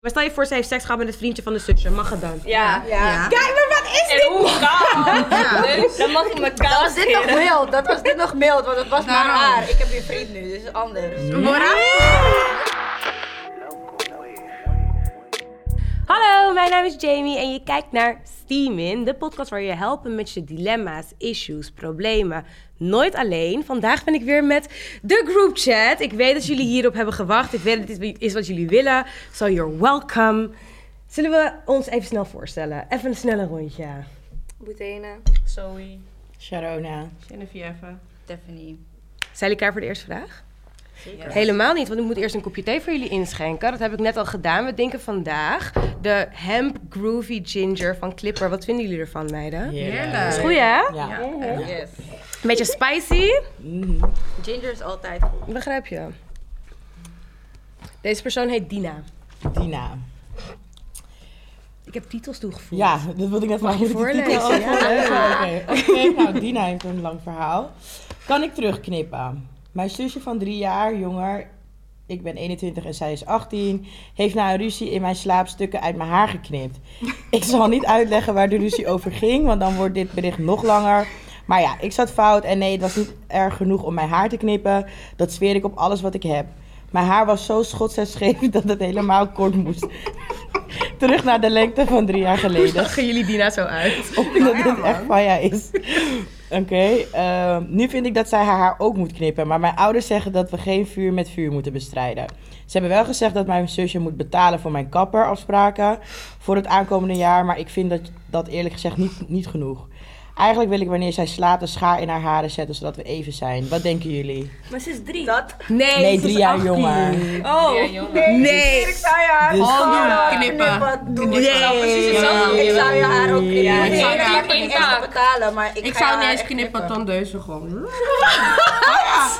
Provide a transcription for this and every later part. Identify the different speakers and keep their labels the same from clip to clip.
Speaker 1: Maar stel je voor, ze heeft seks gehad met het vriendje van de zusje. Mag het dan?
Speaker 2: Ja.
Speaker 3: Ja.
Speaker 1: Kijk, maar wat is
Speaker 2: En hoe kan?
Speaker 3: Ja.
Speaker 2: Dus dan mag ik me Nou, koud
Speaker 4: Was dit nog mild? Dat was dit nog mild, want het was maar
Speaker 3: Daarom.
Speaker 4: haar. Ik heb weer vriend nu, dus het is anders.
Speaker 1: Mm. Hallo, mijn naam is Jamie en je kijkt naar Steam In, de podcast waar je helpen met je dilemma's, issues, problemen. Nooit alleen. Vandaag ben ik weer met de group chat. Ik weet dat jullie hierop hebben gewacht. Ik weet dat dit is wat jullie willen. So you're welcome. Zullen we ons even snel voorstellen? Even een snelle rondje.
Speaker 2: Boetena.
Speaker 5: Zoe,
Speaker 3: Sharona.
Speaker 5: Geneviève.
Speaker 2: Stephanie.
Speaker 1: Zijn jullie klaar voor de eerste vraag? Helemaal niet, want ik moet eerst een kopje thee voor jullie inschenken. Dat heb ik net al gedaan. We denken vandaag de Hemp Groovy Ginger van Clipper. Wat vinden jullie ervan, meiden?
Speaker 3: Heerlijk.
Speaker 1: Is goed, hè?
Speaker 3: Ja.
Speaker 2: Yes.
Speaker 1: Beetje spicy.
Speaker 2: Ginger is altijd goed.
Speaker 1: Begrijp je. Deze persoon heet Dina.
Speaker 3: Dina.
Speaker 1: Ik heb titels toegevoegd.
Speaker 3: Ja, dat wilde ik net vragen. Moet ik die titel ook
Speaker 1: voorlezen?
Speaker 3: voorlezen? Oké, Oké, nou, Dina heeft een lang verhaal. Kan ik terugknippen? Mijn zusje van drie jaar, jonger, ik ben 21 en zij is 18, heeft na een ruzie in mijn slaap stukken uit mijn haar geknipt. Ik zal niet uitleggen waar de ruzie over ging, want dan wordt dit bericht nog langer. Maar ja, ik zat fout en nee, het was niet erg genoeg om mijn haar te knippen. Dat zweer ik op alles wat ik heb. Mijn haar was zo schots en scheef dat het helemaal kort moest. Terug naar de lengte van drie jaar geleden
Speaker 1: Lachen jullie Dina zo uit?
Speaker 4: Oh,
Speaker 3: omdat dit echt Maya is. Oké, ehm, nu vind ik dat zij haar haar ook moet knippen. Maar mijn ouders zeggen dat we geen vuur met vuur moeten bestrijden. Ze hebben wel gezegd dat mijn zusje moet betalen voor mijn kapperafspraken voor het aankomende jaar. Maar ik vind dat, dat eerlijk gezegd niet, niet genoeg. Eigenlijk wil ik wanneer zij slaapt een schaar in haar haren zetten, zodat we even zijn. Wat denken jullie?
Speaker 2: Maar ze is drie. Dat?
Speaker 1: Nee,
Speaker 3: Nee,
Speaker 1: ze is
Speaker 3: drie jaar
Speaker 1: 18.
Speaker 3: jonger.
Speaker 2: Oh.
Speaker 1: Nee.
Speaker 3: Dus-
Speaker 4: eh, Knippen. Doe
Speaker 1: Nee.
Speaker 4: het. Ik zou je haar ook knippen.
Speaker 5: Ja,
Speaker 4: ik zou je haar
Speaker 5: knippen
Speaker 4: niet
Speaker 5: in
Speaker 4: eens
Speaker 5: taak.
Speaker 4: betalen, maar ik,
Speaker 5: Ik
Speaker 4: ga
Speaker 5: zou
Speaker 4: je
Speaker 5: niet
Speaker 4: haar
Speaker 5: eens
Speaker 4: echt
Speaker 5: knippen, tandeuzen gewoon.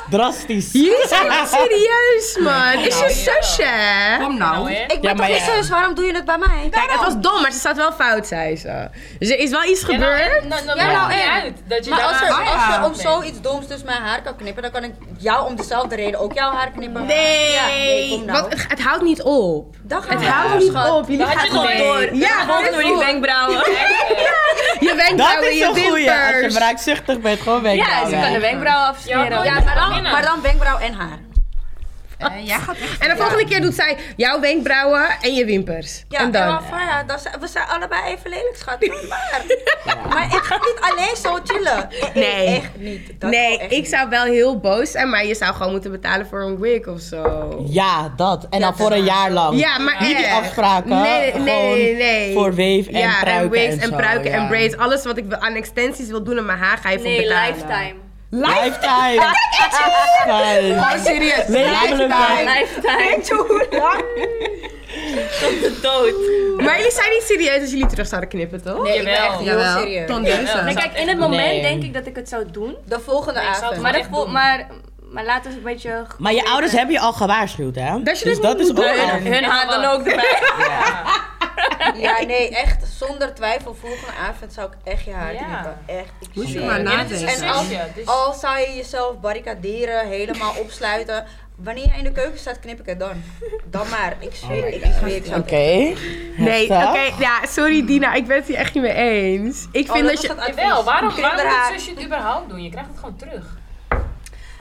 Speaker 3: Drastisch.
Speaker 1: Jezus, serieus man. Is je zusje? hè?
Speaker 5: Nou, Kom nou.
Speaker 4: Ik ben
Speaker 3: maar
Speaker 4: toch je
Speaker 3: ja.
Speaker 4: zus, Dus waarom doe je het bij mij?
Speaker 1: Kijk, het was dom, maar ze staat wel fout, zei ze. Dus er is wel iets gebeurd.
Speaker 4: Ja, nou, en?
Speaker 5: uit. Dat je
Speaker 4: Maar als
Speaker 5: daar-
Speaker 4: er, als
Speaker 5: Ja.
Speaker 4: er om zoiets doms dus mijn haar kan knippen, dan kan ik jou om dezelfde reden ook jouw haar knippen.
Speaker 1: Nee,
Speaker 4: Ja, nee kom nou.
Speaker 1: want het, het houdt niet op.
Speaker 4: Dan gaan
Speaker 1: Het
Speaker 4: we
Speaker 1: houdt
Speaker 4: naar
Speaker 1: niet
Speaker 4: schat.
Speaker 1: op. Jullie
Speaker 5: Dat had
Speaker 1: gaan
Speaker 5: je nog
Speaker 1: gewoon
Speaker 5: door.
Speaker 1: Ja, dus
Speaker 2: Gewoon door die wenkbrauwen.
Speaker 1: je
Speaker 3: Dat
Speaker 1: wenkbrauwen,
Speaker 3: is
Speaker 1: je
Speaker 3: een goeie. Als je
Speaker 1: wimpers.
Speaker 3: wraakzuchtig bent, gewoon weg.
Speaker 2: Ja, ze kan de wenkbrauw afscheren.
Speaker 4: Ja, maar dan, maar dan wenkbrauw en haar.
Speaker 1: En de volgende keer doet zij jouw wenkbrauwen en je wimpers.
Speaker 4: Ja,
Speaker 1: en dan?
Speaker 4: maar van, ja, dan zijn- we zijn allebei even lelijk, schat. Doe Maar, maar ik ga niet alleen zo chillen. E-
Speaker 1: Nee.
Speaker 4: e- Echt niet. Dat
Speaker 1: nee,
Speaker 4: echt
Speaker 1: ik
Speaker 4: niet.
Speaker 1: zou wel heel boos zijn, maar je zou gewoon moeten betalen voor een wig of zo.
Speaker 3: Ja, dat. En dan voor een jaar lang.
Speaker 1: Ja, maar
Speaker 3: Niet die
Speaker 1: echt.
Speaker 3: afspraken.
Speaker 1: Nee, nee, nee, nee.
Speaker 3: Voor wave en
Speaker 1: ja,
Speaker 3: pruiken
Speaker 1: en wigs en,
Speaker 3: zo,
Speaker 1: pruiken en
Speaker 3: ja.
Speaker 1: braids. Alles wat ik wil- aan extensies wil doen aan mijn haar, ga je voor
Speaker 2: Nee,
Speaker 1: betalen.
Speaker 2: lifetime.
Speaker 3: Lifetime. Lifetime.
Speaker 1: Oh, serieus.
Speaker 3: Levensbelang.
Speaker 2: Lifetime. Tot de dood.
Speaker 1: Maar jullie zijn niet serieus als jullie terug zouden knippen, toch?
Speaker 4: Nee, ik ben
Speaker 2: Jawel.
Speaker 4: echt heel
Speaker 1: Jawel.
Speaker 4: serieus.
Speaker 1: Tondeuzen.
Speaker 2: Maar kijk, in het moment
Speaker 3: Nee.
Speaker 2: denk ik dat ik het zou doen.
Speaker 4: De volgende
Speaker 5: ik zou het
Speaker 4: avond.
Speaker 2: Maar, dat
Speaker 5: echt
Speaker 2: voel-
Speaker 5: doen.
Speaker 2: maar, maar laat het een beetje... goed
Speaker 3: Maar je
Speaker 2: weten.
Speaker 3: ouders hebben je al gewaarschuwd, hè?
Speaker 1: Dat je
Speaker 3: dus
Speaker 1: dat
Speaker 3: dat
Speaker 1: niet
Speaker 3: is
Speaker 1: moet
Speaker 3: ook
Speaker 1: doen.
Speaker 3: al.
Speaker 2: Hun haar dan ook erbij.
Speaker 4: Ja, nee, echt zonder twijfel. Volgende avond zou ik echt je haar
Speaker 5: Ja.
Speaker 4: knippen. Echt. Ik
Speaker 1: Moet je
Speaker 4: zweer.
Speaker 1: maar
Speaker 5: En het is een
Speaker 1: nadenken.
Speaker 4: En als,
Speaker 5: zusje. dus-
Speaker 4: al zou je jezelf barricaderen, helemaal opsluiten. Wanneer jij in de keuken staat, knip ik het dan. Dan maar. Ik zweer, ik
Speaker 1: Oh,
Speaker 4: zweer, ik zou het
Speaker 3: Oké.
Speaker 1: Nee, oké,
Speaker 3: Heftig.
Speaker 1: ja, sorry Dina, ik ben het hier echt niet mee eens. Ik vind dat,
Speaker 4: Oh, was
Speaker 1: je...
Speaker 4: het advies.
Speaker 5: Jawel, waarom, waarom moet
Speaker 4: Kinderhaar.
Speaker 5: zusje het überhaupt doen? Je krijgt het gewoon terug.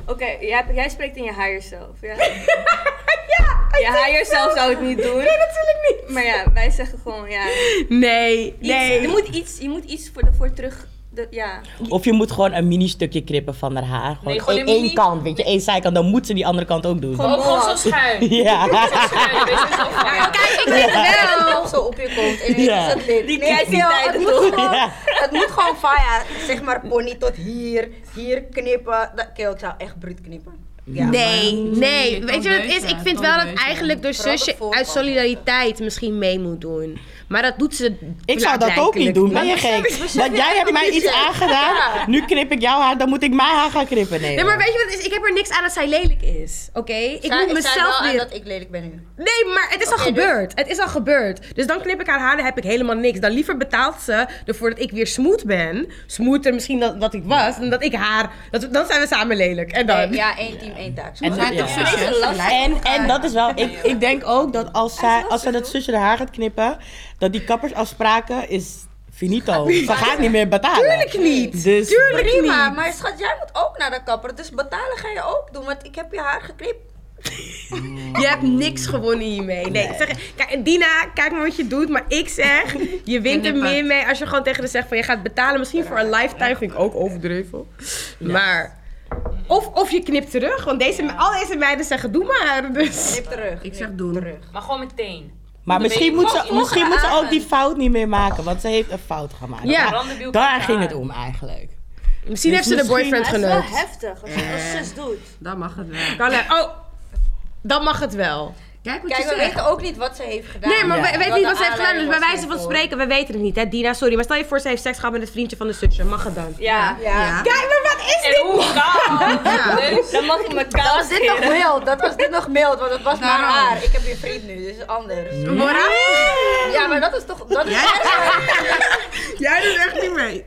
Speaker 2: Oké, jij, jij spreekt in je higher self, ja? ja, je higher self zou het niet doen. Nee, natuurlijk niet. Maar ja, wij zeggen gewoon, ja. iets-
Speaker 1: Nee, nee.
Speaker 2: er moet iets, je moet iets voor, voor terug... De, ja.
Speaker 3: Of je moet gewoon een mini stukje knippen van haar haar. Gewoon,
Speaker 5: Nee, gewoon
Speaker 3: één-
Speaker 5: een
Speaker 3: één
Speaker 5: mini-
Speaker 3: kant, weet je. één zijkant. Dan moet ze die andere kant ook doen.
Speaker 5: Ook gewoon zo schuin.
Speaker 3: Ja.
Speaker 5: Schuin, weet je, zo van-
Speaker 1: Kijk, ik weet het
Speaker 4: En
Speaker 1: wel.
Speaker 4: toch zo op je komt en
Speaker 3: Ja.
Speaker 4: ja. is het lid.
Speaker 2: Die
Speaker 4: nee,
Speaker 2: krijgt die
Speaker 4: joh,
Speaker 2: tijd
Speaker 4: het, moet
Speaker 2: toch?
Speaker 4: gewoon,
Speaker 3: Ja.
Speaker 4: het moet gewoon van ja, zeg maar pony tot hier, hier knippen. Dat, kill, ik zou echt bruut knippen. Ja,
Speaker 1: Nee, nee.
Speaker 5: Nee,
Speaker 1: Weet je wat het is?
Speaker 5: tandeuzen,
Speaker 1: Ik vind wel dat
Speaker 5: tandeuzen.
Speaker 1: eigenlijk door
Speaker 4: Vooral de
Speaker 1: zusje uit
Speaker 4: voorkant.
Speaker 1: solidariteit misschien mee moet doen. Maar dat doet ze
Speaker 3: Ik zou dat ook niet doen, ben je gek? Dat jij hebt mij iets aangedaan, nu knip ik jouw haar, dan moet ik mijn haar gaan knippen. Nee,
Speaker 1: Nee, maar
Speaker 3: hoor.
Speaker 1: weet je wat het is? Ik heb er niks aan dat zij lelijk is, oké? Ik
Speaker 4: Zij-
Speaker 1: moet
Speaker 4: ik zei wel
Speaker 1: mezelf
Speaker 4: aan
Speaker 1: weer...
Speaker 4: dat ik lelijk ben nu.
Speaker 1: Nee, maar het is al
Speaker 4: Oké, dus-
Speaker 1: gebeurd. Het is al gebeurd. Dus dan knip ik haar haar en heb ik helemaal niks. Dan liever betaalt ze ervoor dat ik weer smooth ben. Smoother misschien dan wat ik was. Dan dat ik haar... Dat, dan zijn we samen lelijk. En dan...
Speaker 4: Nee, ja, één team, één één taak.
Speaker 3: En
Speaker 4: Ze zijn
Speaker 3: dat-
Speaker 4: toch
Speaker 3: ja.
Speaker 4: vreselijk lastig.
Speaker 3: En, en dat is wel, ik, ik denk ook dat als zij, als zij dat zusje haar haar gaat knippen, dat die kappersafspraken is finito. Ze gaat niet meer betalen. Tuurlijk niet. Dus,
Speaker 4: Prima, maar schat, jij moet ook naar de kapper. Dus betalen ga je ook doen, want ik heb je haar geknipt.
Speaker 1: Je hebt niks gewonnen hiermee. Nee, ik Zeg, kijk, Dina, kijk maar wat je doet. Maar ik zeg, je wint er meer mee als je gewoon tegen de zegt van je gaat betalen. Misschien voor een lifetime vind ik ook overdreven. Maar, of, of je knipt terug. Want deze, al deze meiden zeggen doe maar. Dus.
Speaker 4: Knip terug.
Speaker 1: Ik zeg doen.
Speaker 5: Maar gewoon meteen.
Speaker 3: maar misschien moet, ze,
Speaker 5: Volgende
Speaker 3: misschien moet ze ook
Speaker 4: avond.
Speaker 3: die fout niet meer maken, want ze heeft een fout gemaakt.
Speaker 1: Ja.
Speaker 5: Brandenbiel
Speaker 3: Daar
Speaker 5: pakt
Speaker 3: ging
Speaker 5: haar.
Speaker 3: het om eigenlijk.
Speaker 1: Misschien
Speaker 3: Dus
Speaker 1: heeft ze de
Speaker 3: misschien-
Speaker 1: boyfriend
Speaker 2: Het is wel
Speaker 1: geneukt.
Speaker 2: heftig als je dat als zus doet.
Speaker 6: Dan mag het wel.
Speaker 1: Kan er- oh, dan mag het wel.
Speaker 6: Kijk wat
Speaker 4: Kijk,
Speaker 6: je
Speaker 4: we
Speaker 6: zegt.
Speaker 4: weten ook niet wat ze heeft gedaan.
Speaker 1: Nee, maar
Speaker 3: Ja.
Speaker 1: we weten
Speaker 4: Wat
Speaker 1: niet
Speaker 4: de
Speaker 1: wat ze heeft gedaan. Dus bij
Speaker 4: aanleiding was
Speaker 1: wijze van
Speaker 4: daarvoor.
Speaker 1: spreken, we weten het niet, hè, Dina. Sorry, maar stel je voor, ze heeft seks gehad met het vriendje van de zusje. Mag het dan?
Speaker 2: Ja.
Speaker 4: Ja.
Speaker 1: Kijk, maar wat is
Speaker 5: En hoe kan? Dus-
Speaker 2: Dan mag ik me
Speaker 4: Dat
Speaker 2: koud
Speaker 4: was dit nog
Speaker 2: scheren.
Speaker 4: mild, dat was dit nog mild, want het was
Speaker 1: Nou,
Speaker 4: maar
Speaker 6: Daarom.
Speaker 4: haar. Ik heb je vriend nu, dus anders.
Speaker 1: Bora?
Speaker 4: Ja, maar dat is toch, dat is
Speaker 6: Jij-
Speaker 4: erger.
Speaker 6: Jij doet echt niet mee.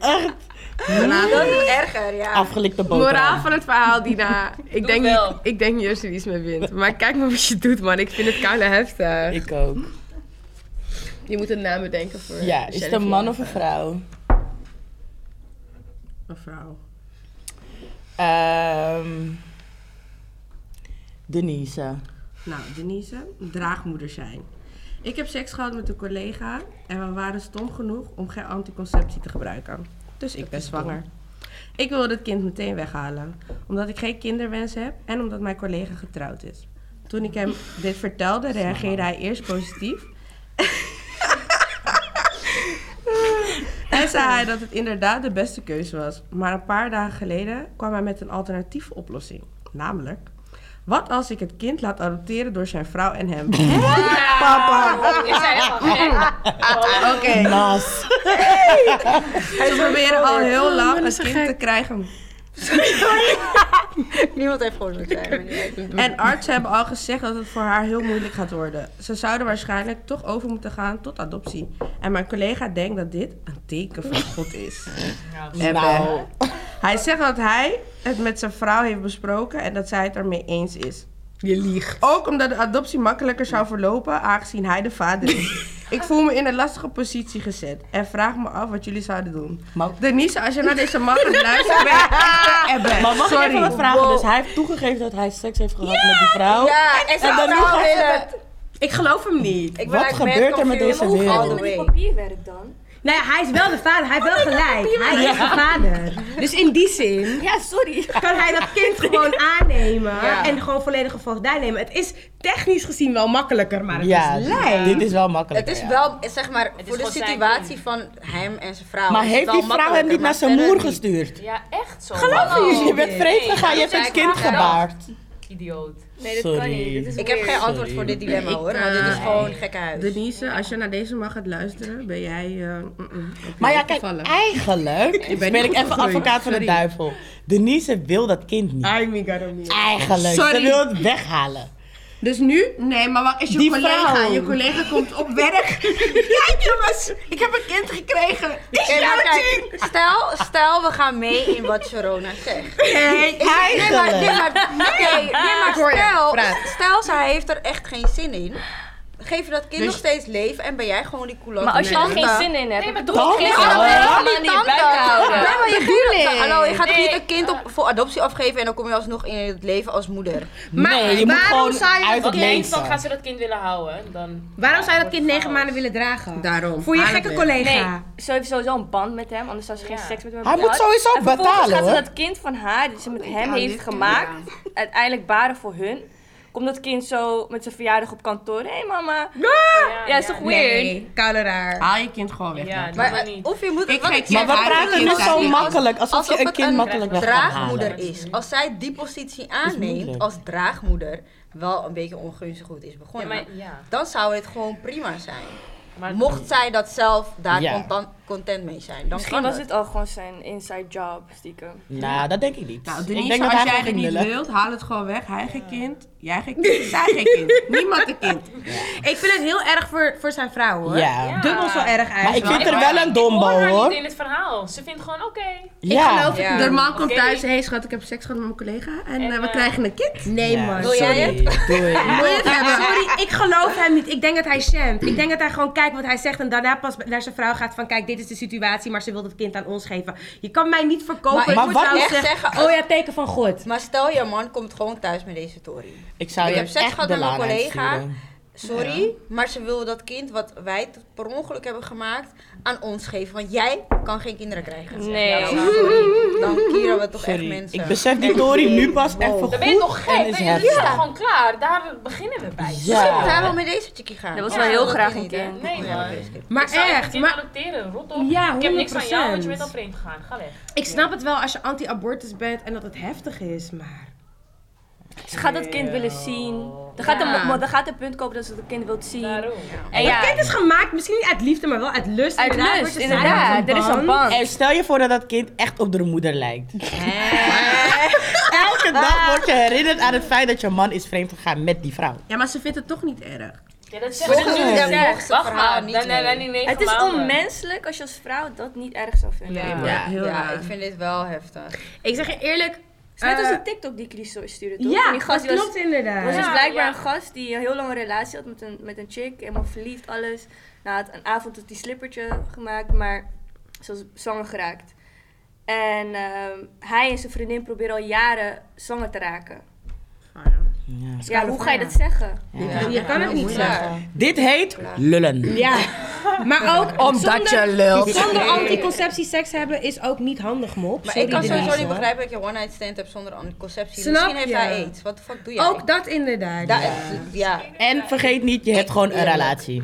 Speaker 4: Dat is erger, ja.
Speaker 3: Afgelikte
Speaker 1: Moraal
Speaker 3: boterham.
Speaker 1: van het verhaal, Dina. Ik denk,
Speaker 5: wel.
Speaker 1: niet, ik denk niet dat je iets mee wint. Maar kijk maar wat je doet, man. Ik vind het koude heftig.
Speaker 3: Ik ook.
Speaker 1: Je moet een naam bedenken voor...
Speaker 3: Ja, is het een man of een vrouw?
Speaker 6: Een vrouw.
Speaker 3: Ehm Denise.
Speaker 6: Nou, Denise, draagmoeder zijn. Ik heb seks gehad met een collega en we waren stom genoeg om geen anticonceptie te gebruiken. Dus ik ben zwanger. Ik wil het kind meteen weghalen, omdat ik geen kinderwens heb en omdat mijn collega getrouwd is. Toen ik hem dit vertelde, reageerde hij eerst positief. en zei hij dat het inderdaad de beste keuze was. Maar een paar dagen geleden kwam hij met een alternatieve oplossing. Namelijk, wat als ik het kind laat adopteren door zijn vrouw en hem?
Speaker 3: Papa.
Speaker 5: Ik zei helemaal gek.
Speaker 6: Oké.
Speaker 3: Nas.
Speaker 6: Ze proberen al heel lang een kind te krijgen.
Speaker 4: Niemand heeft gewoon zo'n zijn. maar niet uit.
Speaker 6: En artsen hebben al gezegd dat het voor haar heel moeilijk gaat worden. Ze zouden waarschijnlijk toch over moeten gaan tot adoptie. En mijn collega denkt dat dit een teken van God is. Ebbe.
Speaker 3: Nou.
Speaker 6: Hij zegt dat hij het met zijn vrouw heeft besproken en dat zij het ermee eens is.
Speaker 1: Je liegt.
Speaker 6: Ook omdat de adoptie makkelijker zou verlopen, aangezien hij de vader is. Ik voel me in een lastige positie gezet en vraag me af wat jullie zouden doen.
Speaker 3: Maar-
Speaker 6: Denise, als je naar deze man gaat luisteren, ben je echt een ebbe.
Speaker 3: Maar mag ik even wat
Speaker 6: Sorry.
Speaker 3: vragen? Dus hij heeft toegegeven dat hij seks heeft gehad met die vrouw.
Speaker 4: Ja, en ze
Speaker 3: En dan nu
Speaker 4: vrouw
Speaker 3: gaat
Speaker 4: wil
Speaker 3: ze-
Speaker 4: het.
Speaker 1: Ik geloof hem niet.
Speaker 4: Ik ben
Speaker 3: Wat
Speaker 4: echt
Speaker 3: gebeurt er met
Speaker 4: confused.
Speaker 3: deze
Speaker 4: All
Speaker 3: wereld?
Speaker 4: the
Speaker 2: Met die
Speaker 4: way.
Speaker 2: papierwerk dan?
Speaker 1: Nou ja, hij is wel de vader. Hij
Speaker 2: Oh
Speaker 1: heeft wel gelijk. Hij is de vader. Dus in die zin
Speaker 2: Ja, sorry.
Speaker 1: kan hij dat kind gewoon aannemen. En gewoon volledige voogdij nemen. Het is technisch gezien wel makkelijker, maar het
Speaker 3: Ja,
Speaker 1: is lijp.
Speaker 3: dit is wel makkelijk.
Speaker 4: Het is wel, zeg maar,
Speaker 5: is
Speaker 4: voor de
Speaker 5: gewoon zijn
Speaker 4: situatie van hem en zijn vrouw.
Speaker 3: Maar
Speaker 4: is het
Speaker 3: heeft
Speaker 4: wel
Speaker 3: die vrouw hem
Speaker 4: makkelijker,
Speaker 3: niet naar
Speaker 4: maar
Speaker 3: zijn moer
Speaker 4: verder niet.
Speaker 3: gestuurd?
Speaker 5: Ja, echt zo.
Speaker 3: Geloven jullie? Je bent vreemd
Speaker 5: Nee,
Speaker 3: gegaan, je hebt
Speaker 5: zij
Speaker 3: het kind
Speaker 5: vragen.
Speaker 3: gebaard.
Speaker 5: Idioot.
Speaker 2: Nee, dat kan
Speaker 3: Sorry.
Speaker 2: niet. Dit is
Speaker 4: Ik heb
Speaker 2: weird.
Speaker 4: geen antwoord voor dit dilemma
Speaker 6: Ik,
Speaker 4: hoor, want dit is
Speaker 6: eh,
Speaker 4: gewoon gekkenhuis.
Speaker 6: Denise, als je naar deze man gaat luisteren, ben jij. eh, mm, mm, op
Speaker 3: Maar ja,
Speaker 6: jou
Speaker 3: kijk,
Speaker 6: gevallen.
Speaker 3: eigenlijk
Speaker 6: niet
Speaker 3: ben ik
Speaker 6: goed
Speaker 3: even
Speaker 6: opgegroeid,
Speaker 3: advocaat van de
Speaker 6: sorry.
Speaker 3: duivel. Denise wil dat kind niet.
Speaker 6: I mean, God, I mean.
Speaker 3: Eigenlijk. Ze
Speaker 6: Sorry.
Speaker 3: wil het weghalen.
Speaker 6: Dus nu? Nee, maar wat is je
Speaker 3: Die
Speaker 6: collega?
Speaker 3: vrouw.
Speaker 6: Je collega komt op werk. ja, jongens, ik heb een kind gekregen. Is
Speaker 4: Oké, maar
Speaker 6: jouw
Speaker 4: kijk,
Speaker 6: ding?
Speaker 4: stel, stel we gaan mee in wat Sharona zegt.
Speaker 6: Nee,
Speaker 4: Nee, maar, nee, maar, oké, nee, maar
Speaker 6: Ik hoor je.
Speaker 4: stel,
Speaker 6: Praat.
Speaker 4: stel, zij heeft er echt geen zin in. Geef je dat
Speaker 3: Dus-
Speaker 4: kind nog steeds leven en ben jij gewoon die coulant.
Speaker 2: Maar als je er geen zin in hebt,
Speaker 5: Nee, maar
Speaker 3: Toch? Oh.
Speaker 5: doe het
Speaker 3: Ja,
Speaker 5: gewoon.
Speaker 3: maar
Speaker 5: Nee,
Speaker 4: waarom
Speaker 5: maar
Speaker 4: die
Speaker 5: niet
Speaker 4: tanden?
Speaker 5: blijven houden.
Speaker 4: Nee, maar je gaat
Speaker 1: bedoeling.
Speaker 4: niet- Hallo, je gaat toch niet
Speaker 5: Nee.
Speaker 4: een kind op, voor adoptie afgeven en dan kom je alsnog in het leven als moeder.
Speaker 3: nee, je moet
Speaker 1: waarom
Speaker 3: gewoon
Speaker 1: zou je-
Speaker 3: uit
Speaker 5: Oké,
Speaker 3: het
Speaker 5: okay,
Speaker 3: leven.
Speaker 5: dan gaan ze dat kind willen houden. Dan...
Speaker 1: Waarom zou je dat kind negen maanden willen dragen?
Speaker 6: Daarom.
Speaker 1: Voor je
Speaker 6: Haal
Speaker 1: gekke
Speaker 6: het weg.
Speaker 1: collega.
Speaker 2: Nee, ze heeft sowieso een band met hem, anders zou ze geen
Speaker 5: Ja.
Speaker 2: seks met hem
Speaker 3: Hij
Speaker 2: hebben
Speaker 3: moet
Speaker 2: gehad.
Speaker 3: sowieso
Speaker 2: En vervolgens
Speaker 3: betalen,
Speaker 2: gaat ze
Speaker 3: hoor.
Speaker 2: dat kind van haar, die ze met hem
Speaker 6: aan
Speaker 2: heeft
Speaker 6: dit
Speaker 2: gemaakt, uiteindelijk baren voor hun. Komt dat kind zo met zijn verjaardag op kantoor. Hé hey mama. Ja, is toch weird?
Speaker 1: Nee, koude raar.
Speaker 3: Ah.
Speaker 6: Haal je kind gewoon weg.
Speaker 5: Ja, Oh,
Speaker 6: dan.
Speaker 5: dat
Speaker 4: Maar,
Speaker 5: kan
Speaker 4: eh,
Speaker 5: niet.
Speaker 4: of je moet
Speaker 6: Ik
Speaker 4: wat-
Speaker 6: geef
Speaker 3: Maar
Speaker 6: Ja,
Speaker 3: we
Speaker 6: haar
Speaker 3: praten
Speaker 6: kind
Speaker 3: nu
Speaker 6: gaat
Speaker 3: zo
Speaker 6: niet-
Speaker 3: makkelijk, alsof je
Speaker 4: alsof
Speaker 3: een
Speaker 4: het
Speaker 3: kind
Speaker 4: een
Speaker 3: makkelijk weg kan
Speaker 4: draagmoeder
Speaker 3: halen.
Speaker 4: is. Als zij die positie aanneemt
Speaker 3: moeilijk.
Speaker 4: als draagmoeder, wel een beetje ongunstig goed is
Speaker 5: Ja,
Speaker 4: begonnen.
Speaker 5: maar, ja.
Speaker 4: Dan zou het gewoon prima zijn.
Speaker 5: maar
Speaker 4: Mocht zij dat zelf daar
Speaker 3: Ja.
Speaker 4: contant content mee zijn. Dan
Speaker 2: Misschien
Speaker 4: kan
Speaker 2: was het al gewoon zijn inside job, stiekem.
Speaker 3: Nou, dat denk ik niet.
Speaker 6: Nou,
Speaker 3: ik
Speaker 6: Denise,
Speaker 3: denk dat
Speaker 6: als
Speaker 3: hij
Speaker 6: jij
Speaker 3: gewoon
Speaker 6: het
Speaker 3: ging
Speaker 6: niet
Speaker 3: lullen.
Speaker 6: wilt, haal het gewoon weg. Hij geen kind, jij geen kind, zij geen kind. Niemand een kind.
Speaker 1: Ik vind het heel erg voor, voor zijn vrouw hoor.
Speaker 3: Ja.
Speaker 1: Dubbel zo erg eigenlijk.
Speaker 3: Maar ik vind er wel een dombo
Speaker 5: Hoor haar niet in
Speaker 3: hoor.
Speaker 5: het verhaal. Ze vindt gewoon oké.
Speaker 1: Ik
Speaker 3: Ja.
Speaker 1: geloof
Speaker 4: Ja.
Speaker 6: De man komt
Speaker 5: Oké.
Speaker 6: thuis, hé hey, schat, ik heb seks gehad met mijn collega en
Speaker 5: En,
Speaker 6: eh, we
Speaker 5: eh,
Speaker 6: krijgen een kind.
Speaker 1: Nee
Speaker 3: Ja,
Speaker 1: man.
Speaker 4: Wil jij
Speaker 3: sorry. Doei.
Speaker 1: Wil je het hebben? Sorry, ik geloof hem niet. Ik denk dat hij shamt. Ik denk dat hij gewoon kijkt wat hij zegt en daarna pas naar zijn vrouw gaat van kijk, dit is de situatie, maar ze wil het kind aan ons geven. Je kan mij niet verkopen.
Speaker 4: Maar-
Speaker 1: Ik
Speaker 3: maar
Speaker 1: moet
Speaker 3: wat
Speaker 1: trouwens
Speaker 4: echt zeggen,
Speaker 1: oh ja, teken van God.
Speaker 4: Maar stel je man komt gewoon thuis met deze story.
Speaker 3: Ik zou
Speaker 4: Ik
Speaker 3: je
Speaker 4: heb seks
Speaker 3: echt
Speaker 4: gehad
Speaker 3: de
Speaker 4: met mijn
Speaker 3: laan
Speaker 4: collega.
Speaker 3: uitsturen.
Speaker 4: Sorry, maar ze wil dat kind wat wij t- per ongeluk hebben gemaakt aan ons geven. Want jij kan geen kinderen krijgen.
Speaker 2: Nee.
Speaker 4: Ja, sorry. Dan kieren we toch echt
Speaker 3: Sorry.
Speaker 4: mensen.
Speaker 3: Ik besef die Tori nu pas echt voor
Speaker 5: Dan ben je
Speaker 3: goed.
Speaker 5: toch
Speaker 3: en
Speaker 5: gek?
Speaker 3: is
Speaker 5: Ben je dat is
Speaker 3: heftig.
Speaker 5: toch gewoon klaar? Daar beginnen we bij.
Speaker 4: Misschien moet hij wel
Speaker 3: Ja.
Speaker 4: met deze chickie gaan.
Speaker 2: Dat was
Speaker 4: Ja,
Speaker 2: wel heel
Speaker 4: wil
Speaker 2: graag
Speaker 4: ik
Speaker 2: een
Speaker 4: niet,
Speaker 2: keer.
Speaker 4: hè.
Speaker 5: Nee,
Speaker 4: Ja,
Speaker 5: man.
Speaker 4: wil ik niet.
Speaker 1: Maar echt,
Speaker 5: maar...
Speaker 1: maar
Speaker 5: adopteren, rot op.
Speaker 1: Ja,
Speaker 5: ik heb niks aan jou, want je
Speaker 1: 100%.
Speaker 5: bent al vreemd gegaan. Ga weg.
Speaker 1: ik snap het wel als je anti-abortus bent en dat het heftig is, maar...
Speaker 2: Ze gaat dat kind willen zien. Er gaat,
Speaker 4: Ja.
Speaker 2: een, mo- er gaat een punt komen dat ze het kind wilt zien.
Speaker 5: Daarom.
Speaker 2: En
Speaker 1: Het
Speaker 2: ja,
Speaker 1: kind is gemaakt, misschien niet uit liefde, maar wel uit lust.
Speaker 2: uit
Speaker 1: Inderdaad,
Speaker 2: lust,
Speaker 1: wordt er samen
Speaker 2: inderdaad. Er is een band.
Speaker 3: En stel je voor dat dat kind echt op de moeder lijkt. Elke dag word je herinnerd aan het feit dat je man is vreemd gegaan met die vrouw.
Speaker 6: Ja, maar ze vindt het toch niet erg.
Speaker 5: Ja, dat zeggen ze
Speaker 4: Volgens
Speaker 5: nu.
Speaker 4: hem
Speaker 5: Zeg,
Speaker 4: mocht ze
Speaker 5: Wacht
Speaker 4: verhaal
Speaker 5: maar.
Speaker 4: niet
Speaker 5: Dan- dan-
Speaker 4: mee.
Speaker 5: dan die negen
Speaker 2: Het is
Speaker 5: maanden.
Speaker 2: onmenselijk als je als vrouw dat niet erg zou vinden.
Speaker 5: Ja.
Speaker 2: Het
Speaker 6: Ja, heel
Speaker 4: ja,
Speaker 6: raar.
Speaker 4: ik vind dit wel heftig.
Speaker 1: Ik zeg je eerlijk...
Speaker 2: is net als
Speaker 1: eh,
Speaker 2: een TikTok die Chris stuurde, toch?
Speaker 1: ja,
Speaker 2: Van die gast
Speaker 1: dat
Speaker 2: die was-
Speaker 1: klopt inderdaad.
Speaker 2: Er was dus
Speaker 5: Ja,
Speaker 2: blijkbaar
Speaker 5: ja.
Speaker 2: een gast die een heel lange relatie had met een, met een chick. Helemaal verliefd, alles. Na het, een avond had hij slippertje gemaakt, maar ze was zwanger geraakt. En ehm, hij en zijn vriendin proberen al jaren zwanger te raken.
Speaker 5: Ah,
Speaker 3: Ja.
Speaker 2: Ja, hoe ga je dat zeggen?
Speaker 1: Je kan het niet zeggen.
Speaker 3: Dit heet lullen.
Speaker 1: Ja, maar ook
Speaker 3: Omdat
Speaker 1: zonder,
Speaker 3: je lult.
Speaker 1: zonder anticonceptie seks hebben is ook niet handig, mop.
Speaker 4: Maar
Speaker 1: Sorry,
Speaker 4: ik kan
Speaker 1: Denise,
Speaker 4: sowieso niet
Speaker 1: hoor.
Speaker 4: begrijpen dat je one night stand hebt zonder anticonceptie.
Speaker 1: Snap
Speaker 4: Misschien heeft
Speaker 1: je?
Speaker 4: hij aids. Wat de fuck doe jij?
Speaker 1: Ook dat inderdaad.
Speaker 4: Da-
Speaker 1: ja.
Speaker 4: ja.
Speaker 3: En vergeet niet, je hebt gewoon een relatie.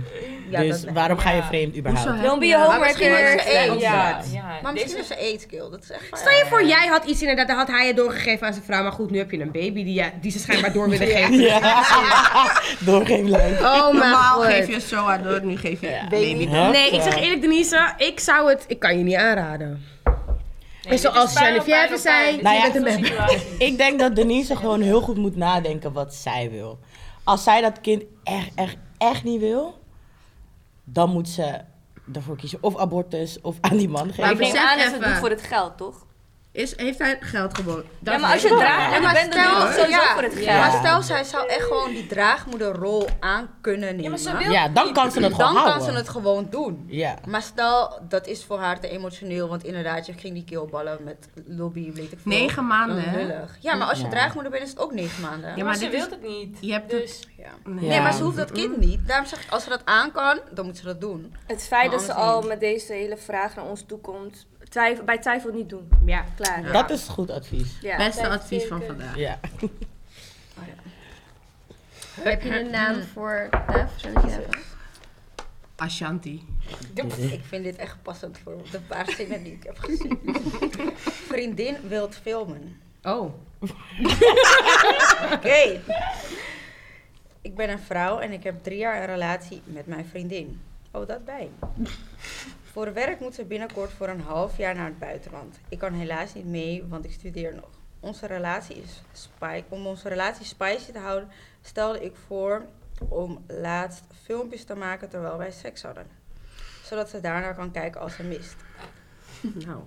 Speaker 4: Ja,
Speaker 3: dus
Speaker 4: dat-
Speaker 3: waarom ga je vreemd überhaupt?
Speaker 2: Don't be a
Speaker 4: Maar misschien was
Speaker 2: homewrecker.
Speaker 4: ze aids.
Speaker 5: Ja, ja.
Speaker 4: Maar misschien
Speaker 5: Deze-
Speaker 4: is ze aids kill. Dat is echt waar.
Speaker 1: Stel je voor, jij had iets inderdaad, dan had hij het doorgegeven aan zijn vrouw. Maar goed, nu heb je een baby die, ja, die ze schijnbaar door willen geven.
Speaker 3: Door geen lijn.
Speaker 1: Oh mijn
Speaker 6: Normaal
Speaker 1: god.
Speaker 6: geef je het zo aan door, nu geef je het baby.
Speaker 3: Huh?
Speaker 1: Nee, ik zeg eerlijk, Denise, ik zou het, ik kan je niet aanraden.
Speaker 5: Nee, dit
Speaker 1: zoals
Speaker 5: is pijn op
Speaker 1: Geneviève
Speaker 5: pijn op
Speaker 1: zei,
Speaker 5: pijn.
Speaker 1: je
Speaker 5: Dit
Speaker 3: Nou ja,
Speaker 5: is een situatie.
Speaker 3: Ik denk dat Denise gewoon heel goed moet nadenken wat zij wil. Als zij dat kind echt, echt, echt niet wil, dan moet ze ervoor kiezen. Of abortus, of aan die man
Speaker 6: Maar
Speaker 3: geven.
Speaker 2: Ik neem
Speaker 6: Besef
Speaker 2: aan dat ze het
Speaker 6: even.
Speaker 2: doet voor het geld, toch?
Speaker 6: Is, heeft hij geld geboden?
Speaker 2: Ja, maar als je draagmoeder bent, dan doe je het sowieso
Speaker 4: ja,
Speaker 2: voor het
Speaker 4: ja.
Speaker 2: geld.
Speaker 4: Maar stel, zij zou echt gewoon die draagmoederrol aan kunnen
Speaker 5: Ja, maar
Speaker 4: nemen.
Speaker 5: ze wil
Speaker 3: Ja, dan kan ze het gewoon
Speaker 4: dan kan
Speaker 3: houden.
Speaker 4: ze het gewoon doen.
Speaker 3: Ja.
Speaker 4: Maar stel, dat is voor haar te emotioneel, want inderdaad, je ging die keelballen met lobby, weet ik veel. Oh,
Speaker 6: Negen maanden, hè?
Speaker 4: Lullig. Ja, maar als je
Speaker 3: Ja.
Speaker 4: draagmoeder bent, is het ook negen maanden.
Speaker 6: Ja,
Speaker 5: maar
Speaker 6: maar
Speaker 5: ze
Speaker 6: dit
Speaker 5: wil
Speaker 6: is...
Speaker 5: het niet.
Speaker 6: Je hebt
Speaker 5: Dus
Speaker 4: Nee, maar ze hoeft dat kind niet. Daarom zeg ik, als ze dat aan kan, dan moet ze dat doen.
Speaker 2: Het feit dat
Speaker 4: Maar
Speaker 2: ze
Speaker 4: anders
Speaker 2: al met deze hele vraag naar ons toe komt, twijf- bij twijfel niet doen.
Speaker 1: Ja.
Speaker 2: Klaar.
Speaker 3: Dat is goed advies.
Speaker 2: Ja.
Speaker 6: beste advies van vandaag.
Speaker 3: Ja.
Speaker 7: Heb je een naam voor tafel? Zal ik je hebben?
Speaker 6: Ashanti.
Speaker 4: Ik vind dit echt passend voor de paar zinnen die ik heb gezien. Vriendin wilt filmen.
Speaker 6: Oh.
Speaker 4: Oké. Ik ben een vrouw en ik heb drie jaar een relatie met mijn vriendin. Oh, dat bij. voor werk moet ze binnenkort voor een half jaar naar het buitenland. Ik kan helaas niet mee, want ik studeer nog. Onze relatie is spy- om onze relatie spicy te houden, stelde ik voor om laatst filmpjes te maken terwijl wij seks hadden. Zodat ze daarna kan kijken als ze mist.
Speaker 6: Nou.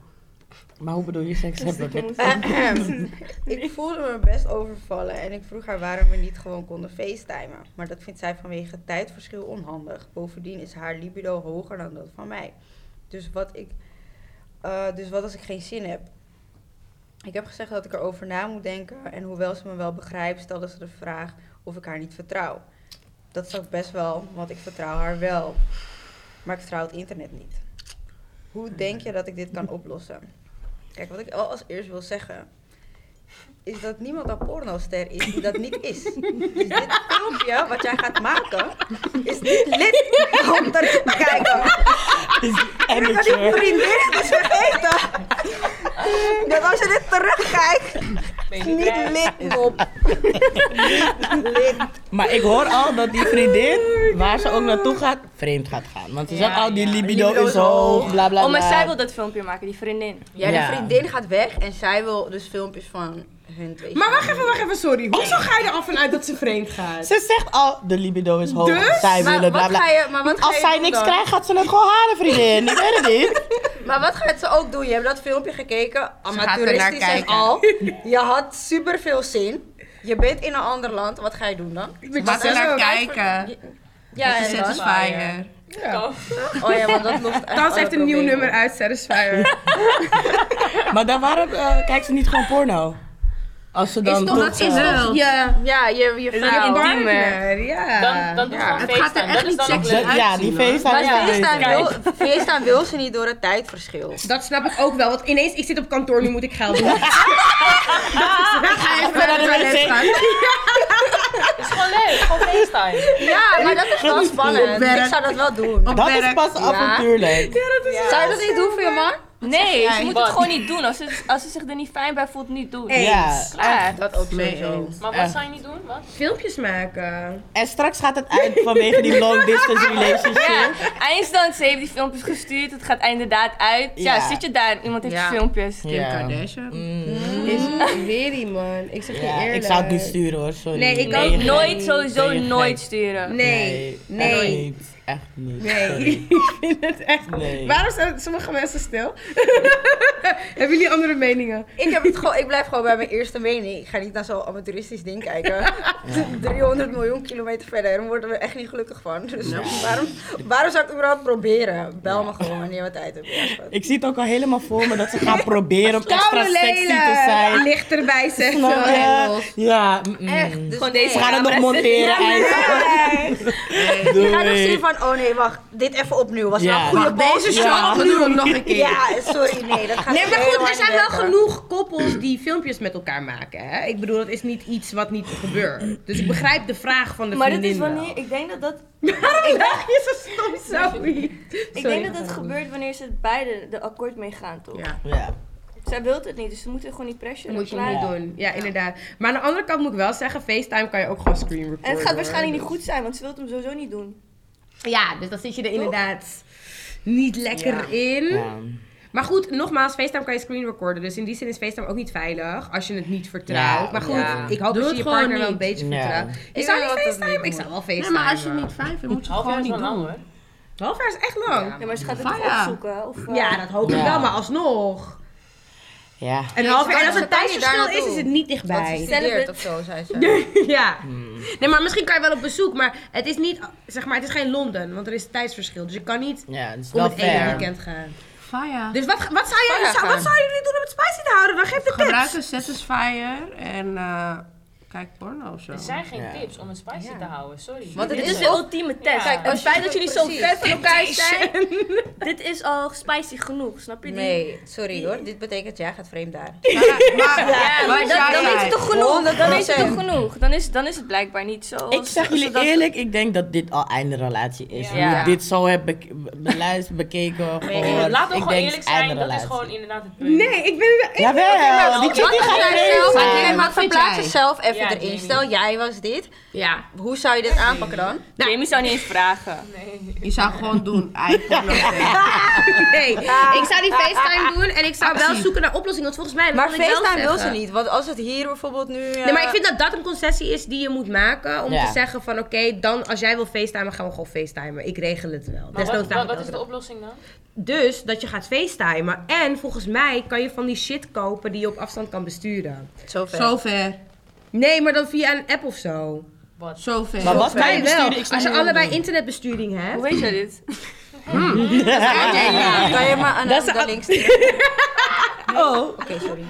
Speaker 3: Maar hoe bedoel je seks hebben?
Speaker 4: Ahem. ik voelde me best overvallen en ik vroeg haar waarom we niet gewoon konden facetimen. Maar dat vindt zij vanwege het tijdverschil onhandig. Bovendien is haar libido hoger dan dat van mij. Dus wat, ik, eh, dus wat als ik geen zin heb? Ik heb gezegd dat ik erover na moet denken en hoewel ze me wel begrijpt, stelde ze de vraag of ik haar niet vertrouw. Dat is ook best wel, want ik vertrouw haar wel. Maar ik vertrouw het internet niet. Hoe denk je dat ik dit kan oplossen? Kijk, wat ik al als eerst wil zeggen, is dat niemand een pornoster is die dat niet is. Dus dit filmpje wat jij gaat maken, is niet lid om te kijken. Dat die
Speaker 3: Amateur.
Speaker 4: vriendin dus vergeten. Dat als je dit terugkijkt,
Speaker 5: Ben je
Speaker 4: niet
Speaker 5: blij?
Speaker 4: lid op. Lid
Speaker 3: Maar ik hoor al dat die vriendin, waar ze ook naartoe gaat, vreemd gaat gaan. Want ze zegt al, die libido, is hoog, bla bla
Speaker 2: Oh, maar
Speaker 3: bla.
Speaker 2: zij wil dat filmpje maken, die vriendin.
Speaker 4: Ja,
Speaker 3: Ja.
Speaker 4: de vriendin gaat weg en zij wil dus filmpjes van hun twee.
Speaker 1: Maar wacht even, wacht even, sorry. Hoezo ga je er al vanuit dat ze vreemd gaat?
Speaker 3: Ze zegt al, de libido is hoog,
Speaker 1: Dus?
Speaker 3: zij
Speaker 4: Maar
Speaker 3: willen bla
Speaker 4: wat
Speaker 3: bla.
Speaker 4: ga je, maar wat ga
Speaker 3: Als
Speaker 4: je
Speaker 3: zij
Speaker 4: doen
Speaker 3: niks
Speaker 4: dan?
Speaker 3: krijgt, gaat ze het gewoon halen, vriendin. Ik weet het niet.
Speaker 4: Maar wat gaat ze ook doen? Je hebt dat filmpje gekeken, amateuristisch
Speaker 6: ernaar
Speaker 4: en al. Je had superveel zin. Je bent in een ander land, wat ga je doen dan?
Speaker 6: Laat er naar kijken.
Speaker 4: Ja, en dan?
Speaker 6: Satisfier.
Speaker 4: Oh ja, want dat lost echt
Speaker 1: Thans
Speaker 4: alle
Speaker 1: heeft een nieuw
Speaker 4: problemen
Speaker 1: nummer
Speaker 4: op.
Speaker 1: uit, Satisfyer.
Speaker 3: Maar dan waarom eh, kijkt ze niet gewoon porno? Als ze dan
Speaker 6: Is omdat
Speaker 3: toch,
Speaker 6: ze
Speaker 3: eh,
Speaker 6: wil.
Speaker 4: Ja, ja, je, je vrouw.
Speaker 6: partner.
Speaker 1: Partner, ja.
Speaker 6: Dan, dan doet ze
Speaker 4: Ja.
Speaker 6: gewoon
Speaker 4: Het
Speaker 6: FaceTime. gaat er echt dat is niet
Speaker 1: niet
Speaker 6: dan ook
Speaker 1: sexy
Speaker 6: leuk.
Speaker 3: ze- Ja, die feest
Speaker 4: Maar
Speaker 3: haar is
Speaker 4: feestaan
Speaker 3: beter.
Speaker 4: wil, feestaan wil ze niet door het tijdverschil.
Speaker 1: Dat snap ik ook wel, want ineens, ik zit op kantoor, nu moet ik geld doen. Dan ga je even naar
Speaker 3: ben
Speaker 1: de
Speaker 3: aan de
Speaker 1: toilet
Speaker 3: wc.
Speaker 1: gaan.
Speaker 6: Het is gewoon leuk. Gewoon FaceTime.
Speaker 4: Ja, maar dat is wel spannend. Ik zou dat wel doen.
Speaker 3: Dat is pas avontuurlijk.
Speaker 4: Zou je dat niet doen voor je man?
Speaker 2: Nee, ze moet het
Speaker 6: Wat?
Speaker 2: gewoon niet doen. Als ze, als ze zich er niet fijn bij voelt, niet doen.
Speaker 3: Ja.
Speaker 2: Klaar.
Speaker 4: Dat ook sowieso.
Speaker 6: Maar wat
Speaker 3: Echt.
Speaker 6: zou je niet doen? Wat?
Speaker 1: Filmpjes maken.
Speaker 3: En straks gaat het uit vanwege die long distance relationship.
Speaker 2: Ja, eindstand, ze heeft die filmpjes gestuurd. Het gaat inderdaad uit. Ja,
Speaker 3: Ja.
Speaker 2: zit je daar en iemand heeft
Speaker 4: Ja.
Speaker 2: die filmpjes.
Speaker 3: Ja.
Speaker 1: Is weer die man. Ik zeg je
Speaker 3: Ja,
Speaker 1: eerlijk.
Speaker 3: ik zou het niet sturen hoor, sorry.
Speaker 1: Nee, ik
Speaker 2: Nee,
Speaker 1: ook
Speaker 3: gek.
Speaker 2: nooit, sowieso
Speaker 3: Ben je gek?
Speaker 2: nooit sturen.
Speaker 1: Nee,
Speaker 3: Echt
Speaker 1: nee.
Speaker 3: niet. Echt niet.
Speaker 1: Nee,
Speaker 3: Sorry.
Speaker 1: ik vind het echt...
Speaker 3: Nee.
Speaker 1: Waarom staan sommige mensen stil? Hebben jullie andere meningen?
Speaker 4: Ik, heb het gewoon, ik blijf gewoon bij mijn eerste mening. Ik ga niet naar zo'n amateuristisch ding kijken. 300 miljoen kilometer verder. Daar worden we echt niet gelukkig van. Dus waarom, waarom zou ik het überhaupt proberen? Bel me gewoon wanneer we tijd hebben. Ja, schat.
Speaker 3: Ik zie het ook al helemaal voor me dat ze gaan proberen om extra
Speaker 1: Koude
Speaker 3: sexy te
Speaker 1: lelen.
Speaker 3: zijn.
Speaker 1: Licht erbij, zegt
Speaker 3: Snap je?
Speaker 1: ze.
Speaker 3: Ja, mm, mm.
Speaker 4: Echt. Dus
Speaker 2: Gewoon
Speaker 4: nee.
Speaker 2: deze
Speaker 3: we gaan het nog
Speaker 2: camera's.
Speaker 3: monteren. eigenlijk.
Speaker 4: Je gaat nog zien
Speaker 3: Doei.
Speaker 4: van, oh nee, wacht. Dit even opnieuw. Was
Speaker 3: Ja.
Speaker 4: wel een goede boos.
Speaker 1: Deze
Speaker 3: Ja.
Speaker 1: show opnieuw nog een keer.
Speaker 4: Ja, sorry. Nee, dat gaat
Speaker 1: Nee, maar goed, er
Speaker 4: helemaal
Speaker 1: zijn
Speaker 4: niet
Speaker 1: wel
Speaker 4: werken.
Speaker 1: genoeg koppels die filmpjes met elkaar maken. Hè? Ik bedoel, dat is niet iets wat niet gebeurt. Dus ik begrijp de vraag van de
Speaker 2: Maar dat is
Speaker 1: vriendin
Speaker 2: wanneer, ik denk dat dat,
Speaker 1: Waarom lach je zo stom, Zoe?
Speaker 2: ik denk dat, dat gebeurt wanneer ze beide er akkoord mee gaan, toch?
Speaker 1: Ja.
Speaker 3: Ja.
Speaker 2: Zij wil het niet, dus ze moeten gewoon niet pressuren.
Speaker 1: Moet je
Speaker 2: Klaar.
Speaker 1: niet doen. Ja, inderdaad. Maar aan de andere kant moet ik wel zeggen, FaceTime kan je ook gewoon screen recorden.
Speaker 2: En het gaat
Speaker 1: hoor.
Speaker 2: waarschijnlijk niet goed zijn, want ze wil het hem sowieso niet doen.
Speaker 1: Ja, dus dan zit je er inderdaad niet lekker in.
Speaker 3: Ja.
Speaker 1: Maar goed, nogmaals, FaceTime kan je screen recorden. Dus in die zin is FaceTime ook niet veilig als je het niet vertrouwt.
Speaker 3: Ja.
Speaker 1: maar goed,
Speaker 6: Ja.
Speaker 1: ik hoop
Speaker 6: Doe
Speaker 1: dat je
Speaker 6: het
Speaker 1: je
Speaker 6: gewoon
Speaker 1: partner wel een
Speaker 6: niet.
Speaker 1: beetje
Speaker 3: Ja.
Speaker 1: vertrouwt. Ik,
Speaker 4: Ik
Speaker 1: zou niet
Speaker 4: denk dat dat
Speaker 1: FaceTime, ik
Speaker 4: niet
Speaker 1: zou wel FaceTime. Oh,
Speaker 6: Nee,
Speaker 1: maar
Speaker 6: als je niet
Speaker 1: vijf
Speaker 6: Moet je gewoon niet doen hoor.
Speaker 1: Half jaar is echt lang.
Speaker 2: Ja, maar ze gaat het
Speaker 6: Fire.
Speaker 2: toch opzoeken? Of, eh,
Speaker 1: Ja, dat hoop ik
Speaker 3: Ja.
Speaker 1: wel, maar alsnog.
Speaker 3: Ja.
Speaker 1: En,
Speaker 4: Nee,
Speaker 1: half,
Speaker 4: ze
Speaker 1: en
Speaker 4: kan-
Speaker 1: als
Speaker 4: ze
Speaker 1: het
Speaker 4: kan niet daar
Speaker 1: tijdsverschil is,
Speaker 4: naartoe.
Speaker 1: is het niet
Speaker 4: Want ze
Speaker 1: dichtbij.
Speaker 4: studeert of zo, zei ze.
Speaker 1: Ja. Nee, maar misschien kan je wel op bezoek, maar het is niet, zeg maar, het is geen Londen, want er is tijdsverschil. Dus je kan niet
Speaker 3: Ja, het is
Speaker 1: om
Speaker 3: wel
Speaker 1: het ene
Speaker 3: fair.
Speaker 1: weekend gaan.
Speaker 6: Fire.
Speaker 1: Dus wat, wat, zou jij, nou
Speaker 4: Fire
Speaker 1: zou- wat
Speaker 4: gaan.
Speaker 1: zouden jullie doen om het spicy te houden? Waar geef de
Speaker 6: Gebruik
Speaker 1: tips?
Speaker 6: een satisfier en eh, kijk porno of zo.
Speaker 5: Er zijn geen
Speaker 3: Ja.
Speaker 5: tips om het spicy te houden, sorry.
Speaker 4: Want het
Speaker 2: Dit
Speaker 4: is
Speaker 2: is de
Speaker 4: wel-
Speaker 2: ultieme test.
Speaker 6: Kijk,
Speaker 2: het feit dat jullie zo
Speaker 4: precies.
Speaker 2: ver van elkaar zijn, dit is al spicy genoeg, snap je? Die-
Speaker 4: Nee, sorry hoor. Dit betekent jij gaat vreemd daar.
Speaker 6: Maar, maar,
Speaker 2: Ja, maar
Speaker 6: wat jij
Speaker 2: dan, dan
Speaker 6: zei,
Speaker 2: weet je toch genoeg? Dan weet je
Speaker 4: 100%.
Speaker 2: toch genoeg? Dan is, dan is het blijkbaar niet zo.
Speaker 3: Ik zeg
Speaker 2: zo-
Speaker 3: jullie
Speaker 2: zodat-
Speaker 3: eerlijk, ik denk dat dit al einde relatie is. Hoe
Speaker 2: Ja.
Speaker 3: ik dit zo heb bek- beluisterd, bekeken, gehoord.
Speaker 5: Laat ook
Speaker 3: Oh, ik
Speaker 5: gewoon
Speaker 3: denk
Speaker 5: eerlijk
Speaker 3: einde
Speaker 5: zijn, dat is
Speaker 3: relatie.
Speaker 5: gewoon inderdaad het punt.
Speaker 1: Nee, ik ben wel...
Speaker 3: Jawel, die chick die
Speaker 4: Wat
Speaker 3: gaat
Speaker 4: ga jij
Speaker 3: vreemd
Speaker 4: zelf-
Speaker 3: zijn.
Speaker 4: Oké, maar verplaats jezelf even
Speaker 5: Ja,
Speaker 4: erin.
Speaker 5: Jamie.
Speaker 4: Stel jij was dit.
Speaker 1: Ja.
Speaker 4: Hoe zou je dit aanpakken dan?
Speaker 2: Jamie zou niet eens vragen.
Speaker 6: Je zou gewoon doen, eigenlijk.
Speaker 1: Nee, ik zou die FaceTime doen en ik zou wel zoeken naar oplossingen, want volgens mij... dat
Speaker 4: Maar
Speaker 1: ik wel
Speaker 4: FaceTime wil ze
Speaker 1: zeggen.
Speaker 4: niet. Want als het hier bijvoorbeeld nu... eh,
Speaker 1: Nee, maar ik vind dat dat een concessie is die je moet maken om
Speaker 3: Ja.
Speaker 1: te zeggen van oké, dan als jij wil facetimen, gaan we gewoon facetimen. Ik regel het wel.
Speaker 5: Maar
Speaker 1: Desnoods
Speaker 5: wat,
Speaker 1: daag
Speaker 5: wat,
Speaker 1: ik
Speaker 5: wat is de
Speaker 1: andere.
Speaker 5: oplossing dan?
Speaker 1: Dus dat je gaat facetimen en volgens mij kan je van die shit kopen die je op afstand kan besturen.
Speaker 4: Zover.
Speaker 6: Zover.
Speaker 1: Nee, maar dan via een app of zo.
Speaker 5: Wat?
Speaker 6: Zover.
Speaker 3: Maar wat kan
Speaker 1: Wij wel.
Speaker 3: je besturen? Ik snap
Speaker 1: Als je
Speaker 3: niet wat
Speaker 1: allebei
Speaker 3: ik
Speaker 1: internetbesturing hebt.
Speaker 2: Hoe weet je dit?
Speaker 4: Ja, kan je maar aan
Speaker 1: Dat is
Speaker 4: de
Speaker 1: al-
Speaker 4: links sturen?
Speaker 1: Oh.
Speaker 4: Oké, sorry.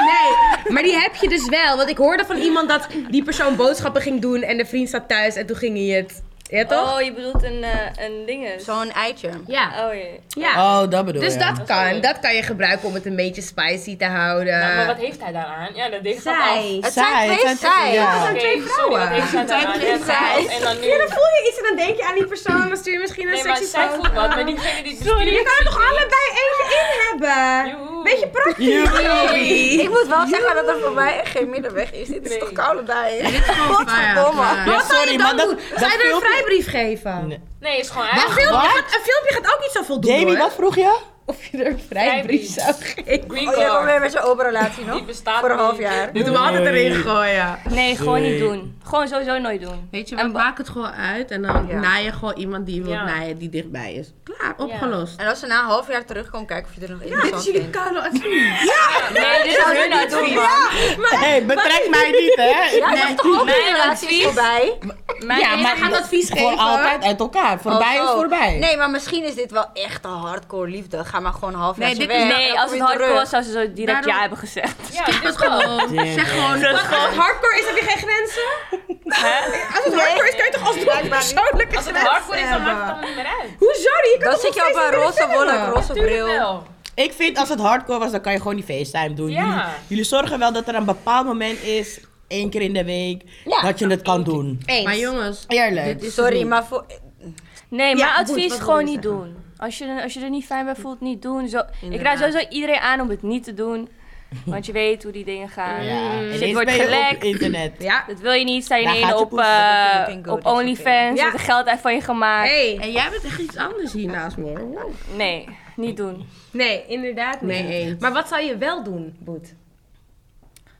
Speaker 1: Nee, maar die heb je dus wel. Want ik hoorde van iemand dat die persoon boodschappen ging doen en de vriend zat thuis en toen ging hij het. Ja, toch?
Speaker 2: Oh, je bedoelt een, eh, een dinges.
Speaker 4: Zo'n eitje.
Speaker 1: Ja.
Speaker 2: Oh jee.
Speaker 3: doe.
Speaker 1: Ja.
Speaker 3: Oh, dat bedoel
Speaker 1: Dus
Speaker 3: je.
Speaker 1: dat kan. Dat kan je gebruiken om het een beetje spicy te houden.
Speaker 5: Nou, maar wat heeft hij daaraan? Ja, dat deed ik
Speaker 1: Zij.
Speaker 4: Het
Speaker 3: Eh, Zij,
Speaker 4: zijn twee
Speaker 3: het zijn
Speaker 4: zij.
Speaker 3: twee- ja.
Speaker 1: zijn twee vrouwen.
Speaker 5: Sorry, wat heeft zij daaraan?
Speaker 4: twee
Speaker 5: Ja,
Speaker 4: zij.
Speaker 5: En dan nu...
Speaker 1: Ja, dan voel je iets en dan denk je aan die persoon. Dan stuur je misschien een
Speaker 5: Nee, maar
Speaker 1: sexy
Speaker 5: zij
Speaker 1: foto.
Speaker 5: voelt wat, maar diegene die
Speaker 1: Je
Speaker 5: bestuurt
Speaker 1: kan er
Speaker 5: zich
Speaker 1: toch
Speaker 5: niet.
Speaker 1: allebei eentje in hebben?
Speaker 5: Joehoe.
Speaker 8: Beetje praktisch.
Speaker 4: Ik moet wel zeggen dat er voor mij geen middenweg is. Dit is toch koude daarin? Dit is gewoon
Speaker 9: Maar wat
Speaker 3: Ja,
Speaker 9: zou je
Speaker 3: sorry,
Speaker 9: dan
Speaker 3: maar
Speaker 9: doen?
Speaker 3: dat-
Speaker 9: zou je
Speaker 3: dat
Speaker 9: er een
Speaker 3: filmpje-
Speaker 9: vrijbrief geven?
Speaker 3: Nee.
Speaker 5: Nee, is gewoon
Speaker 9: Een,
Speaker 5: eigenlijk
Speaker 9: filmpje
Speaker 3: Wat?
Speaker 9: gaat, een filmpje gaat ook niet zoveel doen
Speaker 3: Jamie,
Speaker 9: hoor.
Speaker 3: wat vroeg je?
Speaker 9: Of je er een vrijbrief
Speaker 5: Vrijbrief.
Speaker 9: zou geven.
Speaker 5: green
Speaker 4: Oh, jij komt
Speaker 5: card.
Speaker 4: weer met zijn open relatie
Speaker 5: Die
Speaker 4: nog?
Speaker 5: bestaat
Speaker 4: Voor een half
Speaker 5: niet.
Speaker 4: jaar.
Speaker 6: Moeten we altijd erin gooien.
Speaker 2: Nee, gewoon niet
Speaker 3: Nee.
Speaker 2: doen. Gewoon sowieso nooit doen.
Speaker 6: Weet je,
Speaker 2: En
Speaker 6: we
Speaker 2: wa-
Speaker 6: maak het gewoon uit en dan
Speaker 4: Ja.
Speaker 6: naai je gewoon iemand die je wilt
Speaker 5: Ja.
Speaker 6: naaien die dichtbij is. Klaar, opgelost.
Speaker 4: En als ze na een half jaar terugkomt, kijken of je er nog
Speaker 6: Dit is
Speaker 4: interessant
Speaker 6: jullie
Speaker 4: vindt.
Speaker 6: koude advies.
Speaker 5: Nee, dit is hun advies.
Speaker 3: Hé, hey, betrek mij niet, hè?
Speaker 4: Ja, dat is toch ook
Speaker 5: mijn
Speaker 4: een relatie is
Speaker 5: advies-
Speaker 4: voorbij?
Speaker 5: Mijn
Speaker 6: Ja, maar
Speaker 5: enige-
Speaker 6: gaat advies
Speaker 3: Voor
Speaker 6: geven.
Speaker 3: altijd uit elkaar. Voorbij
Speaker 4: Oh,
Speaker 3: is
Speaker 4: oh.
Speaker 3: voorbij.
Speaker 4: Nee, maar misschien is dit wel echt een hardcore liefde. Ga maar gewoon een half jaar
Speaker 6: Nee, dit is-
Speaker 4: weg.
Speaker 2: Nee,
Speaker 4: dan
Speaker 2: als
Speaker 4: kom
Speaker 2: het
Speaker 4: je
Speaker 2: hardcore
Speaker 4: terug.
Speaker 2: was, zou ze zo direct
Speaker 6: Daarom-
Speaker 2: ja hebben gezegd.
Speaker 5: Ja, dus dit is
Speaker 6: Gewoon, zeg gewoon.
Speaker 9: Als het hardcore is, heb je geen grenzen? Als het hardcore is, kan je toch alsnog
Speaker 4: Blijkbaar niet.
Speaker 9: persoonlijke
Speaker 5: Als het
Speaker 9: grenzen
Speaker 5: hardcore is, dan maakt het
Speaker 9: hebben?
Speaker 5: allemaal niet meer uit.
Speaker 9: Hoezo? Je kan
Speaker 4: Dan
Speaker 9: toch
Speaker 4: zit je
Speaker 9: nog
Speaker 4: op een
Speaker 9: steeds
Speaker 4: roze
Speaker 9: willen
Speaker 4: wolk,
Speaker 9: vertellen?
Speaker 4: roze
Speaker 5: Tuurlijk
Speaker 4: bril.
Speaker 5: wel.
Speaker 3: Ik vind als het hardcore was, dan kan je gewoon die FaceTime doen.
Speaker 5: Ja.
Speaker 3: Jullie, jullie zorgen wel dat er een bepaald moment is, één keer in de week,
Speaker 4: Ja.
Speaker 3: dat je het kan doen.
Speaker 6: Maar "Nou, jongens,
Speaker 3: Eerlijk.
Speaker 6: dit is het
Speaker 4: Sorry,
Speaker 6: niet.
Speaker 4: maar voor...
Speaker 2: Nee,
Speaker 6: Ja,
Speaker 2: maar
Speaker 6: goed,
Speaker 2: advies
Speaker 6: wat wil
Speaker 2: gewoon
Speaker 6: je
Speaker 2: niet
Speaker 6: zeggen?
Speaker 2: doen. Als je, als je er niet fijn bij voelt, niet doen. Zo, ik raad
Speaker 4: Inderdaad.
Speaker 2: sowieso iedereen aan om het niet te doen. Want je weet hoe die dingen gaan.
Speaker 3: ja. En
Speaker 2: Dus
Speaker 3: eens
Speaker 2: het wordt
Speaker 3: ben je
Speaker 2: gelekt.
Speaker 3: op internet.
Speaker 9: Ja.
Speaker 2: Dat wil je niet. Sta je
Speaker 3: Daar
Speaker 2: ineens
Speaker 3: gaat je
Speaker 2: op,
Speaker 3: poes, dat
Speaker 2: eh,
Speaker 4: is een bingo,
Speaker 2: op
Speaker 4: dat is een
Speaker 2: OnlyFans.
Speaker 9: Ja.
Speaker 2: Wordt er geld uit van je gemaakt.
Speaker 9: Hey.
Speaker 6: En jij bent echt iets anders hier naast me hoor. Wow.
Speaker 2: Nee, niet doen.
Speaker 9: Nee, inderdaad niet.
Speaker 6: Nee, eens.
Speaker 9: Maar wat zou je wel doen, Boet?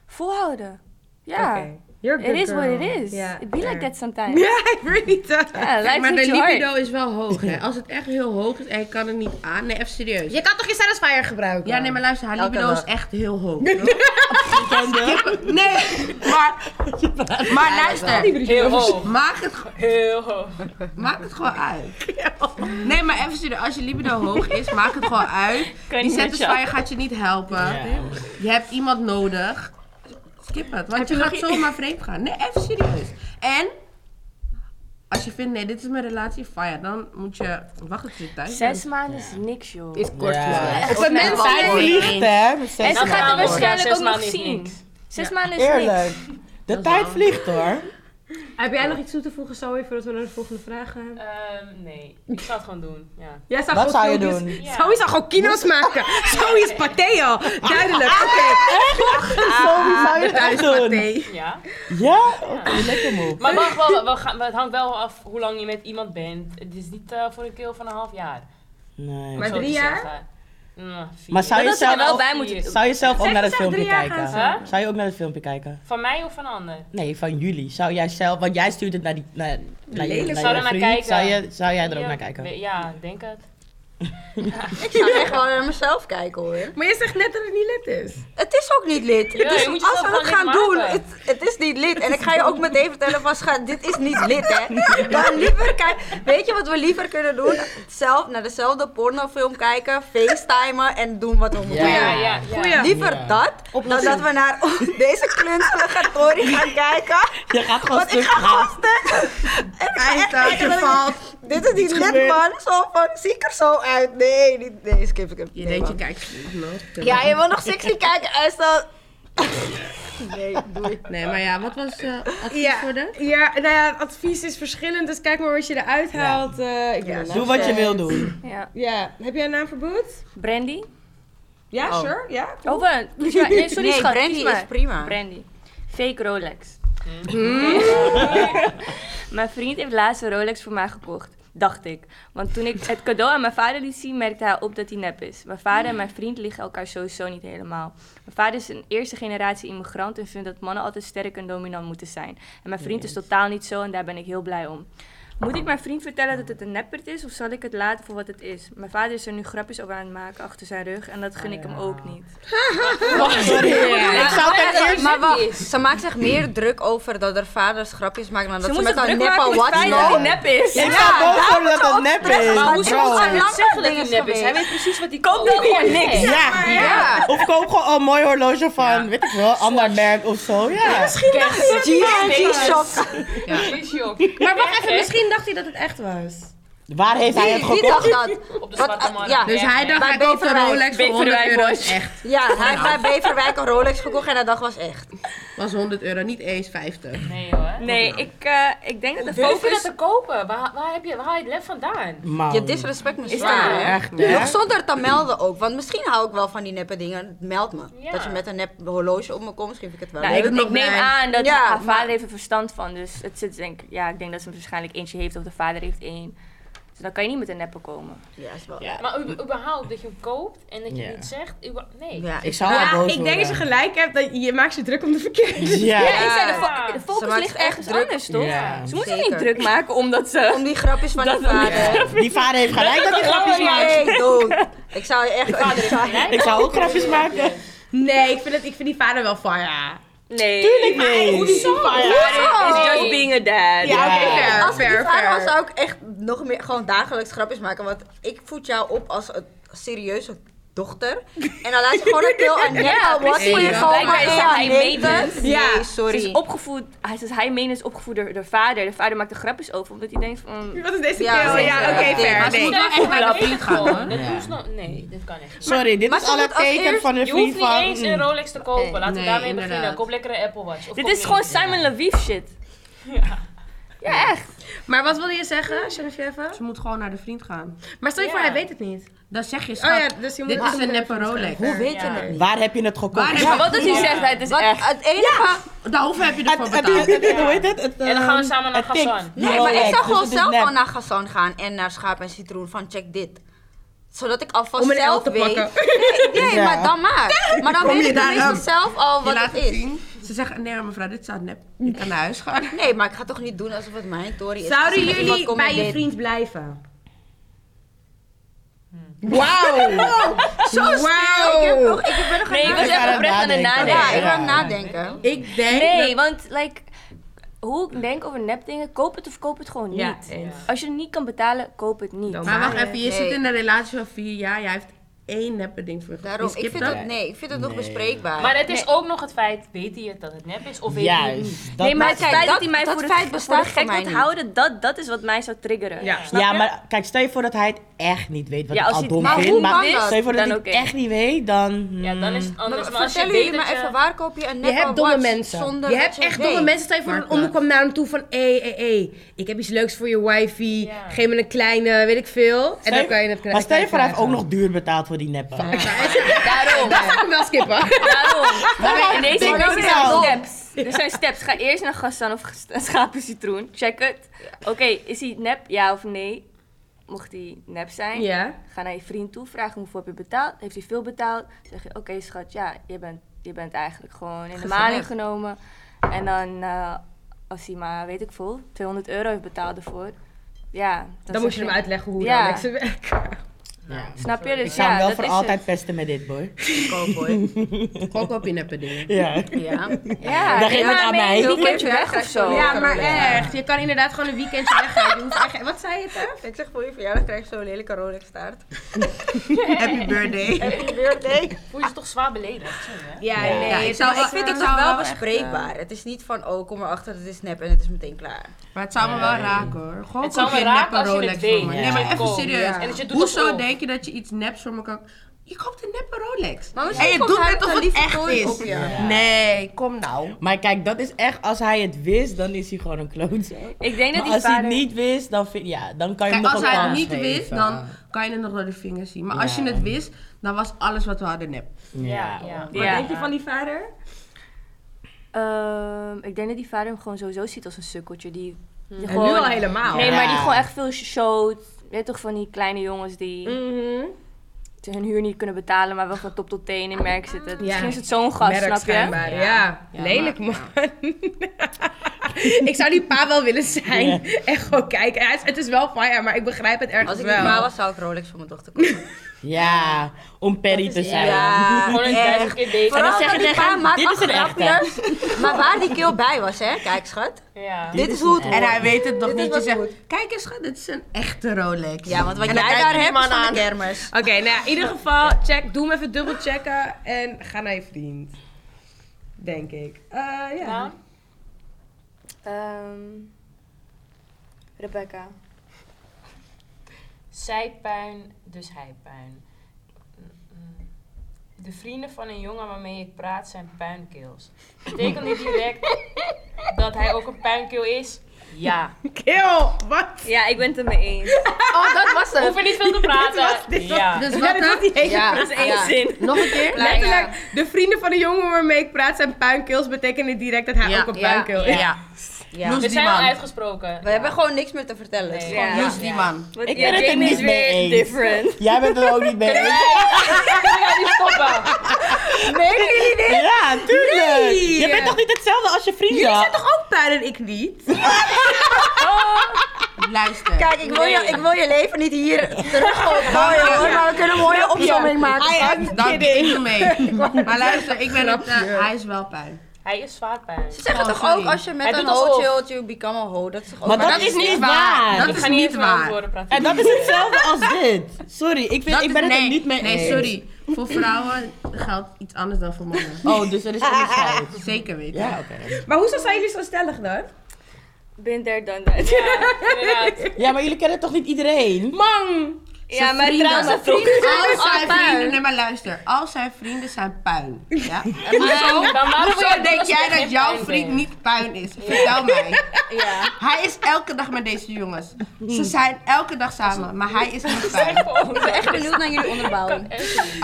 Speaker 2: Volhouden. Ja.
Speaker 9: Oké. You're a
Speaker 2: It
Speaker 9: good
Speaker 2: is what
Speaker 9: girl.
Speaker 2: it is.
Speaker 9: Ja,
Speaker 2: it be like
Speaker 9: fair.
Speaker 2: that sometimes.
Speaker 9: Ja, ik weet niet.
Speaker 2: Ja, life
Speaker 6: Maar
Speaker 2: hits
Speaker 6: de
Speaker 2: you hard.
Speaker 6: libido is wel hoog hè. Als het echt heel hoog is en je kan er niet aan. Nee, even serieus.
Speaker 9: Je kan toch je satisfier gebruiken?
Speaker 6: Ja, nee, maar luister, haar
Speaker 4: Elke
Speaker 6: libido is
Speaker 4: dag.
Speaker 6: echt heel hoog. nee, maar, maar luister,
Speaker 5: Heel hoog.
Speaker 6: maak het,
Speaker 5: Heel hoog.
Speaker 6: maak het gewoon uit. Nee, maar even serieus, als je libido hoog is, maak het gewoon uit.
Speaker 2: Kan
Speaker 6: Die
Speaker 2: niet met
Speaker 6: satisfier gaat je niet helpen. Je hebt iemand nodig. Skip het, want je gaat zomaar vreemd gaan. Nee, even serieus. En... Als je vindt, nee, dit is mijn relatie, fire, dan moet je wachten tot je thuis bent.
Speaker 2: Zes maanden is niks, joh.
Speaker 1: Is kort.
Speaker 3: Ja.
Speaker 1: Ja.
Speaker 9: Op het moment
Speaker 4: wel
Speaker 9: zijn
Speaker 3: Hij
Speaker 9: jullie-
Speaker 3: vliegt, hè? met zes
Speaker 2: en ze
Speaker 5: maanden.
Speaker 2: gaat
Speaker 3: maanden.
Speaker 2: het waarschijnlijk
Speaker 5: Ja, zes
Speaker 2: ook nog
Speaker 5: maanden is
Speaker 2: zien.
Speaker 5: niks.
Speaker 2: Zes maanden is niks.
Speaker 3: Eerlijk. De tijd vliegt hoor.
Speaker 1: Heb jij nog iets toe te voegen, Zoe, voordat we naar de volgende vraag gaan?
Speaker 5: Ehm, nee, ik zou het gewoon doen. Ja.
Speaker 1: Jij zou
Speaker 3: Wat
Speaker 1: gewoon
Speaker 3: zou je
Speaker 1: filmpjes-
Speaker 3: doen?
Speaker 5: Ja.
Speaker 9: Zoiets zou gewoon kino's maken. Zoiets pateo. Duidelijk.
Speaker 3: Ah.
Speaker 9: Oké.
Speaker 3: Sorry, zou je het echt doen?
Speaker 5: Ja.
Speaker 3: Ja? Oké, lekker moe.
Speaker 5: Maar wacht, wel, we gaan, het hangt wel af hoe lang je met iemand bent. Het is niet eh, voor een keel van een half jaar.
Speaker 3: Nee.
Speaker 5: Maar
Speaker 1: drie jaar?
Speaker 5: Nou, vier.
Speaker 3: Maar zou je,
Speaker 2: Dat ze er
Speaker 3: zelf
Speaker 2: wel
Speaker 3: ook,
Speaker 2: bij moeten doen.
Speaker 3: zou je zelf ook
Speaker 1: Zeg-
Speaker 3: naar het
Speaker 1: zeg
Speaker 3: filmpje
Speaker 1: drie jaar gaan
Speaker 3: kijken?
Speaker 5: ze. Huh?
Speaker 3: Zou je ook naar het filmpje kijken?
Speaker 5: Van mij of van een ander?
Speaker 3: Nee, van jullie. Zou jij zelf, want jij stuurt het naar die. Naar, naar je, naar
Speaker 5: Zou
Speaker 3: je
Speaker 5: er naar
Speaker 3: vriend.
Speaker 5: kijken.
Speaker 3: Zou, je, zou jij er ook
Speaker 5: Ja,
Speaker 3: naar kijken?
Speaker 5: we- Ja, ik denk het.
Speaker 4: Ik zou echt wel naar mezelf kijken hoor.
Speaker 9: Maar je zegt net dat het niet lid is.
Speaker 4: Het is ook niet lid.
Speaker 5: Ja,
Speaker 4: dus
Speaker 5: je moet
Speaker 4: als we
Speaker 5: jezelf
Speaker 4: het
Speaker 5: wel
Speaker 4: gaan
Speaker 5: lid
Speaker 4: doen,
Speaker 5: maken.
Speaker 4: het, het is niet lid. En ik ga je ook meteen vertellen van schat, dit is niet lid hè. Dan liever kijk- Weet je wat we liever kunnen doen? Zelf naar dezelfde pornofilm kijken, facetimen en doen wat we moeten
Speaker 3: Ja.
Speaker 4: doen.
Speaker 5: Ja, ja, ja.
Speaker 4: Liever
Speaker 3: Ja.
Speaker 4: dat, dan dat we naar deze klunstige gaan kijken.
Speaker 3: Je gaat gewoon
Speaker 4: Want ik
Speaker 3: stuk
Speaker 4: ga
Speaker 3: gaan.
Speaker 4: gasten. je valt. Dit is die net man. Zo van, zie ik er zo uit? Nee, niet, nee, skip, skip.
Speaker 6: Je
Speaker 4: Nee,
Speaker 6: denkt, je
Speaker 4: man.
Speaker 6: kijkt nog.
Speaker 4: Ja, je wil nog sexy kijken en dan... Nee, doei.
Speaker 6: Nee, maar ja, wat was eh advies voor de?
Speaker 1: Ja, nou ja, het advies is verschillend, dus kijk maar wat je eruit haalt. Eh, ik ben een
Speaker 3: Doe
Speaker 1: naam.
Speaker 3: wat je wil doen.
Speaker 2: Ja.
Speaker 1: Ja, heb jij een naam voor Boet?
Speaker 2: Brandy?
Speaker 1: Ja, sure, ja.
Speaker 2: Oh, wat? Kies maar. Nee, sorry,
Speaker 4: Nee,
Speaker 2: schat.
Speaker 4: Brandy
Speaker 2: kies
Speaker 4: is
Speaker 2: maar.
Speaker 4: prima.
Speaker 2: Brandy. Fake Rolex.
Speaker 4: Hmm.
Speaker 2: mijn vriend heeft laatst een Rolex voor mij gekocht. Dacht ik. Want toen ik het cadeau aan mijn vader liet zien, merkte hij op dat hij nep is. Mijn vader en mijn vriend liggen elkaar sowieso niet helemaal. Mijn vader is een eerste generatie immigrant en vindt dat mannen altijd sterk en dominant moeten zijn. En mijn vriend is totaal niet zo en daar ben ik heel blij om. Moet ik mijn vriend vertellen dat het een neppert is of zal ik het laten voor wat het is? Mijn vader is er nu grapjes over aan het maken achter zijn rug en dat gun ik hem ook niet.
Speaker 3: Sorry. Ik zou ten eerste.
Speaker 4: Maar wacht, ze maakt zich meer druk over dat haar vaders grapjes maken dan dat ze,
Speaker 2: moet
Speaker 4: met
Speaker 2: zich
Speaker 4: haar
Speaker 2: druk maken
Speaker 4: neppe
Speaker 2: met het
Speaker 4: watch
Speaker 2: feit dat hij
Speaker 4: loopt.
Speaker 2: nep is.
Speaker 3: Ik sta boven dat het nep is.
Speaker 5: Maar hoezo
Speaker 3: Bro.
Speaker 5: moet hij niet
Speaker 4: lang
Speaker 5: zeggen dat
Speaker 4: ding
Speaker 5: hij
Speaker 4: is
Speaker 5: nep is? Hij
Speaker 4: geweest.
Speaker 5: weet precies wat hij
Speaker 2: Komt ook weer niks.
Speaker 3: Ja.
Speaker 4: Ja.
Speaker 3: Of koop gewoon een mooi horloge van, weet ik wel, ander merk of zo. Ja.
Speaker 4: G-Shock.
Speaker 5: Is joh.
Speaker 1: Maar wacht even, misschien dacht hij dat het echt was.
Speaker 3: Waar heeft hij
Speaker 4: Wie
Speaker 3: het gekocht?
Speaker 4: dacht dat?
Speaker 5: Op de
Speaker 4: Wat-
Speaker 5: zwarte markt.
Speaker 4: ja.
Speaker 5: Ja.
Speaker 4: Dus
Speaker 1: Dus hij dacht,
Speaker 4: Bij
Speaker 1: hij koopt een
Speaker 4: Beverwijk.
Speaker 1: Rolex voor 100
Speaker 5: Beverwijk
Speaker 1: euro.
Speaker 5: Boys.
Speaker 1: is echt.
Speaker 4: Ja, hij heeft bij Beverwijk een Rolex gekocht en hij dacht was echt.
Speaker 6: Was 100 euro,
Speaker 1: eh,
Speaker 6: niet eens 50.
Speaker 5: Nee hoor.
Speaker 2: Nee, ik, eh, ik denk dat de
Speaker 5: Durf je dat
Speaker 2: focus...
Speaker 5: te kopen? Waar, waar, heb je, waar haal je het lef vandaan?
Speaker 3: Man.
Speaker 2: Oh.
Speaker 4: Je disrespect me
Speaker 5: Ja,
Speaker 4: zwaar, hè?
Speaker 3: Echt, hè?
Speaker 4: Nog zonder te melden ook, want misschien hou ik wel van die neppe dingen. Meld me.
Speaker 5: Ja.
Speaker 4: Dat je met een nep horloge op me komt, geef ik het wel.
Speaker 2: Nou,
Speaker 4: mee.
Speaker 2: ik, ik neem aan dat
Speaker 4: Ja,
Speaker 2: haar
Speaker 4: maar-
Speaker 2: vader heeft er verstand van. Dus het zit denk ik... Ja, ik denk dat ze hem waarschijnlijk eentje heeft of de vader heeft één. Dus dan kan je niet met een neppe komen.
Speaker 4: Ja, is wel.
Speaker 3: Ja.
Speaker 5: Maar u- überhaupt dat je hem koopt en dat je
Speaker 3: Ja.
Speaker 5: niet zegt. uber- Nee.
Speaker 4: Ja,
Speaker 3: Ik
Speaker 4: ik-
Speaker 3: zou wel boos
Speaker 1: ik denk dat je
Speaker 3: worden.
Speaker 1: gelijk hebt, dat je maakt je druk om de verkeerde.
Speaker 3: Ja.
Speaker 2: Ja, ik zei, de, fo-
Speaker 5: Ja.
Speaker 2: de
Speaker 4: Ze
Speaker 2: focus
Speaker 4: maakt
Speaker 2: ligt
Speaker 4: echt
Speaker 2: ergens
Speaker 4: druk.
Speaker 2: anders, toch?
Speaker 3: Ja.
Speaker 2: Ze moeten zich
Speaker 4: Zeker.
Speaker 2: niet druk maken omdat ze...
Speaker 4: Om die grapjes van die
Speaker 2: Dat- Oh,
Speaker 4: vader.
Speaker 3: Die vader heeft gelijk dat hij grapjes maakt.
Speaker 4: Nee, dood. Ik zou je echt...
Speaker 3: Ik zou ook grapjes maken.
Speaker 1: Nee, ik vind, het, ik vind die vader wel van ja.
Speaker 2: Nee.
Speaker 3: Tuurlijk niet. Hoezo?
Speaker 2: Vader is just being a dad.
Speaker 1: Ja, oké,
Speaker 3: Ja.
Speaker 1: fair,
Speaker 4: Als ik die
Speaker 1: fair,
Speaker 4: vader
Speaker 1: fair.
Speaker 4: was, zou ik echt nog meer gewoon dagelijks grapjes maken. Want ik voed jou op als een serieuze dochter. En dan laat je gewoon een keel aan net
Speaker 2: Ja,
Speaker 4: ja, wat
Speaker 2: precies.
Speaker 4: voor je gewoon
Speaker 2: Blijkbaar
Speaker 4: maar
Speaker 2: is
Speaker 4: heel
Speaker 2: hij
Speaker 4: aan
Speaker 2: maintenance.
Speaker 1: Ja.
Speaker 4: Nee,
Speaker 2: Ze
Speaker 4: sorry.
Speaker 2: is opgevoed, hij is hij meen is opgevoed door de vader. De vader maakt er grapjes over, omdat hij denkt van...
Speaker 1: Wat is deze
Speaker 4: Ja,
Speaker 1: keel?
Speaker 4: zeker.
Speaker 1: Ja, oké,
Speaker 4: Ja,
Speaker 1: fair.
Speaker 4: maar
Speaker 1: Nee.
Speaker 5: moet wel echt naar de vriend gaan.
Speaker 3: Ja.
Speaker 5: Nee, dit kan echt.
Speaker 3: Sorry, dit
Speaker 4: maar
Speaker 3: is
Speaker 4: ze
Speaker 3: al het
Speaker 4: moet als
Speaker 3: teken
Speaker 4: eerst-
Speaker 3: van een
Speaker 5: Je hoeft
Speaker 3: vriend
Speaker 5: niet
Speaker 3: van...
Speaker 5: eens
Speaker 3: mm.
Speaker 5: een Rolex te kopen. Laten
Speaker 6: Nee,
Speaker 5: we daarmee
Speaker 6: inderdaad.
Speaker 5: beginnen. Koop lekker een Apple Watch. Of
Speaker 2: Dit
Speaker 5: koop
Speaker 2: is gewoon
Speaker 5: niet.
Speaker 2: Simon Leviev shit.
Speaker 1: Maar wat wilde je zeggen, Geneviève?
Speaker 6: Ze moet gewoon naar de vriend gaan.
Speaker 1: Maar stel je voor, hij weet het niet.
Speaker 6: Dan zeg je,
Speaker 1: Oh
Speaker 6: schat,
Speaker 1: ja, dus je moet
Speaker 6: dit is een neppe Rolex.
Speaker 4: Hoe weet je
Speaker 5: Ja.
Speaker 4: het?
Speaker 3: Waar heb je het gekocht?
Speaker 6: Waar
Speaker 2: Maar wat als hij zegt, het is
Speaker 4: Wat,
Speaker 2: echt...
Speaker 4: het enige...
Speaker 6: Daarover heb je
Speaker 3: Het-
Speaker 6: ervoor
Speaker 3: het- het-
Speaker 6: betaald.
Speaker 3: het- Hoe heet het? Het,
Speaker 5: En dan gaan we
Speaker 3: ehm,
Speaker 5: samen naar
Speaker 3: het tikt.
Speaker 5: Hassan.
Speaker 4: Nee, maar
Speaker 3: Rolex,
Speaker 4: ik zou
Speaker 3: dus
Speaker 4: gewoon
Speaker 3: het is
Speaker 4: zelf
Speaker 3: nep.
Speaker 4: gewoon naar Gazan gaan en naar Schaap en Citroen van check dit. Zodat ik alvast
Speaker 1: Om een
Speaker 4: zelf
Speaker 1: L te
Speaker 4: weet.
Speaker 1: pakken.
Speaker 4: Nee, nee,
Speaker 3: Ja.
Speaker 4: maar dan maar. Maar dan
Speaker 6: Kom
Speaker 4: weet
Speaker 6: je
Speaker 4: ik
Speaker 6: daar
Speaker 4: tenminste
Speaker 6: aan?
Speaker 4: zelf al
Speaker 6: Je
Speaker 4: wat
Speaker 6: laat
Speaker 4: het
Speaker 6: het
Speaker 4: is.
Speaker 6: zien. Ze zeggen, nee mevrouw, dit staat nep. Je kan naar huis gaan.
Speaker 4: Nee, maar ik ga toch niet doen alsof het mijn tory is. Als
Speaker 1: Zouden
Speaker 4: ik met iemand
Speaker 1: jullie
Speaker 4: kom en
Speaker 1: bij je
Speaker 4: weet-
Speaker 1: vriend blijven?
Speaker 3: Wauw!
Speaker 1: Zo
Speaker 4: Ik heb
Speaker 1: Wauw!
Speaker 4: nog- Ik ben nog
Speaker 2: Nee, ik was
Speaker 3: Ik ga
Speaker 2: echt
Speaker 3: er
Speaker 2: oprecht aan het
Speaker 3: nadenken.
Speaker 4: Ja,
Speaker 2: nadenken.
Speaker 4: ik ben aan het nadenken.
Speaker 1: Ik denk...
Speaker 2: Nee, want like, hoe ik denk over nepdingen, koop het of koop het gewoon
Speaker 1: Ja,
Speaker 2: niet. Als je het niet kan betalen, koop het niet.
Speaker 6: Maar wacht
Speaker 4: Nee.
Speaker 6: even, je zit in een relatie van vier jaar. Jij heeft één neppe ding voor je
Speaker 4: Daarom,
Speaker 6: gekocht. Je
Speaker 4: ik
Speaker 6: skipt
Speaker 4: vind
Speaker 6: dat.
Speaker 4: het, nee, ik vind het nog
Speaker 3: Nee.
Speaker 4: bespreekbaar.
Speaker 5: Maar het is ook nog het feit, weet hij het dat het nep is of weet hij het niet?
Speaker 3: Juist. dat-
Speaker 2: nee, maar het
Speaker 4: kijk,
Speaker 2: feit dat,
Speaker 4: dat-
Speaker 2: hij mij
Speaker 4: dat
Speaker 2: voor de,
Speaker 4: feit
Speaker 2: voor de
Speaker 4: bestaat voor
Speaker 2: gek
Speaker 4: mij
Speaker 2: wilt
Speaker 4: niet.
Speaker 2: houden, dat, dat is wat mij zou triggeren.
Speaker 1: Ja.
Speaker 2: Snap
Speaker 3: Ja,
Speaker 2: je?
Speaker 3: maar kijk, stel je voor dat hij het echt niet weet, wat
Speaker 2: Ja,
Speaker 3: ik
Speaker 2: als
Speaker 3: al
Speaker 2: hij-
Speaker 3: dom
Speaker 4: maar hoe
Speaker 3: vind. Maar
Speaker 4: kan dat?
Speaker 3: stel je voor dat
Speaker 2: Dan
Speaker 3: hij het
Speaker 2: oké.
Speaker 3: echt niet weet, dan...
Speaker 5: Ja, dan is het anders.
Speaker 4: Maar
Speaker 5: Maar als je
Speaker 4: vertellen
Speaker 5: weet
Speaker 4: jullie
Speaker 5: dat
Speaker 4: maar
Speaker 5: je...
Speaker 4: even, waar koop je een
Speaker 1: Je
Speaker 4: nep
Speaker 1: hebt domme
Speaker 4: watch
Speaker 1: mensen.
Speaker 4: zonder
Speaker 1: Je
Speaker 4: dat
Speaker 1: hebt echt
Speaker 4: weet?
Speaker 1: domme mensen. Stel je voor een omhoek kwam naar hem toe van... Hé, hé, hé. Ik heb iets leuks voor je wifi.
Speaker 5: Ja.
Speaker 1: Geef me een kleine, weet ik veel. En
Speaker 3: Stel
Speaker 1: dan
Speaker 3: je-
Speaker 1: kan je het krijgen.
Speaker 3: Maar stel je voor, hij heeft ook nog duur betaald voor die neppen.
Speaker 2: Daarom,
Speaker 1: Dat zou ik wel skippen.
Speaker 2: daarom. In deze
Speaker 3: denk
Speaker 2: deze
Speaker 3: ik
Speaker 2: zijn
Speaker 3: wel.
Speaker 2: steps. Er zijn steps. Ga eerst naar Gassan of ges- Schapen Citroen. Check het. Oké, is hij nep? Ja of nee? Mocht hij nep zijn,
Speaker 1: Ja.
Speaker 2: ga naar je vriend toe. Vraag hem hoeveel heb je betaald? Heeft hij veel betaald? Zeg je, oké schat, ja, je bent, je bent eigenlijk gewoon in de maling genomen. En dan, eh, als hij maar, weet ik veel, 200 euro heeft betaald ervoor. Ja, dan,
Speaker 1: Dan
Speaker 2: zeg
Speaker 1: moet je hem uitleggen hoe
Speaker 2: Ja.
Speaker 1: ja. Rolex werken.
Speaker 2: Snap je? Dus
Speaker 3: Ik zou
Speaker 2: ja,
Speaker 3: hem wel
Speaker 2: dat
Speaker 3: voor
Speaker 2: is
Speaker 3: altijd pesten met dit, boy.
Speaker 6: Gok op je neppe dingen.
Speaker 3: Ja.
Speaker 4: Ja.
Speaker 2: het. Ja,
Speaker 3: Dan geef het aan mij.
Speaker 2: Een weekendje weg of zo.
Speaker 1: Ja, maar echt. Je kan inderdaad gewoon een weekendje weggaan. Je hoeft echt- Wat zei je het?
Speaker 4: Ik zeg voor je verjaardag krijg je zo'n lelijke Rolex taart.
Speaker 6: Happy birthday.
Speaker 5: Voel je je toch zwaar beledigd? Sorry, hè?
Speaker 1: Ja, nee.
Speaker 4: Ja, ik,
Speaker 1: het
Speaker 4: zou,
Speaker 1: was-
Speaker 4: ik vind het toch wel bespreekbaar.
Speaker 1: eh,
Speaker 4: Het is niet van, oh, kom erachter, het is nep en het is meteen klaar.
Speaker 6: Maar het zou me wel raken hoor. Gewoon
Speaker 5: Het
Speaker 6: koop
Speaker 5: zou me
Speaker 6: je een
Speaker 5: raken
Speaker 6: neppe
Speaker 5: als je
Speaker 6: Rolex
Speaker 5: het weet.
Speaker 6: voor me.
Speaker 5: Ja.
Speaker 6: Nee, maar even
Speaker 5: Koop.
Speaker 6: serieus.
Speaker 5: En dat je doet
Speaker 6: Hoezo
Speaker 5: dat ook.
Speaker 6: denk je dat je iets neps voor me kan... Je koopt een neppe Rolex.
Speaker 4: Maar
Speaker 6: En je doet net
Speaker 4: het
Speaker 6: of het echt is. Nee, kom nou.
Speaker 3: Maar kijk, dat is echt, als hij het wist, dan is hij gewoon een klootzak.
Speaker 2: Ik denk dat
Speaker 3: Maar
Speaker 2: die
Speaker 3: als hij
Speaker 2: vader...
Speaker 3: het niet wist, dan, vind, ja, dan kan je hem
Speaker 6: Kijk,
Speaker 3: nog
Speaker 6: als
Speaker 3: een
Speaker 6: hij het
Speaker 3: kans
Speaker 6: niet
Speaker 3: geven.
Speaker 6: wist, dan kan je het nog door de vingers zien. Maar als je
Speaker 3: Ja.
Speaker 6: het wist, dan was alles wat we hadden nep.
Speaker 3: Ja.
Speaker 5: Ja.
Speaker 1: die vader?
Speaker 2: Ehm, ik denk dat die vader hem gewoon sowieso ziet als een sukkeltje. Die, die
Speaker 1: En
Speaker 2: gewoon,
Speaker 1: nu al helemaal.
Speaker 2: Nee, maar die
Speaker 3: Oh, Ja.
Speaker 2: gewoon echt veel showt. Je Weet toch van die kleine jongens die
Speaker 1: Mhm.
Speaker 2: hun huur niet kunnen betalen, maar wel van top tot teen in merk zitten. Misschien is het zo'n gast,
Speaker 1: Merk
Speaker 2: snap je?
Speaker 1: schijnbaar, ja. Lelijk man. ik zou die pa wel willen zijn. En gewoon kijken. Hij is- Het is wel van ja, maar ik begrijp het ergens
Speaker 4: Als ik
Speaker 1: wel.
Speaker 4: niet maar was, zou ik Rolex voor mijn dochter kopen.
Speaker 3: Ja, om Perry te zijn.
Speaker 4: Ja,
Speaker 5: Gewoon een duizend
Speaker 4: echt.
Speaker 5: keer daten.
Speaker 4: Vooral
Speaker 3: zeggen
Speaker 4: dat die
Speaker 3: tegen
Speaker 4: pa
Speaker 3: hem,
Speaker 4: maakt
Speaker 3: dit is een echte.
Speaker 4: grapjes. Maar waar die keel bij was, hè. Kijk, schat.
Speaker 5: Ja.
Speaker 4: Dit is hoe het
Speaker 6: En hij
Speaker 4: hoort.
Speaker 6: weet het nog
Speaker 4: Dit is
Speaker 6: niet. Je
Speaker 4: wat
Speaker 6: zegt,
Speaker 4: goed.
Speaker 6: kijk eens schat, dit is een echte Rolex.
Speaker 4: Ja, want wat
Speaker 6: En
Speaker 4: jij
Speaker 6: dan kijkt
Speaker 4: daar
Speaker 6: die
Speaker 4: hebt
Speaker 6: man
Speaker 4: is van
Speaker 6: aan.
Speaker 4: de kermis.
Speaker 1: Oké, nou ja, in ieder geval, check, doe hem even dubbel checken en ga naar je vriend. Denk ik. Eh, ja.
Speaker 5: Nou,
Speaker 2: Ehm, Rebecca.
Speaker 5: Zijpijn, dus hijpijn. Mm-mm. De vrienden van een jongen waarmee ik praat zijn puinkeels. Betekent dit direct dat hij ook een puinkeel is? Ja.
Speaker 1: Kill! Wat?
Speaker 2: Ja, ik ben het ermee eens.
Speaker 10: Oh, dat was
Speaker 5: Hoef
Speaker 10: het.
Speaker 5: er niet veel te praten. Ja.
Speaker 10: Dus wat dan? Ja,
Speaker 2: Dat is één
Speaker 10: ja.
Speaker 2: zin.
Speaker 10: Nog een keer?
Speaker 1: Letterlijk, de vrienden van de jongen waarmee ik praat zijn puinkeels. Betekenen direct dat hij
Speaker 10: Ja,
Speaker 1: ook een
Speaker 10: ja,
Speaker 1: puinkeel
Speaker 10: Ja.
Speaker 1: is.
Speaker 10: ja.
Speaker 4: Ja.
Speaker 10: Loes
Speaker 5: We
Speaker 10: die
Speaker 5: zijn al
Speaker 10: man.
Speaker 5: uitgesproken.
Speaker 4: We hebben gewoon niks meer te vertellen. Het is
Speaker 5: Nee.
Speaker 4: gewoon-
Speaker 2: Ja.
Speaker 10: Loes die man.
Speaker 2: Want
Speaker 3: Ik
Speaker 2: ja,
Speaker 3: ben het er
Speaker 2: Jamie
Speaker 3: niet
Speaker 2: is
Speaker 3: mee
Speaker 2: weer
Speaker 3: eens.
Speaker 2: different.
Speaker 3: Jij bent het ook niet mee eens.
Speaker 5: Ja, die stoppen.
Speaker 3: Ja, tuurlijk. Je bent toch niet hetzelfde als je vrienden?
Speaker 1: Ook puin en ik niet.
Speaker 10: Luister.
Speaker 4: Kijk, ik wil, je, ik wil je leven niet hier teruggooien hoor, maar we kunnen een mooie opzomming maken.
Speaker 10: Dan ik doe mee. Maar luister, ik ben het. eh, hij is wel pijn.
Speaker 5: Hij is zwaar pijn.
Speaker 4: Ze zeggen
Speaker 10: Oh,
Speaker 4: toch
Speaker 10: sorry.
Speaker 4: ook als je
Speaker 5: Hij
Speaker 4: met een
Speaker 5: doet alsof.
Speaker 4: ho chillt, you become a ho. Dat is toch ook
Speaker 3: Maar
Speaker 10: Maar
Speaker 3: dat is niet waar.
Speaker 10: Dat
Speaker 5: ik
Speaker 10: is
Speaker 5: ga niet
Speaker 10: niet
Speaker 5: eens meer over
Speaker 10: waar.
Speaker 5: woorden praten.
Speaker 3: En dat is hetzelfde als dit. Sorry, ik, vind,
Speaker 10: Dat
Speaker 3: ik
Speaker 10: is-
Speaker 3: ben het
Speaker 10: nee,
Speaker 3: er niet mee
Speaker 10: nee,
Speaker 3: eens.
Speaker 10: sorry. Voor vrouwen geldt iets anders dan voor mannen.
Speaker 3: Oh, dus er is onderscheid.
Speaker 10: Zeker weten.
Speaker 3: Ja, oké.
Speaker 1: Maar hoezo zijn jullie zo stellig dan?
Speaker 2: Been there, done that. Ja,
Speaker 5: Inderdaad.
Speaker 3: Ja, maar jullie kennen toch niet iedereen?
Speaker 2: maar trouwens, dat vroeg-
Speaker 10: Als zijn vrienden, nee maar luister, als zijn vrienden zijn puin. Ja? En hoezo,
Speaker 5: Dan waarom wil
Speaker 10: hoezo
Speaker 5: je
Speaker 10: denk
Speaker 5: als je
Speaker 10: jij
Speaker 5: geen
Speaker 10: dat jouw
Speaker 5: puin
Speaker 10: vriend
Speaker 5: bent?
Speaker 10: niet puin is? Vertel mij. Hij is elke dag met deze jongens. Ze zijn elke dag samen, maar hij is niet puin.
Speaker 5: Oh,
Speaker 4: Ik ben echt benieuwd naar jullie onderbouwing.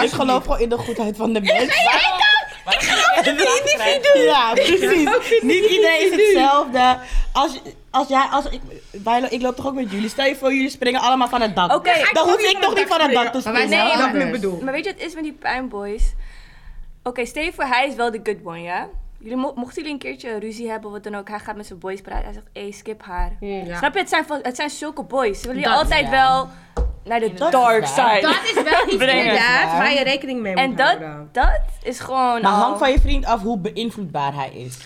Speaker 3: Ik geloof gewoon in de goedheid van de mens.
Speaker 5: waarom wil je echt een laag krijgen?
Speaker 3: Ja, precies. Niet iedereen is hetzelfde. Als, als jij, als ik, wij, ik loop toch ook met jullie. Stel je voor, jullie springen allemaal van het dak.
Speaker 2: Oké.
Speaker 3: Dan hoef ik toch niet van het dak te
Speaker 10: Maar wij
Speaker 3: springen.
Speaker 10: zijn
Speaker 3: Snap je wat ik
Speaker 10: anders.
Speaker 3: bedoel.
Speaker 2: Maar weet je wat het is met die puinboys? Oké, stel je voor, hij is wel de good one, ja? Jullie mo- mochten jullie een keertje ruzie hebben of wat dan ook, hij gaat met zijn boys praten. Hij zegt, hé, skip haar. Snap je? Het zijn, van- het zijn zulke boys. Ze willen je altijd wel naar de dark side.
Speaker 10: Dat is wel iets
Speaker 1: Inderdaad, waar je rekening mee moet
Speaker 2: en dat,
Speaker 1: houden.
Speaker 2: dat is gewoon
Speaker 3: Maar
Speaker 2: al-
Speaker 3: hang van je vriend af hoe beïnvloedbaar hij is.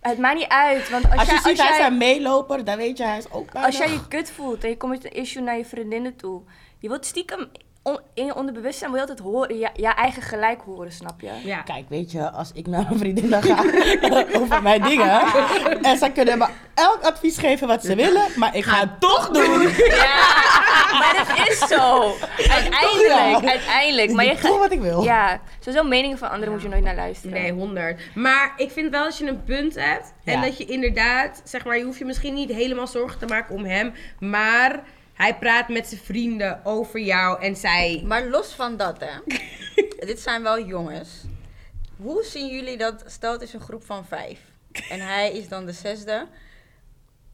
Speaker 2: Het maakt niet uit, want als,
Speaker 3: Als je
Speaker 2: jij,
Speaker 3: ziet, hij
Speaker 2: als,
Speaker 3: is
Speaker 2: jij,
Speaker 3: een meeloper, dan weet je, hij is ook bijna...
Speaker 2: als jij je kut voelt en je komt met een issue naar je vriendinnen toe. Je wilt stiekem on- in je onderbewustzijn wil je altijd horen, je, je eigen gelijk horen, snap je?
Speaker 1: Ja.
Speaker 3: Kijk, weet je, als ik naar mijn vriendin dan ga over mijn dingen... en zij kunnen me elk advies geven wat ze willen, maar ik ga het toch doen.
Speaker 2: Maar dat is zo. Uiteindelijk, uiteindelijk. Maar je
Speaker 3: Ik doe
Speaker 2: gaat...
Speaker 3: wat ik wil.
Speaker 2: Ja, sowieso meningen van anderen moet je nooit naar luisteren.
Speaker 1: Nee, 100. Maar ik vind wel als je een punt hebt en
Speaker 3: Ja.
Speaker 1: dat je inderdaad, zeg maar, je hoeft je misschien niet helemaal zorgen te maken om hem, maar hij praat met zijn vrienden over jou en zij.
Speaker 4: Maar los van dat, hè. dit zijn wel jongens. Hoe zien jullie dat? Stel, het is een groep van vijf. En hij is dan de zesde.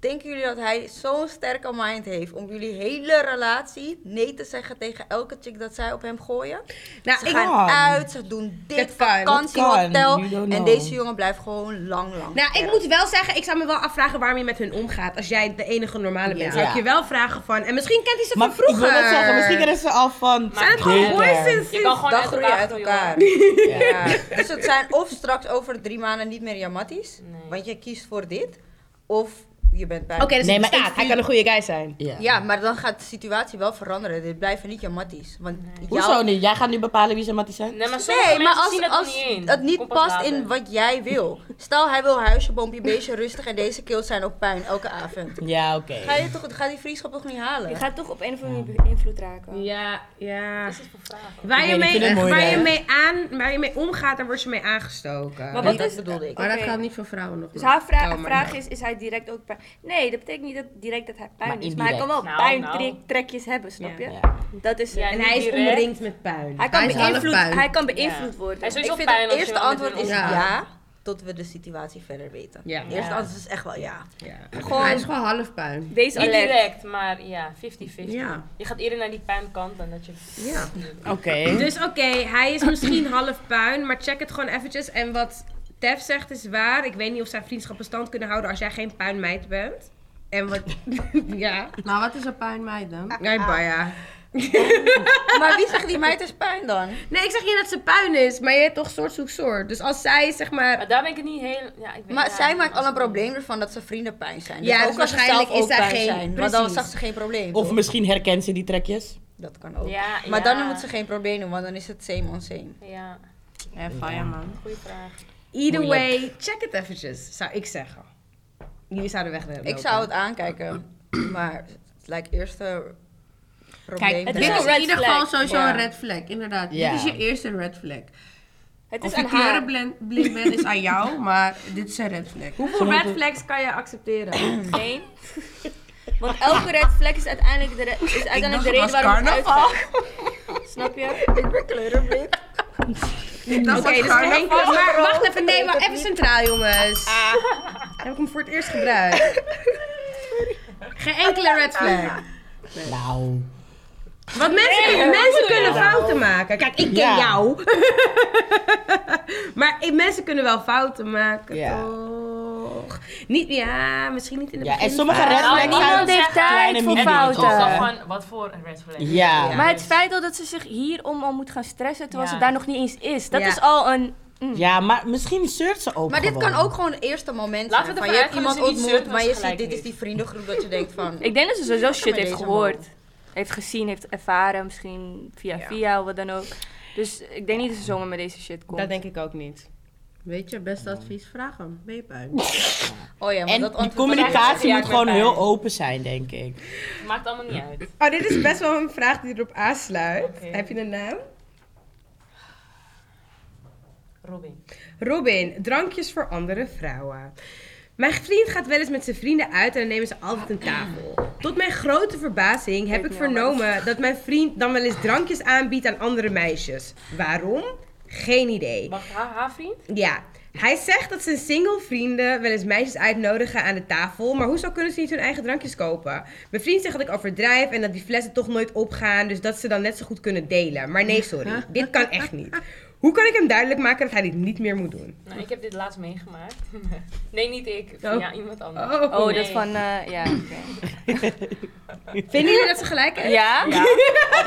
Speaker 4: Denken jullie dat hij zo'n sterke mind heeft om jullie hele relatie nee te zeggen tegen elke chick dat zij op hem gooien?
Speaker 1: Nou,
Speaker 4: Ze
Speaker 1: ik,
Speaker 4: gaan
Speaker 3: kan.
Speaker 4: uit, ze doen dit,
Speaker 1: Dat kan, dat
Speaker 3: kan.
Speaker 4: vakantiehotel.
Speaker 3: You don't
Speaker 4: En
Speaker 3: know.
Speaker 4: deze jongen blijft gewoon lang, lang.
Speaker 1: nou, ik moet wel zeggen, ik zou me wel afvragen waarom je met hun omgaat. Als jij de enige normale bent, zou ik
Speaker 3: Ja.
Speaker 1: je wel vragen van. En misschien kent hij ze
Speaker 3: Maar
Speaker 1: van vroeger.
Speaker 3: ik wil net zeggen, misschien kennen ze al van...
Speaker 5: Zijn het
Speaker 1: gewoon
Speaker 3: Dit
Speaker 1: boys
Speaker 3: er.
Speaker 1: en
Speaker 5: Je kan gewoon
Speaker 4: Dan
Speaker 5: uit
Speaker 4: groei je
Speaker 5: elkaar
Speaker 4: uit
Speaker 5: groeien, hoor.
Speaker 4: elkaar. Ja. Dus het zijn of straks over drie maanden niet meer jamatties, want je kiest voor dit, of je bent bij.
Speaker 1: Oké, dus
Speaker 3: Nee,
Speaker 1: het
Speaker 3: maar
Speaker 1: bestaat.
Speaker 3: ik
Speaker 1: Hij kan een goede guy zijn.
Speaker 3: Ja.
Speaker 4: Ja, maar dan gaat de situatie wel veranderen. Dit blijven niet jamatties. Want
Speaker 3: Hoezo niet? Jij gaat nu bepalen wie ze matties zijn?
Speaker 5: Nee, maar sommige
Speaker 4: Nee, maar
Speaker 5: mensen
Speaker 4: als,
Speaker 5: zien dat er
Speaker 4: als
Speaker 5: niet in.
Speaker 4: het niet
Speaker 5: Komt pas
Speaker 4: past
Speaker 5: later.
Speaker 4: in wat jij wil. Stel, hij wil huisje, boompje, beestje, rustig en deze keels zijn op pijn elke avond.
Speaker 3: Ja, oké.
Speaker 4: Ga je toch, ga die vriendschap toch niet
Speaker 2: Je
Speaker 4: halen?
Speaker 2: gaat toch op een of andere manier beïnvloed raken.
Speaker 1: Ja, ja.
Speaker 5: Dat is voor vragen.
Speaker 1: Waar je,
Speaker 3: Ik weet niet, ik vind
Speaker 1: mee,
Speaker 3: het mooi,
Speaker 1: waar, je
Speaker 3: hè?
Speaker 1: mee aan, waar je mee omgaat, daar word je mee aangestoken.
Speaker 2: Maar
Speaker 4: Nee,
Speaker 2: wat
Speaker 4: dat
Speaker 2: is...
Speaker 4: bedoelde ik.
Speaker 10: Maar dat
Speaker 2: Oké.
Speaker 10: geldt niet voor vrouwen nog
Speaker 2: Dus
Speaker 10: maar.
Speaker 2: haar vra-
Speaker 1: Oh, maar
Speaker 2: vraag is, is hij direct ook pijn? Nee, dat betekent niet dat direct dat hij pijn
Speaker 3: Maar
Speaker 2: is. Maar hij kan wel
Speaker 5: indirect. Nou, nou.
Speaker 2: pijntrekjes hebben, snap je?
Speaker 3: Ja.
Speaker 2: Dat is het.
Speaker 5: Ja,
Speaker 1: en
Speaker 5: niet
Speaker 1: hij is
Speaker 5: direct.
Speaker 1: omringd met puin.
Speaker 2: Hij kan,
Speaker 10: Hij is half
Speaker 2: beïnvloed,
Speaker 10: puin.
Speaker 2: hij kan beïnvloed
Speaker 5: Ja.
Speaker 2: worden.
Speaker 5: Hij is
Speaker 4: Ik
Speaker 5: sowieso
Speaker 4: vind
Speaker 5: pijn
Speaker 4: het
Speaker 5: als je
Speaker 4: eerste
Speaker 5: wat met
Speaker 4: antwoord
Speaker 5: hun
Speaker 4: is
Speaker 5: omgaat.
Speaker 4: ja.
Speaker 10: omgaat.
Speaker 4: tot we de situatie verder weten.
Speaker 1: Ja.
Speaker 4: Het eerste antwoord is echt wel ja.
Speaker 10: Hij
Speaker 2: Gewoon,
Speaker 10: is gewoon half puin.
Speaker 2: wees
Speaker 5: Niet
Speaker 2: alert.
Speaker 5: direct, maar ja, 50-50.
Speaker 10: Ja.
Speaker 5: Je gaat eerder naar die puinkant dan dat je...
Speaker 1: Ja.
Speaker 3: Oké.
Speaker 1: Dus oké, hij is misschien half puin, maar check het gewoon eventjes. En wat Tef zegt is waar. Ik weet niet of zij vriendschappen stand kunnen houden als jij geen puinmeid bent. En wat... ja.
Speaker 10: Maar wat is een puin meid dan?
Speaker 1: Nee, Baya.
Speaker 4: Maar wie zegt die meid is pijn dan?
Speaker 1: Nee, ik zeg niet dat ze puin is, maar je hebt toch soort zoek soort. Dus als zij, zeg maar...
Speaker 5: Maar daar ben ik het niet heel... Ja, ik weet,
Speaker 4: Maar
Speaker 5: ja,
Speaker 4: zij maakt al een probleem ervan dat ze vrienden pijn zijn. Dus
Speaker 1: Ja,
Speaker 4: ook
Speaker 1: dus
Speaker 4: als ze
Speaker 1: waarschijnlijk
Speaker 4: zelf
Speaker 1: is
Speaker 4: ook
Speaker 1: daar
Speaker 4: pijn
Speaker 1: geen-
Speaker 4: zijn, Want dan
Speaker 1: precies.
Speaker 4: zag ze geen probleem.
Speaker 3: Of
Speaker 4: toch?
Speaker 3: misschien herkent ze die trekjes.
Speaker 4: Dat kan ook.
Speaker 5: Ja,
Speaker 4: maar
Speaker 5: ja.
Speaker 4: dan moet ze geen probleem doen, want dan is het same on same.
Speaker 5: Ja,
Speaker 10: Ja, fire man.
Speaker 5: goede vraag.
Speaker 1: Either way, check het eventjes, zou ik zeggen. Jullie zouden weg
Speaker 4: Ik zou het aankijken, maar like eerste
Speaker 8: probleem.
Speaker 2: Het
Speaker 10: Dit
Speaker 2: is
Speaker 10: is
Speaker 2: een
Speaker 10: in
Speaker 2: red
Speaker 10: ieder
Speaker 2: flag.
Speaker 10: geval sowieso
Speaker 2: Ja.
Speaker 10: een red flag, inderdaad.
Speaker 3: Ja.
Speaker 10: Dit is je eerste red flag.
Speaker 2: Het is
Speaker 10: Of
Speaker 2: aan
Speaker 10: je
Speaker 2: haar.
Speaker 10: kleurenblind bent is aan jou, maar dit is een red flag.
Speaker 1: Hoeveel red flags kan je accepteren?
Speaker 2: Geen. Want elke red flag is uiteindelijk de, re- is uiteindelijk de
Speaker 10: het
Speaker 2: reden
Speaker 10: was
Speaker 2: waarom het
Speaker 10: carnaval.
Speaker 2: uitgaat. Snap je?
Speaker 4: Ik ben kleurenblind.
Speaker 10: Dat
Speaker 1: Oké, dus er één kleur- Maar wacht even, nee, maar even centraal, jongens.
Speaker 3: Ah.
Speaker 1: Dan heb ik hem voor het eerst gebruikt. Geen enkele red
Speaker 3: Ah.
Speaker 1: flag.
Speaker 3: Nou.
Speaker 1: Want mensen, mensen kunnen fouten maken. Kijk, ik ken
Speaker 3: Ja.
Speaker 1: jou. maar ik- mensen kunnen wel fouten maken,
Speaker 3: Ja.
Speaker 1: toch? Niet, ja, misschien niet in de
Speaker 3: Ja, en
Speaker 1: begin-
Speaker 3: sommige
Speaker 2: Ah,
Speaker 3: red
Speaker 5: Nou,
Speaker 3: flags zijn
Speaker 5: niemand heeft
Speaker 3: kleine
Speaker 5: En
Speaker 3: mini
Speaker 5: het is
Speaker 3: dingetjes,
Speaker 5: dan
Speaker 3: hè?
Speaker 5: gewoon, wat voor een red flag.
Speaker 3: Ja.
Speaker 2: Maar het feit al dat ze zich hierom al moet gaan stressen terwijl
Speaker 5: Ja.
Speaker 2: ze daar nog niet eens is, dat
Speaker 1: Ja.
Speaker 2: is al een.
Speaker 3: Ja, maar misschien surft ze ook
Speaker 4: Maar dit
Speaker 3: gewoon.
Speaker 4: kan ook gewoon het eerste moment zijn.
Speaker 5: Laten we
Speaker 4: Van,
Speaker 5: ervan
Speaker 4: je hebt
Speaker 5: uitgaan dat
Speaker 4: iemand
Speaker 5: ze niet
Speaker 4: ontmoet,
Speaker 5: zeurt,
Speaker 4: maar je
Speaker 5: dat ze
Speaker 4: ziet, dit
Speaker 5: gelijk
Speaker 4: is die vriendengroep dat je denkt van...
Speaker 2: Ik denk dat ze sowieso shit
Speaker 4: met
Speaker 2: heeft
Speaker 4: deze
Speaker 2: gehoord. Heeft gezien, heeft ervaren, misschien via via of wat dan ook. Dus ik denk niet dat ze zomaar met deze shit komt.
Speaker 9: Dat denk ik ook niet.
Speaker 10: Weet je, beste advies, vraag hem. Ben je puin?
Speaker 4: Oh ja, want dat
Speaker 3: En die
Speaker 4: antwoord was
Speaker 3: communicatie
Speaker 5: Ja,
Speaker 3: moet
Speaker 5: ik ben
Speaker 3: gewoon
Speaker 5: fijn.
Speaker 3: heel open zijn, denk ik.
Speaker 5: Maakt allemaal niet uit.
Speaker 10: Oh, dit is best wel een vraag die erop aansluit. Heb je een naam?
Speaker 5: Robin.
Speaker 1: Robin, drankjes voor andere vrouwen. Mijn vriend gaat wel eens met zijn vrienden uit en dan nemen ze altijd een tafel. Tot mijn grote verbazing heb ik vernomen dat mijn vriend dan wel eens drankjes aanbiedt aan andere meisjes. Waarom? Geen idee.
Speaker 5: Wacht, haar, haar vriend?
Speaker 1: Ja, hij zegt dat zijn single vrienden wel eens meisjes uitnodigen aan de tafel. Maar hoezo kunnen ze niet hun eigen drankjes kopen? Mijn vriend zegt dat ik overdrijf en dat die flessen toch nooit opgaan. Dus dat ze dan net zo goed kunnen delen. Maar nee, sorry. Dit kan echt niet. Hoe kan ik hem duidelijk maken dat hij dit niet meer moet doen?
Speaker 5: Nou, ik heb dit laatst meegemaakt. nee, niet ik. Van,
Speaker 1: Oh.
Speaker 5: Ja, iemand anders.
Speaker 1: Oh,
Speaker 2: Oh, dat
Speaker 5: Nee.
Speaker 2: van. eh, ja, oké.
Speaker 1: Vinden jullie dat ze gelijk heeft?
Speaker 2: ja?
Speaker 5: Nou,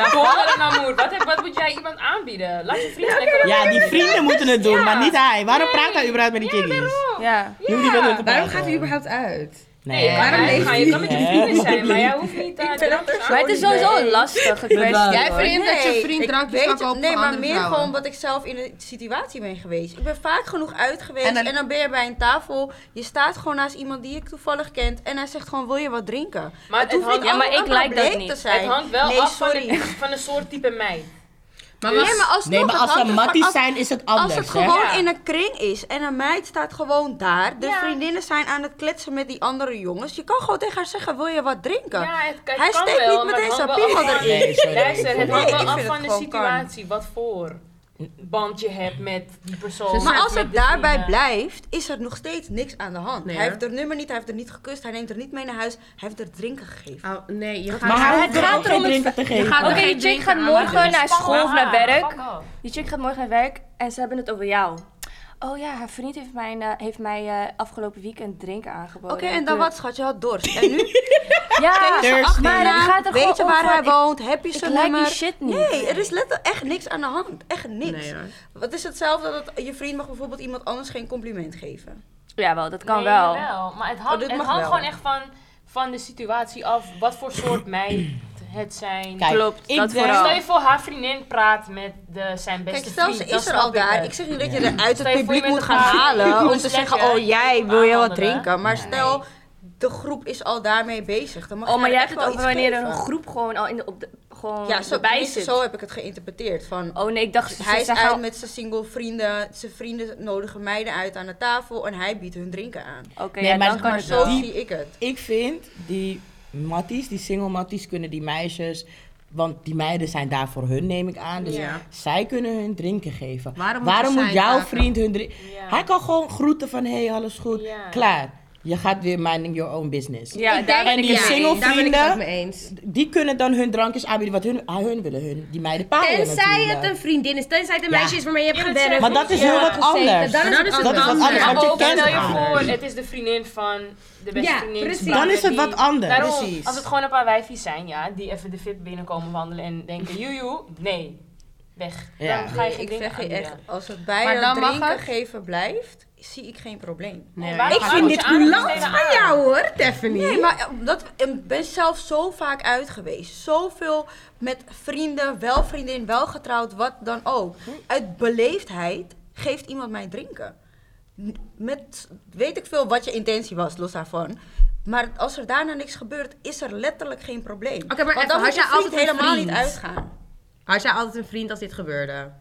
Speaker 5: vallen en amour. Wat, heb- wat moet jij iemand aanbieden? Laat je vriend lekker op-
Speaker 3: Ja, die vrienden moeten het doen,
Speaker 5: Ja.
Speaker 3: maar niet hij. Waarom
Speaker 5: Nee.
Speaker 3: praat hij überhaupt met die
Speaker 5: Ja,
Speaker 3: kiddies?
Speaker 5: daarom.
Speaker 2: Ja.
Speaker 3: Noem die met hun
Speaker 1: Waarom
Speaker 3: te praten.
Speaker 1: gaat hij überhaupt uit?
Speaker 5: Nee, je
Speaker 3: Nee,
Speaker 5: kan
Speaker 1: Waarom
Speaker 5: eruit
Speaker 1: leeft
Speaker 5: gaan. Je
Speaker 1: hij
Speaker 5: kan met je
Speaker 3: niet?
Speaker 5: vrienden zijn, maar jij hoeft niet eh, drank te
Speaker 2: Maar het is sowieso een lastige kwestie.
Speaker 10: Jij
Speaker 2: hoor.
Speaker 10: vindt dat je vriend
Speaker 4: ik
Speaker 10: drankjes
Speaker 4: weet
Speaker 10: kan
Speaker 4: je-
Speaker 10: kopen
Speaker 4: Nee,
Speaker 10: voor
Speaker 4: maar
Speaker 10: andere
Speaker 4: meer
Speaker 10: vrouwen?
Speaker 4: gewoon wat ik zelf in de situatie ben geweest. Ik ben vaak genoeg uit geweest
Speaker 10: En
Speaker 4: en
Speaker 10: dan-
Speaker 4: dan, ben je bij een tafel. Je staat gewoon naast iemand die ik toevallig kent en hij zegt gewoon, wil je wat drinken?
Speaker 5: Maar het
Speaker 4: hoeft
Speaker 5: hangt-
Speaker 4: niet
Speaker 5: ja, maar
Speaker 4: altijd
Speaker 2: ik
Speaker 4: een
Speaker 2: like dat
Speaker 4: probleem
Speaker 2: niet.
Speaker 4: te
Speaker 2: Het
Speaker 4: zijn.
Speaker 5: Het hangt wel
Speaker 4: nee,
Speaker 5: af van
Speaker 4: sorry.
Speaker 5: de, van een soort type meid.
Speaker 10: Maar was...
Speaker 4: Nee, maar alsnog,
Speaker 3: Nee, maar
Speaker 4: het
Speaker 3: als ze
Speaker 4: hangt ervan
Speaker 3: matties
Speaker 4: af-
Speaker 3: zijn, is het
Speaker 4: Als
Speaker 3: anders,
Speaker 4: het
Speaker 3: hè?
Speaker 4: gewoon
Speaker 5: Ja.
Speaker 4: in een kring is en een meid staat gewoon daar, de
Speaker 5: Ja.
Speaker 4: vriendinnen zijn aan het kletsen met die andere jongens, je kan gewoon tegen haar zeggen: Wil je wat drinken?
Speaker 5: Ja, het, het
Speaker 4: Hij
Speaker 5: kan
Speaker 4: steekt niet
Speaker 5: wel, maar
Speaker 4: meteen
Speaker 5: het
Speaker 4: zijn
Speaker 5: hangt wel af
Speaker 4: piemel
Speaker 5: van-
Speaker 3: erin. Nee, sorry, ik
Speaker 5: Luister,
Speaker 3: vond
Speaker 5: het
Speaker 3: het-
Speaker 5: hangt
Speaker 4: Nee,
Speaker 5: wel
Speaker 4: ik
Speaker 5: af
Speaker 4: vind
Speaker 5: van
Speaker 4: het
Speaker 5: de
Speaker 4: gewoon kan.
Speaker 5: situatie. Wat voor band je hebt met die
Speaker 2: Dus
Speaker 5: persoon.
Speaker 4: Maar als
Speaker 5: met
Speaker 4: het
Speaker 5: de
Speaker 4: daarbij
Speaker 5: vrienden.
Speaker 4: blijft, is er nog steeds niks aan de hand. hij heeft er nummer niet, hij heeft er niet gekust, hij neemt er niet mee naar huis, hij heeft er drinken gegeven.
Speaker 10: Oh, nee, je gaat...
Speaker 3: Maar hij hoeft er
Speaker 2: gaat
Speaker 3: ook geen drinken te geven.
Speaker 10: gaat
Speaker 2: Oké,
Speaker 10: er
Speaker 2: die
Speaker 10: geen
Speaker 2: chick
Speaker 10: drinken
Speaker 2: gaat
Speaker 10: aan
Speaker 2: morgen
Speaker 10: doen.
Speaker 2: naar
Speaker 5: Fuck
Speaker 2: school of naar
Speaker 5: haar,
Speaker 2: werk.
Speaker 5: fuck off.
Speaker 2: Die chick gaat morgen naar werk en ze hebben het over jou. Oh ja, haar vriend heeft mij, eh, heeft mij eh, afgelopen weekend drinken aangeboden.
Speaker 4: Oké, en dan wat schat, je had dorst. En nu?
Speaker 2: Ja,
Speaker 4: Zijn
Speaker 3: Thirsty.
Speaker 2: maar dan gaat er
Speaker 4: Weet
Speaker 2: gewoon
Speaker 4: je
Speaker 2: om
Speaker 4: waar
Speaker 2: van,
Speaker 4: hij
Speaker 2: ik-
Speaker 4: woont? Heb je
Speaker 2: ik
Speaker 4: zijn
Speaker 2: like die
Speaker 4: nummer?
Speaker 2: shit niet.
Speaker 4: Nee, er is letterlijk echt niks aan de hand. Echt niks.
Speaker 10: Nee, hoor.
Speaker 4: Het is hetzelfde dat het- je vriend mag bijvoorbeeld iemand anders geen compliment geven.
Speaker 2: Jawel, dat kan
Speaker 5: Nee,
Speaker 2: wel.
Speaker 5: jawel, Maar het
Speaker 4: Oh,
Speaker 5: hangt,
Speaker 4: dit
Speaker 5: het
Speaker 4: mag
Speaker 5: hangt
Speaker 4: wel.
Speaker 5: gewoon echt van, van de situatie af. Wat voor soort meid het zijn.
Speaker 3: Kijk,
Speaker 2: Klopt,
Speaker 3: ik
Speaker 2: dat
Speaker 3: denk-
Speaker 2: vooral.
Speaker 5: Stel je voor, haar vriendin praat met de, zijn beste
Speaker 4: Kijk, stel ze
Speaker 5: vriend. dan
Speaker 4: is er
Speaker 5: snap
Speaker 4: al
Speaker 5: ik
Speaker 4: daar.
Speaker 5: het.
Speaker 4: Ik zeg niet dat je er uit
Speaker 5: Stel
Speaker 4: het
Speaker 5: je voor, je
Speaker 4: publiek
Speaker 5: bent
Speaker 4: moet
Speaker 5: er
Speaker 4: gaan
Speaker 5: gaan
Speaker 4: halen om
Speaker 5: doen,
Speaker 4: te
Speaker 5: slecht,
Speaker 4: zeggen,
Speaker 5: hè?
Speaker 4: oh jij, wil je wat
Speaker 5: Aanhandelen.
Speaker 4: drinken? Maar stel, de groep is al daarmee bezig. Dan mag
Speaker 2: Oh, maar
Speaker 4: er
Speaker 2: jij
Speaker 4: echt
Speaker 2: hebt het
Speaker 4: wel
Speaker 2: over
Speaker 4: iets
Speaker 2: wanneer er
Speaker 4: geven.
Speaker 2: een groep gewoon al in de, op de, gewoon
Speaker 4: Ja, Oh, zo,
Speaker 2: erbij
Speaker 4: tenminste,
Speaker 2: zit.
Speaker 4: zo heb ik het geïnterpreteerd. Van,
Speaker 2: Oh nee, ik dacht, ze
Speaker 4: hij is
Speaker 2: zeggen
Speaker 4: uit
Speaker 2: al-
Speaker 4: met zijn single vrienden. Zijn vrienden nodigen meiden uit aan de tafel en hij biedt hun drinken aan.
Speaker 2: Oké,
Speaker 3: Nee,
Speaker 2: ja,
Speaker 3: maar
Speaker 2: dan kan
Speaker 4: Maar
Speaker 2: het
Speaker 4: zo
Speaker 2: wel.
Speaker 3: Die-
Speaker 4: zie ik het.
Speaker 3: Ik vind die matties, die single matties, kunnen die meisjes... Want die meiden zijn daar voor hun, neem ik aan. Dus
Speaker 10: Ja.
Speaker 3: zij kunnen hun drinken geven.
Speaker 10: Waarom
Speaker 3: Waarom,
Speaker 10: moeten
Speaker 3: moet
Speaker 10: zij
Speaker 3: jouw
Speaker 10: maken?
Speaker 3: vriend hun drinken...
Speaker 5: Ja.
Speaker 3: Hij kan gewoon groeten van, hey, alles goed.
Speaker 5: Ja.
Speaker 3: Klaar. Je gaat weer minding your own business.
Speaker 2: Ja, daar ben
Speaker 3: en
Speaker 2: ik
Speaker 3: die
Speaker 2: het mee
Speaker 3: single
Speaker 2: eens.
Speaker 1: Daar ben ik het ook
Speaker 3: vrienden,
Speaker 1: mee eens.
Speaker 3: die kunnen dan hun drankjes aanbieden wat hun, ah, hun willen. Hun, die meiden paaien
Speaker 1: Tenzij
Speaker 3: Oh, natuurlijk.
Speaker 1: het een vriendin is, tenzij het een
Speaker 3: Ja.
Speaker 1: meisje is waarmee je hebt
Speaker 5: Ja, dat
Speaker 1: gewerkt.
Speaker 3: Maar dat is heel wat anders.
Speaker 1: Dan is het
Speaker 3: Dat is wat anders,
Speaker 5: Maar
Speaker 3: want je
Speaker 5: ook,
Speaker 3: kent
Speaker 5: stel je
Speaker 3: elkaar.
Speaker 5: voor, het is de vriendin van de beste
Speaker 1: Ja,
Speaker 5: vriendin.
Speaker 1: precies.
Speaker 5: praat
Speaker 3: Dan is
Speaker 5: met
Speaker 3: het wat
Speaker 5: die-
Speaker 3: anders.
Speaker 5: Daarom,
Speaker 3: Precies.
Speaker 5: als het gewoon een paar wijfjes zijn, ja, die even de fit binnenkomen wandelen en denken, joejoe, nee, weg.
Speaker 3: Ja.
Speaker 5: Dan ga je geen
Speaker 4: ik
Speaker 5: ding
Speaker 4: zeg je echt,
Speaker 5: aanbieden.
Speaker 4: als het bij
Speaker 10: Maar
Speaker 4: dat
Speaker 10: dan mag
Speaker 4: drinken
Speaker 10: het?
Speaker 4: geven blijft, zie ik geen probleem.
Speaker 10: Nee,
Speaker 5: waarom-
Speaker 10: ik-
Speaker 1: Ik vind dit coulant van jou hoor, Tiffany.
Speaker 4: Nee, maar dat, ik ben zelf zo vaak uit geweest. Zoveel met vrienden, wel vriendin, wel getrouwd, wat dan ook.
Speaker 1: Hm.
Speaker 4: Uit beleefdheid geeft iemand mij drinken. Met, weet ik veel wat je intentie was, los daarvan. Maar als er daarna niks gebeurt, is er letterlijk geen probleem.
Speaker 1: Oké, maar
Speaker 4: Want
Speaker 1: even,
Speaker 4: dan moet
Speaker 1: had
Speaker 4: je
Speaker 1: jij altijd
Speaker 4: vriend
Speaker 1: een
Speaker 4: helemaal
Speaker 1: vriend?
Speaker 4: niet uitgaan.
Speaker 1: Had jij altijd een vriend als dit gebeurde?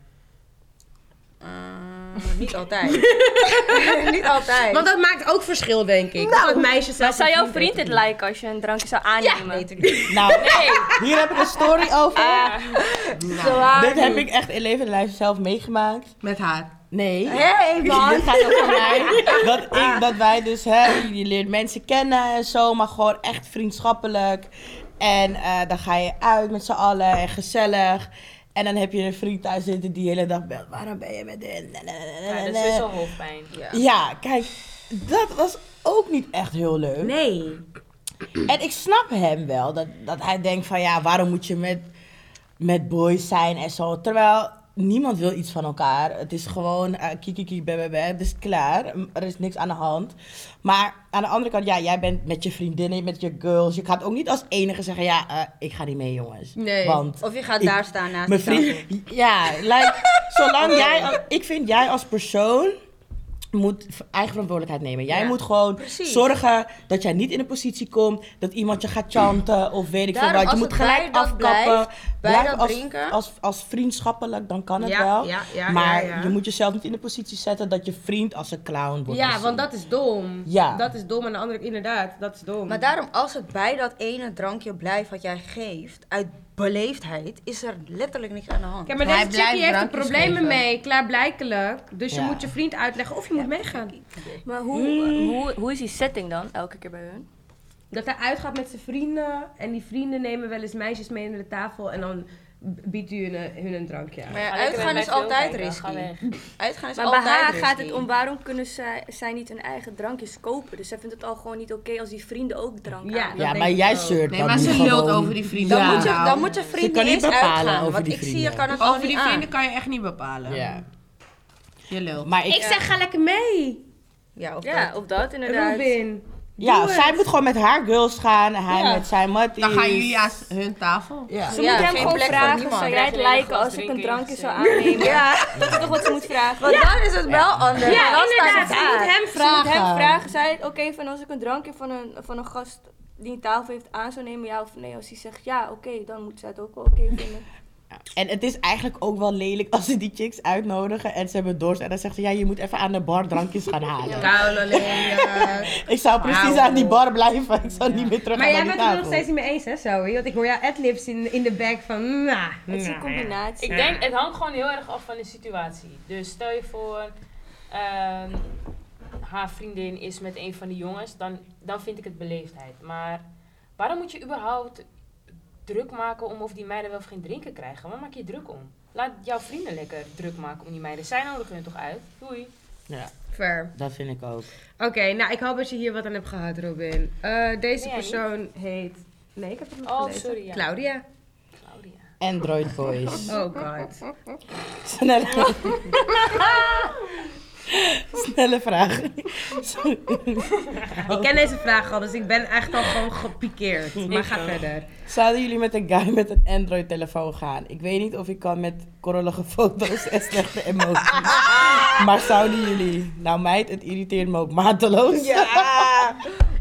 Speaker 4: Eh, niet altijd. niet altijd.
Speaker 1: Want dat maakt ook verschil, denk ik. Nou, dat meisje zelf
Speaker 2: zou
Speaker 1: een
Speaker 2: jouw vriend dit liken als je een drankje zou aannemen?
Speaker 3: Nou, hier heb ik een story over.
Speaker 2: Zwaar
Speaker 3: Dit heb
Speaker 2: niet.
Speaker 3: ik echt in leven en lijf zelf meegemaakt.
Speaker 10: Met haar.
Speaker 3: Nee.
Speaker 4: Hey man.
Speaker 3: Dit gaat over mij. Dat, ik, dat wij dus, hè, je leert mensen kennen en zo, maar gewoon echt vriendschappelijk. En eh, dan ga je uit met z'n allen en gezellig. En dan heb je een vriend thuis zitten die de hele dag belt, waarom ben je met dit?
Speaker 5: Ja, dat is dus al hoofdpijn.
Speaker 3: Ja, kijk, dat was ook niet echt heel leuk.
Speaker 9: Nee.
Speaker 3: En ik snap hem wel, dat, dat hij denkt van ja, waarom moet je met, met boys zijn en zo. Terwijl niemand wil iets van elkaar. Het is gewoon eh, kikiki, bam, bam, bam, het is klaar. M- Er is niks aan de hand. Maar aan de andere kant, ja, jij bent met je vriendinnen, met je girls. Je gaat ook niet als enige zeggen, ja, eh, ik ga niet mee jongens.
Speaker 1: Nee.
Speaker 3: Want
Speaker 4: Of je gaat
Speaker 3: Ik-
Speaker 4: daar staan naast
Speaker 3: mijn
Speaker 4: die tafel.
Speaker 3: vriend, ja, like, zolang jij, ik vind jij als persoon moet v- eigen verantwoordelijkheid nemen. Jij moet gewoon
Speaker 4: Precies.
Speaker 3: zorgen dat jij niet in een positie komt dat iemand je gaat chanten of weet ik
Speaker 4: Daarom,
Speaker 3: veel wat. Je
Speaker 4: als het
Speaker 3: moet
Speaker 4: bij
Speaker 3: gelijk
Speaker 4: dat
Speaker 3: afkappen.
Speaker 4: blijft, bij
Speaker 3: Blijf
Speaker 4: dat
Speaker 3: als,
Speaker 4: drinken.
Speaker 3: Als, als vriendschappelijk, dan kan het
Speaker 1: Ja,
Speaker 3: wel.
Speaker 1: ja, ja,
Speaker 3: maar
Speaker 1: ja, ja.
Speaker 3: je moet jezelf niet in de positie zetten dat je vriend als een clown wordt
Speaker 1: Ja,
Speaker 3: gezien.
Speaker 1: want dat is dom.
Speaker 3: Ja.
Speaker 1: Dat is dom en de andere, inderdaad, dat is dom.
Speaker 4: Maar daarom, als het bij dat ene drankje blijft wat jij geeft, uit beleefdheid, is er letterlijk niks aan de hand.
Speaker 1: Kijk, maar
Speaker 10: Hij
Speaker 1: deze chickie
Speaker 10: blijft
Speaker 1: heeft er
Speaker 10: drankjes
Speaker 1: problemen
Speaker 10: geven.
Speaker 1: mee, klaarblijkelijk. Dus je
Speaker 3: Ja.
Speaker 1: moet je vriend uitleggen of je moet meegaan.
Speaker 2: Maar hoe, hoe, hoe is die setting dan elke keer bij hun?
Speaker 1: Dat hij uitgaat met zijn vrienden en die vrienden nemen wel eens meisjes mee naar de tafel en dan b- biedt u hun, hun een drankje aan.
Speaker 4: Maar ja,
Speaker 5: Ga lekker
Speaker 4: uitgaan
Speaker 5: met
Speaker 4: is
Speaker 5: mij
Speaker 4: altijd
Speaker 5: filmpijnen, ga
Speaker 4: risky.
Speaker 5: weg.
Speaker 4: Uitgaan is
Speaker 2: Maar bij
Speaker 4: altijd
Speaker 2: haar
Speaker 4: risky.
Speaker 2: gaat het om waarom kunnen zij, zij niet hun eigen drankjes kopen. Dus zij vindt het al gewoon niet oké als die vrienden ook drank
Speaker 1: Ja.
Speaker 2: aan.
Speaker 1: dat
Speaker 3: ja,
Speaker 1: denk
Speaker 3: maar
Speaker 1: ik
Speaker 3: jij
Speaker 1: ook.
Speaker 3: zeurt
Speaker 10: Nee,
Speaker 3: dan
Speaker 10: maar ze
Speaker 3: niet
Speaker 10: lult
Speaker 3: gewoon.
Speaker 10: over die vrienden.
Speaker 4: Dan,
Speaker 3: Ja.
Speaker 4: moet je, dan moet je
Speaker 3: Ze
Speaker 4: vriend
Speaker 3: kan
Speaker 4: niet
Speaker 3: niet
Speaker 4: eens
Speaker 3: bepalen
Speaker 4: uitgaan.
Speaker 3: over
Speaker 4: want
Speaker 3: die
Speaker 4: ik zie, je
Speaker 3: vrienden.
Speaker 4: kan het al
Speaker 10: Over
Speaker 4: niet
Speaker 10: die
Speaker 4: aan.
Speaker 10: vrienden kan je echt niet bepalen.
Speaker 3: Ja.
Speaker 10: Je lult.
Speaker 3: Maar ik,
Speaker 1: Ik zeg, ga lekker mee,
Speaker 4: Ja, of
Speaker 2: Ja,
Speaker 4: dat.
Speaker 2: of dat inderdaad.
Speaker 1: Robin.
Speaker 3: ja, zij moet gewoon met haar girls gaan en hij
Speaker 2: Ja.
Speaker 3: met zijn matties.
Speaker 10: Dan gaan jullie aan s- hun tafel.
Speaker 3: Ja.
Speaker 2: Ze
Speaker 4: Ja,
Speaker 2: moeten hem
Speaker 4: geen
Speaker 2: gewoon
Speaker 4: plek voor
Speaker 2: vragen,
Speaker 4: niemand.
Speaker 2: zou jij
Speaker 5: Krijg
Speaker 2: het
Speaker 5: je alleen
Speaker 2: liken
Speaker 5: nog
Speaker 2: als ik een
Speaker 5: drinken
Speaker 2: drankje zou
Speaker 5: ingezet.
Speaker 2: aannemen?
Speaker 4: Ja,
Speaker 2: Dat is toch wat ze moet vragen?
Speaker 4: want dan is het wel anders.
Speaker 2: Ja,
Speaker 4: Dan staat
Speaker 2: inderdaad.
Speaker 4: het
Speaker 2: Ze moet
Speaker 4: aan.
Speaker 2: hem vragen. Ze moet hem vragen. Zij, oké, van als ik een drankje van een, van een gast die een tafel heeft aan zou nemen, ja of nee. Als hij zegt ja, oké, dan moet zij het ook wel oké vinden.
Speaker 3: En het is eigenlijk ook wel lelijk als ze die chicks uitnodigen en ze hebben dorst. En dan zegt ze, ja, je moet even aan de bar drankjes gaan halen.
Speaker 1: Koude
Speaker 3: Ik zou precies aan die bar blijven. Ik zou niet meer terug
Speaker 1: Maar
Speaker 3: gaan
Speaker 1: jij
Speaker 3: naar
Speaker 1: bent het
Speaker 3: die
Speaker 1: er
Speaker 3: tafel.
Speaker 1: nog steeds niet mee eens, hè, Zoe? Want ik hoor jou adlibs in, in de back van... nou, Nah,
Speaker 2: Het is een combinatie.
Speaker 5: Ik denk, het hangt gewoon heel erg af van de situatie. Dus stel je voor, ehm, haar vriendin is met een van de jongens, dan, dan vind ik het beleefdheid. Maar waarom moet je überhaupt druk maken om of die meiden wel of geen drinken krijgen? Waar maak je je druk om? Laat jouw vrienden lekker druk maken om die meiden. Zij nodigen hun toch uit? Doei.
Speaker 3: Ja,
Speaker 1: Ver.
Speaker 3: dat vind ik ook.
Speaker 1: Oké, nou, ik hoop dat je hier wat aan hebt gehad, Robin. Eh, deze
Speaker 5: Nee, jij
Speaker 1: persoon heet... Nee, ik heb het nog
Speaker 5: Oh,
Speaker 1: gelezen.
Speaker 5: sorry, ja.
Speaker 1: Claudia.
Speaker 5: Claudia.
Speaker 3: Android boys.
Speaker 1: Oh god.
Speaker 3: Snelle... Snelle vraag. Sorry.
Speaker 1: Ik ken deze vraag al, dus ik ben echt al gewoon gepikeerd. Maar ga verder.
Speaker 3: Zouden jullie met een guy met een Android telefoon gaan? Ik weet niet of ik kan met korrelige foto's en slechte emoties. maar zouden jullie? Nou meid, het irriteert me ook mateloos.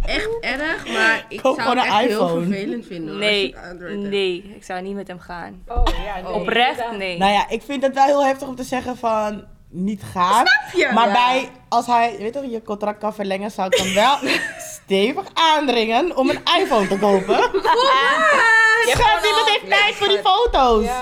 Speaker 10: Echt erg, maar ik
Speaker 3: Koop
Speaker 10: zou het
Speaker 3: gewoon een
Speaker 10: echt heel
Speaker 3: iPhone.
Speaker 10: vervelend vinden. hoor, Nou, als
Speaker 2: Nee,
Speaker 10: je Android hebt.
Speaker 2: nee, ik zou niet met hem gaan.
Speaker 5: Oh ja, nee.
Speaker 2: Oprecht,
Speaker 5: Inderdaad.
Speaker 2: nee.
Speaker 3: Nou ja, ik vind het wel heel heftig om te zeggen van niet gaan. Maar bij, als hij, je weet toch, je contract kan verlengen, zou ik hem wel stevig aandringen om een iPhone te kopen. Schat, niemand heeft tijd voor die foto's.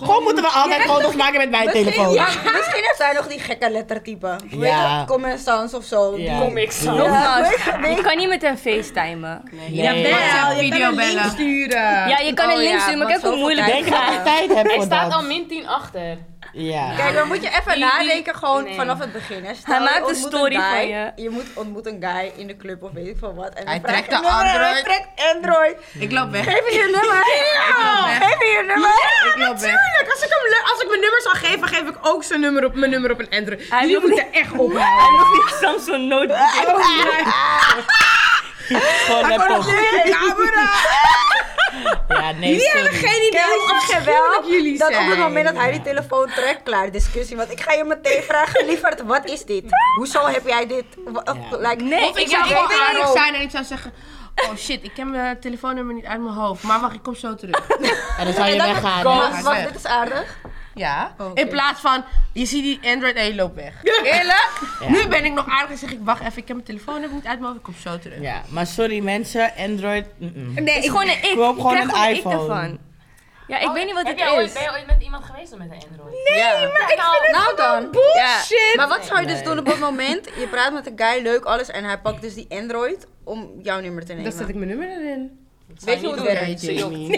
Speaker 5: Ja.
Speaker 3: Gewoon moeten we altijd foto's maken met mijn telefoon.
Speaker 4: Ja, misschien heeft hij nog die gekke lettertypen. Weet
Speaker 3: Ja.
Speaker 4: je, Common Sans of zo.
Speaker 3: Ja.
Speaker 5: Kom ik zo.
Speaker 2: Nogmaals, je kan niet met hem facetimen.
Speaker 3: Nee.
Speaker 10: WhatsApp,
Speaker 1: je kan een link
Speaker 10: videobellen.
Speaker 1: sturen.
Speaker 2: Ja, je kan
Speaker 4: Oh
Speaker 2: een link
Speaker 4: ja,
Speaker 2: sturen, maar
Speaker 4: want
Speaker 2: kijk hoe
Speaker 4: zoveel
Speaker 2: moeilijk
Speaker 4: tijd
Speaker 3: Denk dat ik tijd heb
Speaker 5: Hij
Speaker 3: voor
Speaker 5: staat al
Speaker 3: dat.
Speaker 5: min 10 achter.
Speaker 3: Ja.
Speaker 4: Kijk, dan moet je even
Speaker 5: Die- die-
Speaker 4: nadenken gewoon
Speaker 5: nee.
Speaker 4: vanaf het begin. Hè. Stel,
Speaker 2: Hij
Speaker 4: je
Speaker 2: maakt een
Speaker 4: ontmoet
Speaker 2: story
Speaker 4: guy,
Speaker 2: van je.
Speaker 4: moet ontmoet een guy in de club of weet ik veel wat. En
Speaker 10: Hij
Speaker 4: dan vraag
Speaker 10: trekt
Speaker 4: je
Speaker 10: een
Speaker 4: nummer en Hij
Speaker 10: Android.
Speaker 4: trekt Android.
Speaker 10: Ik loop weg.
Speaker 4: Geef me je nummer. Geef me je nummer.
Speaker 10: Ik loop weg.
Speaker 1: Tuurlijk, als ik, hem, le- als ik mijn nummer zou geven, geef ik ook zijn nummer op mijn nummer op een Android.
Speaker 2: Hij
Speaker 1: Jullie
Speaker 2: wil-
Speaker 1: moeten echt op.
Speaker 2: Hij nog niet Samsung nodig.
Speaker 3: Gewoon laptop. Ja, nee, sorry.
Speaker 1: Geen idee
Speaker 4: Kijk,
Speaker 1: hoe
Speaker 4: ik zeg je wel
Speaker 1: afschuwelijk jullie
Speaker 4: dat
Speaker 1: zijn.
Speaker 4: op het moment dat hij die telefoon trekt, klaar discussie. Want ik ga je meteen vragen, lieverd, wat is dit? Hoezo heb jij dit? Wa-
Speaker 3: Ja.
Speaker 4: Like,
Speaker 2: Nee,
Speaker 4: of
Speaker 2: ik
Speaker 10: Ik zou
Speaker 2: zou
Speaker 10: gewoon
Speaker 2: weten-
Speaker 10: aardig zijn en ik zou zeggen...
Speaker 6: Oh shit, ik ken mijn telefoonnummer niet uit mijn hoofd. Maar wacht, ik kom zo terug.
Speaker 3: En dan zou je weggaan.
Speaker 6: Go.
Speaker 3: hè?
Speaker 6: Ja,
Speaker 4: wacht,
Speaker 6: ja.
Speaker 4: dit is aardig.
Speaker 6: Ja.
Speaker 4: oké.
Speaker 6: In plaats van, je ziet die Android en je loopt weg. Eerlijk? Nu ben ik nog aardig en zeg ik, wacht even, ik heb mijn telefoonnummer niet uit mijn hoofd. Ik kom zo terug.
Speaker 3: Ja, maar sorry mensen, Android. mm-mm.
Speaker 2: Nee, het is gewoon een
Speaker 3: koop
Speaker 2: ik. Ik
Speaker 3: gewoon
Speaker 2: krijg
Speaker 3: een
Speaker 2: gewoon een
Speaker 3: iPhone.
Speaker 2: ik daarvan. Ja, ik weet niet wat
Speaker 5: heb
Speaker 2: het
Speaker 5: jij ooit,
Speaker 2: is.
Speaker 5: ben je ooit met iemand geweest dan met een Android? Nee.
Speaker 4: ja.
Speaker 5: Maar ik vind
Speaker 4: Nou dan.
Speaker 11: Bullshit!
Speaker 4: Maar wat zou je dus doen op dat moment? Je praat met een guy, leuk, alles. En hij pakt dus die Android om jouw nummer te nemen.
Speaker 1: Dan zet ik mijn nummer erin.
Speaker 4: Weet je hoe het werkt?
Speaker 6: Oké, Jamie.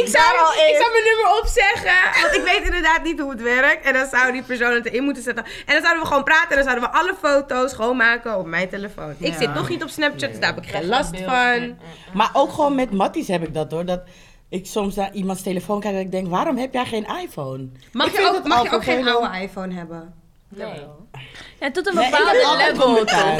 Speaker 1: Ik zou, ik zou mijn nummer opzeggen, want ik weet inderdaad niet hoe het werkt. En dan zou die persoon het erin moeten zetten. En dan zouden we gewoon praten en dan zouden we alle foto's schoonmaken op mijn telefoon. Ik zit nog niet op Snapchat, dus daar heb ik geen last van.
Speaker 3: Maar ook gewoon met matties heb ik dat hoor. Dat ik soms naar iemands telefoon kijk en ik denk, waarom heb jij geen iPhone?
Speaker 1: Mag
Speaker 3: Ik
Speaker 1: je
Speaker 3: vind
Speaker 1: ook,
Speaker 3: het
Speaker 1: mag
Speaker 3: al
Speaker 1: je ook geen
Speaker 3: vervelend.
Speaker 1: oude iPhone hebben?
Speaker 5: Nee.
Speaker 2: Ja, tot een
Speaker 3: Nee, ik heb
Speaker 2: bepaalde
Speaker 5: Oh,
Speaker 3: altijd
Speaker 2: level.
Speaker 3: commentaar.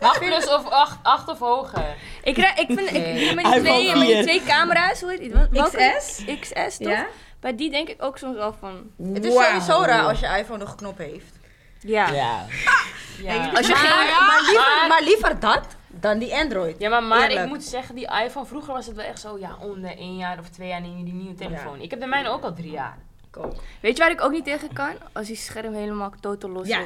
Speaker 5: Maar plus dus of acht, acht of hoger.
Speaker 2: Ik, krijg, ik vind ik, met, die
Speaker 3: iPhone
Speaker 2: twee, met die
Speaker 3: 4.
Speaker 2: twee camera's, hoe heet die? Wel- welke-
Speaker 1: XS?
Speaker 2: XS, toch?
Speaker 1: Ja?
Speaker 2: Bij die denk ik ook soms wel van,
Speaker 4: Het is
Speaker 3: Wauw.
Speaker 4: sowieso raar als je iPhone nog een knop heeft.
Speaker 2: ja.
Speaker 3: Ja.
Speaker 5: Ah, Ja.
Speaker 4: Als je
Speaker 5: maar,
Speaker 4: geen, maar, liever,
Speaker 5: maar-
Speaker 4: maar liever dat dan die Android.
Speaker 5: Ja, maar, maar ik
Speaker 4: Eerlijk.
Speaker 5: moet zeggen, die iPhone, vroeger was het wel echt zo, ja, om de één jaar of twee jaar neem je die nieuwe telefoon. Ik heb de mijne ook al drie jaar.
Speaker 2: Weet je waar ik ook niet tegen kan? Als die scherm helemaal totaal los is.
Speaker 3: Ah.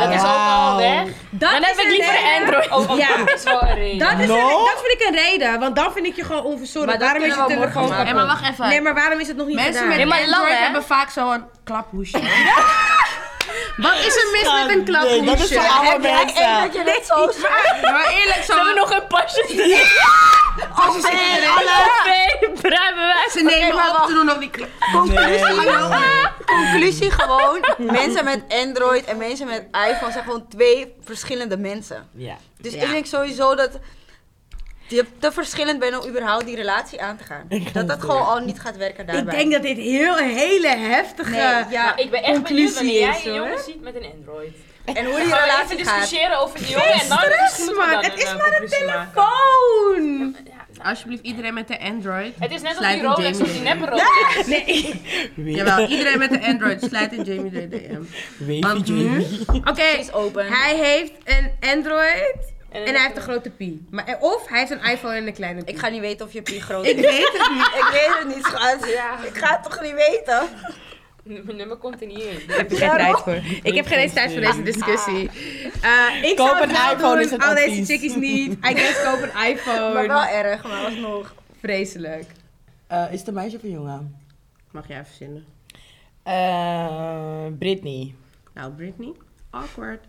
Speaker 5: Dat is ook al weg.
Speaker 1: Dat
Speaker 5: Dan heb
Speaker 1: is
Speaker 5: ik liever
Speaker 1: reden.
Speaker 5: een Android. Oh,
Speaker 1: Ja.
Speaker 5: ja. dat is wel een reden.
Speaker 1: Dat, is
Speaker 3: No.
Speaker 1: een- dat vind ik een reden, want dan vind ik je gewoon onverzorgd.
Speaker 4: Maar dat
Speaker 1: Waarom is je
Speaker 4: kunnen we morgen
Speaker 1: telefoon
Speaker 4: maken.
Speaker 6: Hé, maar wacht even.
Speaker 1: Nee, maar waarom is het nog niet
Speaker 6: Mensen
Speaker 1: gedaan?
Speaker 6: met
Speaker 2: Nee, maar
Speaker 6: Android
Speaker 2: lang, hè?
Speaker 6: hebben vaak zo'n klaphoesje. Wat is er mis met een klaphoesje?
Speaker 3: Nee, dat is voor oude
Speaker 4: Heb jij één
Speaker 3: mensen.
Speaker 4: dat je net zo
Speaker 6: Maar eerlijk, zo...
Speaker 2: Hebben we nog een pasje?
Speaker 6: als ze zitten erin.
Speaker 2: Twee bruinbewijs.
Speaker 6: Ze nemen op, ze doen nog die klap.
Speaker 4: Conclusie, conclusie gewoon, mensen met Android en mensen met iPhone zijn gewoon twee verschillende mensen.
Speaker 3: Ja.
Speaker 4: Dus ik denk sowieso dat je te verschillend bent om überhaupt die relatie aan te gaan. Dat dat gewoon al niet gaat werken daarbij.
Speaker 1: Ik denk dat dit heel een hele heftige...
Speaker 4: Nee, ja,
Speaker 5: eh, Ik ben echt benieuwd
Speaker 1: Conclusie
Speaker 5: wanneer jij
Speaker 1: is,
Speaker 5: een
Speaker 1: hoor.
Speaker 5: jongen ziet met een Android.
Speaker 4: en hoe die
Speaker 5: Dan gaan we
Speaker 4: relatie
Speaker 5: even
Speaker 4: gaat.
Speaker 5: discussiëren over die jongen en dan
Speaker 1: nou,
Speaker 5: moeten we
Speaker 1: man.
Speaker 5: dan
Speaker 1: Het is
Speaker 5: eh,
Speaker 1: maar een
Speaker 5: conclusie maken.
Speaker 1: telefoon!
Speaker 6: Alsjeblieft, iedereen met de Android.
Speaker 5: Het is net als
Speaker 6: Sluit
Speaker 5: die
Speaker 6: een
Speaker 5: Rolex
Speaker 6: Jamie
Speaker 5: of die
Speaker 6: erin.
Speaker 5: neppe Rolex.
Speaker 6: Jawel, iedereen met de Android. Sluit in Jamie de DM.
Speaker 3: Wavy Jamie.
Speaker 1: Oké,
Speaker 4: is open.
Speaker 1: hij heeft een Android
Speaker 5: En
Speaker 1: en,
Speaker 5: een
Speaker 1: hij heeft een grote pie. Maar, eh, of hij heeft een iPhone en een kleine pie.
Speaker 4: Ik ga niet weten of je pie groot
Speaker 6: Ik
Speaker 4: is.
Speaker 6: weet het niet.
Speaker 4: Ik weet het niet, schat. Ik ga het toch niet weten?
Speaker 5: Mijn nummer komt er niet in.
Speaker 1: Ik heb er geen tijd voor. Ik heb geen eens tijd voor deze discussie. Eh, ik
Speaker 3: Koop
Speaker 1: zou
Speaker 3: een
Speaker 1: wel
Speaker 3: iPhone,
Speaker 1: doen,
Speaker 3: is het
Speaker 1: Al deze
Speaker 3: advies.
Speaker 1: chickies niet. I guess koop een
Speaker 4: Maar wel
Speaker 1: iPhone.
Speaker 4: erg, maar alsnog.
Speaker 1: Vreselijk.
Speaker 3: Eh, is het een meisje of een jongen?
Speaker 6: Mag jij even zinnen?
Speaker 3: Eh, Britney.
Speaker 6: Nou, Britney, awkward.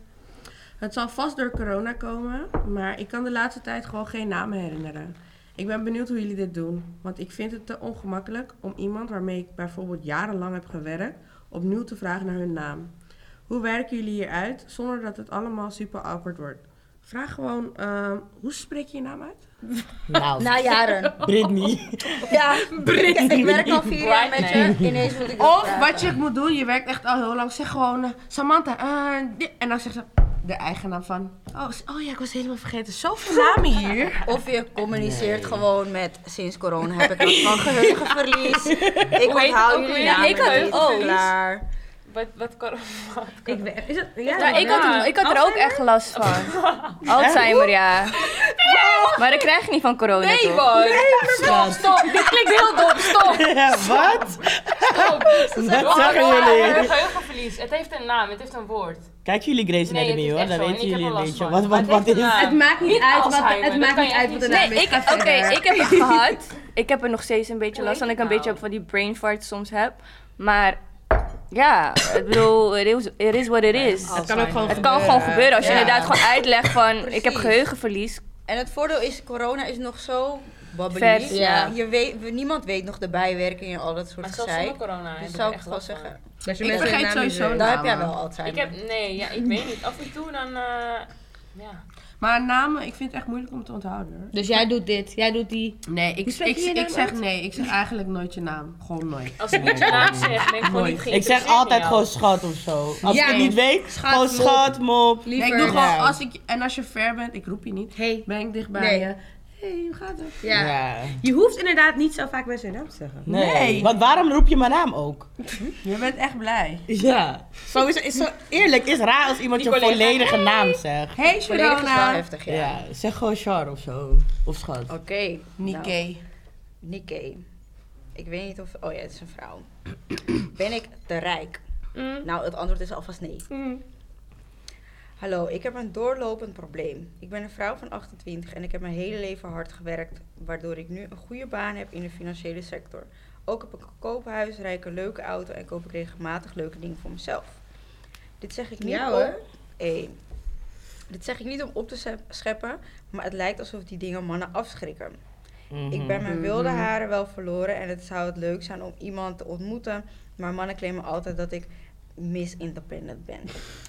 Speaker 6: Het zal vast door corona komen, maar ik kan de laatste tijd gewoon geen namen herinneren. Ik ben benieuwd hoe jullie dit doen, want ik vind het te ongemakkelijk om iemand waarmee ik bijvoorbeeld jarenlang heb gewerkt, opnieuw te vragen naar hun naam. Hoe werken jullie hieruit zonder dat het allemaal super awkward wordt? Vraag gewoon, ehm, hoe spreek je je naam uit?
Speaker 3: Nou,
Speaker 4: Na jaren.
Speaker 3: Britney.
Speaker 4: Ja, ik werk al vier jaar met je. Ineens moet ik dat
Speaker 6: Of
Speaker 4: vragen.
Speaker 6: wat je moet doen, je werkt echt al heel lang. Zeg gewoon, eh, Samantha, eh, dit- en dan zegt ze de eigenaar van. Oh, s- oh ja, ik was helemaal vergeten. Zoveel namen hier.
Speaker 4: Of je communiceert gewoon met sinds corona heb ik last van geheugenverlies. Ik
Speaker 5: Hoe heet het
Speaker 4: onthoud
Speaker 5: ook
Speaker 4: jullie
Speaker 5: weer?
Speaker 4: namen
Speaker 5: Ik had het
Speaker 4: niet.
Speaker 5: ook.
Speaker 4: Klaar.
Speaker 5: Wat, wat kan wat kan-
Speaker 1: Is het, ja,
Speaker 2: Ja, ik had, er- ik had er ook echt last van. Alzheimer, ja. Maar dat krijg je niet van corona,
Speaker 5: Nee,
Speaker 2: toch?
Speaker 5: man. Stop, stop. Dit klinkt heel dom. Stop,
Speaker 3: Ja, wat?
Speaker 5: stop.
Speaker 3: Wat zeggen jullie?
Speaker 5: Geheugenverlies. Het heeft een naam, het heeft een woord.
Speaker 3: Kijken jullie Grace
Speaker 5: Nee, het
Speaker 3: Anatomy
Speaker 5: is
Speaker 3: hoor,
Speaker 5: echt
Speaker 3: dan
Speaker 5: zo. En
Speaker 3: weten
Speaker 5: ik heb
Speaker 3: jullie
Speaker 5: er
Speaker 3: een
Speaker 5: last
Speaker 3: beetje
Speaker 5: van.
Speaker 3: wat,
Speaker 5: Maar
Speaker 3: wat,
Speaker 5: het
Speaker 3: wat
Speaker 5: heeft een
Speaker 3: is.
Speaker 5: naam.
Speaker 1: Het maakt niet
Speaker 5: Niet
Speaker 1: uit wat,
Speaker 5: Alzheimer,
Speaker 1: het
Speaker 5: dat
Speaker 1: maakt
Speaker 5: kan
Speaker 1: niet
Speaker 5: je
Speaker 1: uit
Speaker 5: echt
Speaker 1: wat de
Speaker 5: niet
Speaker 1: naam
Speaker 2: Nee,
Speaker 1: is.
Speaker 2: ik,
Speaker 1: Ga
Speaker 2: oké,
Speaker 1: verder.
Speaker 2: ik heb het gehad. Ik heb er nog steeds een beetje
Speaker 5: Hoe
Speaker 2: last van.
Speaker 5: heet
Speaker 2: Ik een
Speaker 5: het
Speaker 2: beetje
Speaker 5: nou?
Speaker 2: heb van die brain fart soms heb. Maar ja, ik bedoel, it is- it is what it is.
Speaker 5: Het
Speaker 6: kan ook gewoon
Speaker 2: Het kan gewoon gebeuren als je
Speaker 4: Ja.
Speaker 2: inderdaad gewoon uitlegt van ik heb
Speaker 4: Precies.
Speaker 2: geheugenverlies.
Speaker 4: En het voordeel is, corona is nog zo babbelig.
Speaker 2: Vers,
Speaker 4: Ja.
Speaker 2: ja.
Speaker 4: Je weet, we- niemand weet nog de bijwerkingen en al dat soort
Speaker 5: Maar zelfs
Speaker 4: gezeik.
Speaker 5: zonder corona
Speaker 4: Dus
Speaker 5: heb ik
Speaker 4: zou
Speaker 5: er
Speaker 4: ik het wel
Speaker 5: echt last van.
Speaker 4: zeggen.
Speaker 1: Dat je
Speaker 6: Ik
Speaker 1: mensen hun
Speaker 6: vergeet
Speaker 1: naam niet
Speaker 6: sowieso
Speaker 1: weten.
Speaker 4: Daar heb jij
Speaker 6: namen.
Speaker 4: wel altijd.
Speaker 5: Ik heb, nee, ja, ik weet niet. Af en toe dan, eh, ja.
Speaker 6: Maar namen, ik vind het echt moeilijk om te onthouden. hoor.
Speaker 1: Dus jij doet dit, jij doet die.
Speaker 6: Nee, ik,
Speaker 1: spreek
Speaker 6: ik,
Speaker 1: je je
Speaker 6: ik,
Speaker 1: naam
Speaker 6: zeg
Speaker 1: uit?
Speaker 6: nee. Ik zeg eigenlijk nooit je naam. Gewoon nooit.
Speaker 5: Als ik niet je naam zeg, ben ik gewoon niet
Speaker 3: Ik zeg
Speaker 5: geïnteresseerd in
Speaker 3: altijd
Speaker 5: jou.
Speaker 3: gewoon schat of zo. Als
Speaker 1: Ja.
Speaker 3: ik het niet weet,
Speaker 6: Schat,
Speaker 3: gewoon
Speaker 6: mop.
Speaker 3: schat, mop.
Speaker 6: Nee, ik doe gewoon als ik en als je ver bent, ik roep je niet.
Speaker 1: Hey.
Speaker 6: Ben ik dichtbij
Speaker 1: Nee.
Speaker 6: je?
Speaker 10: hey, hoe gaat het?
Speaker 1: Ja. Je hoeft inderdaad niet zo vaak mensen hun naam te zeggen.
Speaker 3: Nee. Want waarom roep je mijn naam ook?
Speaker 10: Je bent echt blij.
Speaker 3: Ja. Zo is, is zo eerlijk. Is raar als iemand je
Speaker 5: collega,
Speaker 3: volledige naam zegt.
Speaker 10: Hey,
Speaker 4: Collega's is wel
Speaker 10: Sharona.
Speaker 4: heftig, ja.
Speaker 3: Ja. Zeg gewoon Char of zo. Of schat.
Speaker 4: Oké. Nou,
Speaker 10: Nikkei.
Speaker 4: Nikkei. Ik weet niet of... Oh ja, het is een vrouw. ben ik te rijk?
Speaker 1: Mhm.
Speaker 4: Nou, het antwoord is alvast nee. Hallo, ik heb een doorlopend probleem. Ik ben een vrouw van 28 en ik heb mijn hele leven hard gewerkt, waardoor ik nu een goede baan heb in de financiële sector. Ook heb ik een koophuis, rijk een leuke auto en koop ik regelmatig leuke dingen voor mezelf. Dit zeg ik niet
Speaker 1: Ja,
Speaker 4: om...
Speaker 1: hoor.
Speaker 4: Hey. Dit zeg ik niet om op te schep- scheppen, maar het lijkt alsof die dingen mannen afschrikken. Ik ben mijn wilde
Speaker 1: Mhm.
Speaker 4: haren wel verloren en het zou het leuk zijn om iemand te ontmoeten. Maar mannen claimen altijd dat ik Miss Independent ben.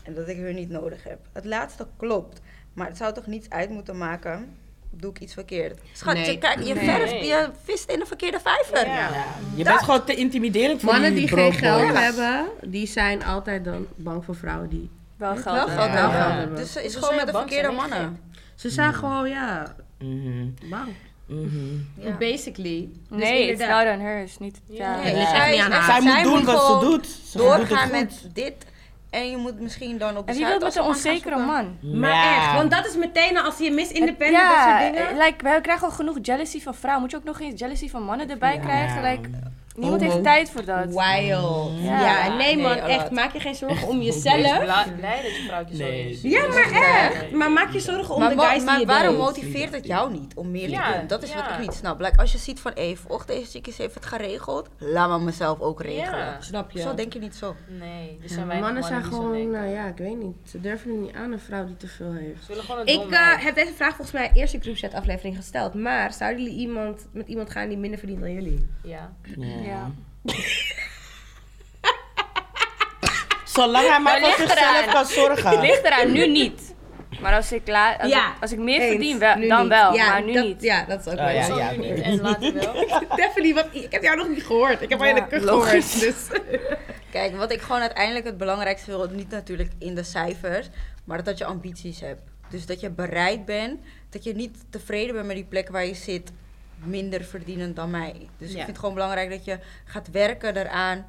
Speaker 4: En dat ik hun niet nodig heb. Het laatste klopt. Maar het zou toch niets uit moeten maken? Doe ik iets verkeerd? Schat,
Speaker 1: Nee.
Speaker 4: je, kijk, je, verft, je vist in de verkeerde vijver.
Speaker 3: Ja. Je bent gewoon te intimiderend voor
Speaker 10: Mannen die geen
Speaker 3: broodboy.
Speaker 10: geld hebben, die zijn altijd dan bang voor vrouwen die...
Speaker 2: Wel
Speaker 4: Wel
Speaker 2: geld.
Speaker 4: geld
Speaker 10: wel
Speaker 4: hebben.
Speaker 10: geld hebben.
Speaker 4: Dus ze is
Speaker 5: Dus
Speaker 4: gewoon
Speaker 5: als
Speaker 4: met
Speaker 5: je
Speaker 4: de
Speaker 5: bang
Speaker 4: verkeerde
Speaker 5: bent, dan ben je
Speaker 4: mannen.
Speaker 10: Ze zijn gewoon, ja,
Speaker 3: Mhm.
Speaker 10: bang.
Speaker 3: Mhm.
Speaker 4: Ja.
Speaker 10: Basically.
Speaker 1: Dus
Speaker 2: Nee, it's not on her. Is niet ja.
Speaker 4: Nee,
Speaker 1: ligt echt
Speaker 4: zij
Speaker 1: niet
Speaker 4: is
Speaker 1: aan
Speaker 4: echt-
Speaker 1: haar.
Speaker 3: Zij moet doen wat ze
Speaker 4: gewoon
Speaker 3: doet. Ze doet het
Speaker 4: Doorgaan
Speaker 3: goed.
Speaker 4: met dit. En je moet misschien dan op de
Speaker 2: En wie wil
Speaker 4: Zuidas
Speaker 2: met een
Speaker 4: een man gaan
Speaker 2: onzekere
Speaker 4: zoeken.
Speaker 2: man?
Speaker 10: nou-
Speaker 1: Maar
Speaker 3: Ja.
Speaker 1: echt, want dat is meteen al als je mis independent dat
Speaker 2: ja, eh,
Speaker 1: soort dingen.
Speaker 2: like, wij krijgen al genoeg jealousy van vrouwen. Moet je ook nog eens jealousy van mannen erbij krijgen? Like, niemand
Speaker 3: Homo.
Speaker 2: heeft tijd voor dat.
Speaker 1: Wild.
Speaker 2: Ja.
Speaker 1: Ja, nee man,
Speaker 4: Nee,
Speaker 1: echt.
Speaker 4: alright.
Speaker 1: Maak je geen zorgen om
Speaker 5: Wees
Speaker 1: jezelf.
Speaker 5: bla- blij dat je vrouwtje zo
Speaker 3: Nee.
Speaker 5: is.
Speaker 1: Ja, maar echt. Maar maak je zorgen om
Speaker 4: maar
Speaker 1: de
Speaker 4: wa-
Speaker 1: guys die
Speaker 4: maar
Speaker 1: je
Speaker 4: waarom
Speaker 1: date.
Speaker 4: motiveert het jou niet om meer
Speaker 5: Ja,
Speaker 4: te doen? Dat is wat
Speaker 5: ja.
Speaker 4: ik niet snap. Like, als je ziet van, hé, och, deze chickies heeft het geregeld. Laat maar mezelf ook regelen.
Speaker 5: Ja.
Speaker 1: Snap je?
Speaker 4: Zo denk je niet zo.
Speaker 5: Nee, er
Speaker 10: Ja,
Speaker 5: zijn weinig
Speaker 10: mannen zijn
Speaker 5: die zo
Speaker 10: gewoon,
Speaker 1: eh,
Speaker 5: denken.
Speaker 10: nou ja, ik weet niet. Ze durven het niet aan een vrouw die te veel heeft.
Speaker 5: Ze willen gewoon een
Speaker 1: Ik
Speaker 5: dom
Speaker 1: eh,
Speaker 5: meid.
Speaker 1: heb deze vraag volgens mij eerst in de groupchat aflevering gesteld. Maar zouden jullie iemand, met iemand gaan die minder verdient dan jullie?
Speaker 4: eh,
Speaker 5: Ja.
Speaker 2: Ja.
Speaker 3: Zolang hij maar
Speaker 2: Maar
Speaker 3: voor
Speaker 2: ligt
Speaker 3: zichzelf
Speaker 2: eraan.
Speaker 3: kan zorgen.
Speaker 2: Ligt eraan, nu niet. Maar als ik, la- als
Speaker 1: Ja.
Speaker 2: ik, als ik meer
Speaker 1: Eens.
Speaker 2: verdien, wel-
Speaker 1: Nu
Speaker 2: dan
Speaker 1: niet.
Speaker 2: wel.
Speaker 1: Ja,
Speaker 2: maar nu
Speaker 1: dat-
Speaker 2: niet.
Speaker 1: Ja, dat is ook wel.
Speaker 3: Oh, ja,
Speaker 5: Zo
Speaker 3: ja.
Speaker 5: nu niet en later wel.
Speaker 1: Stephanie, wat, ik heb jou nog niet gehoord. Ik heb alleen de kuch gehoord. Dus.
Speaker 4: Kijk, wat ik gewoon uiteindelijk het belangrijkste wil, niet natuurlijk in de cijfers, maar dat je ambities hebt. Dus dat je bereid bent, dat je niet tevreden bent met die plek waar je zit, minder verdienend dan mij. Dus ik vind het gewoon belangrijk dat je gaat werken eraan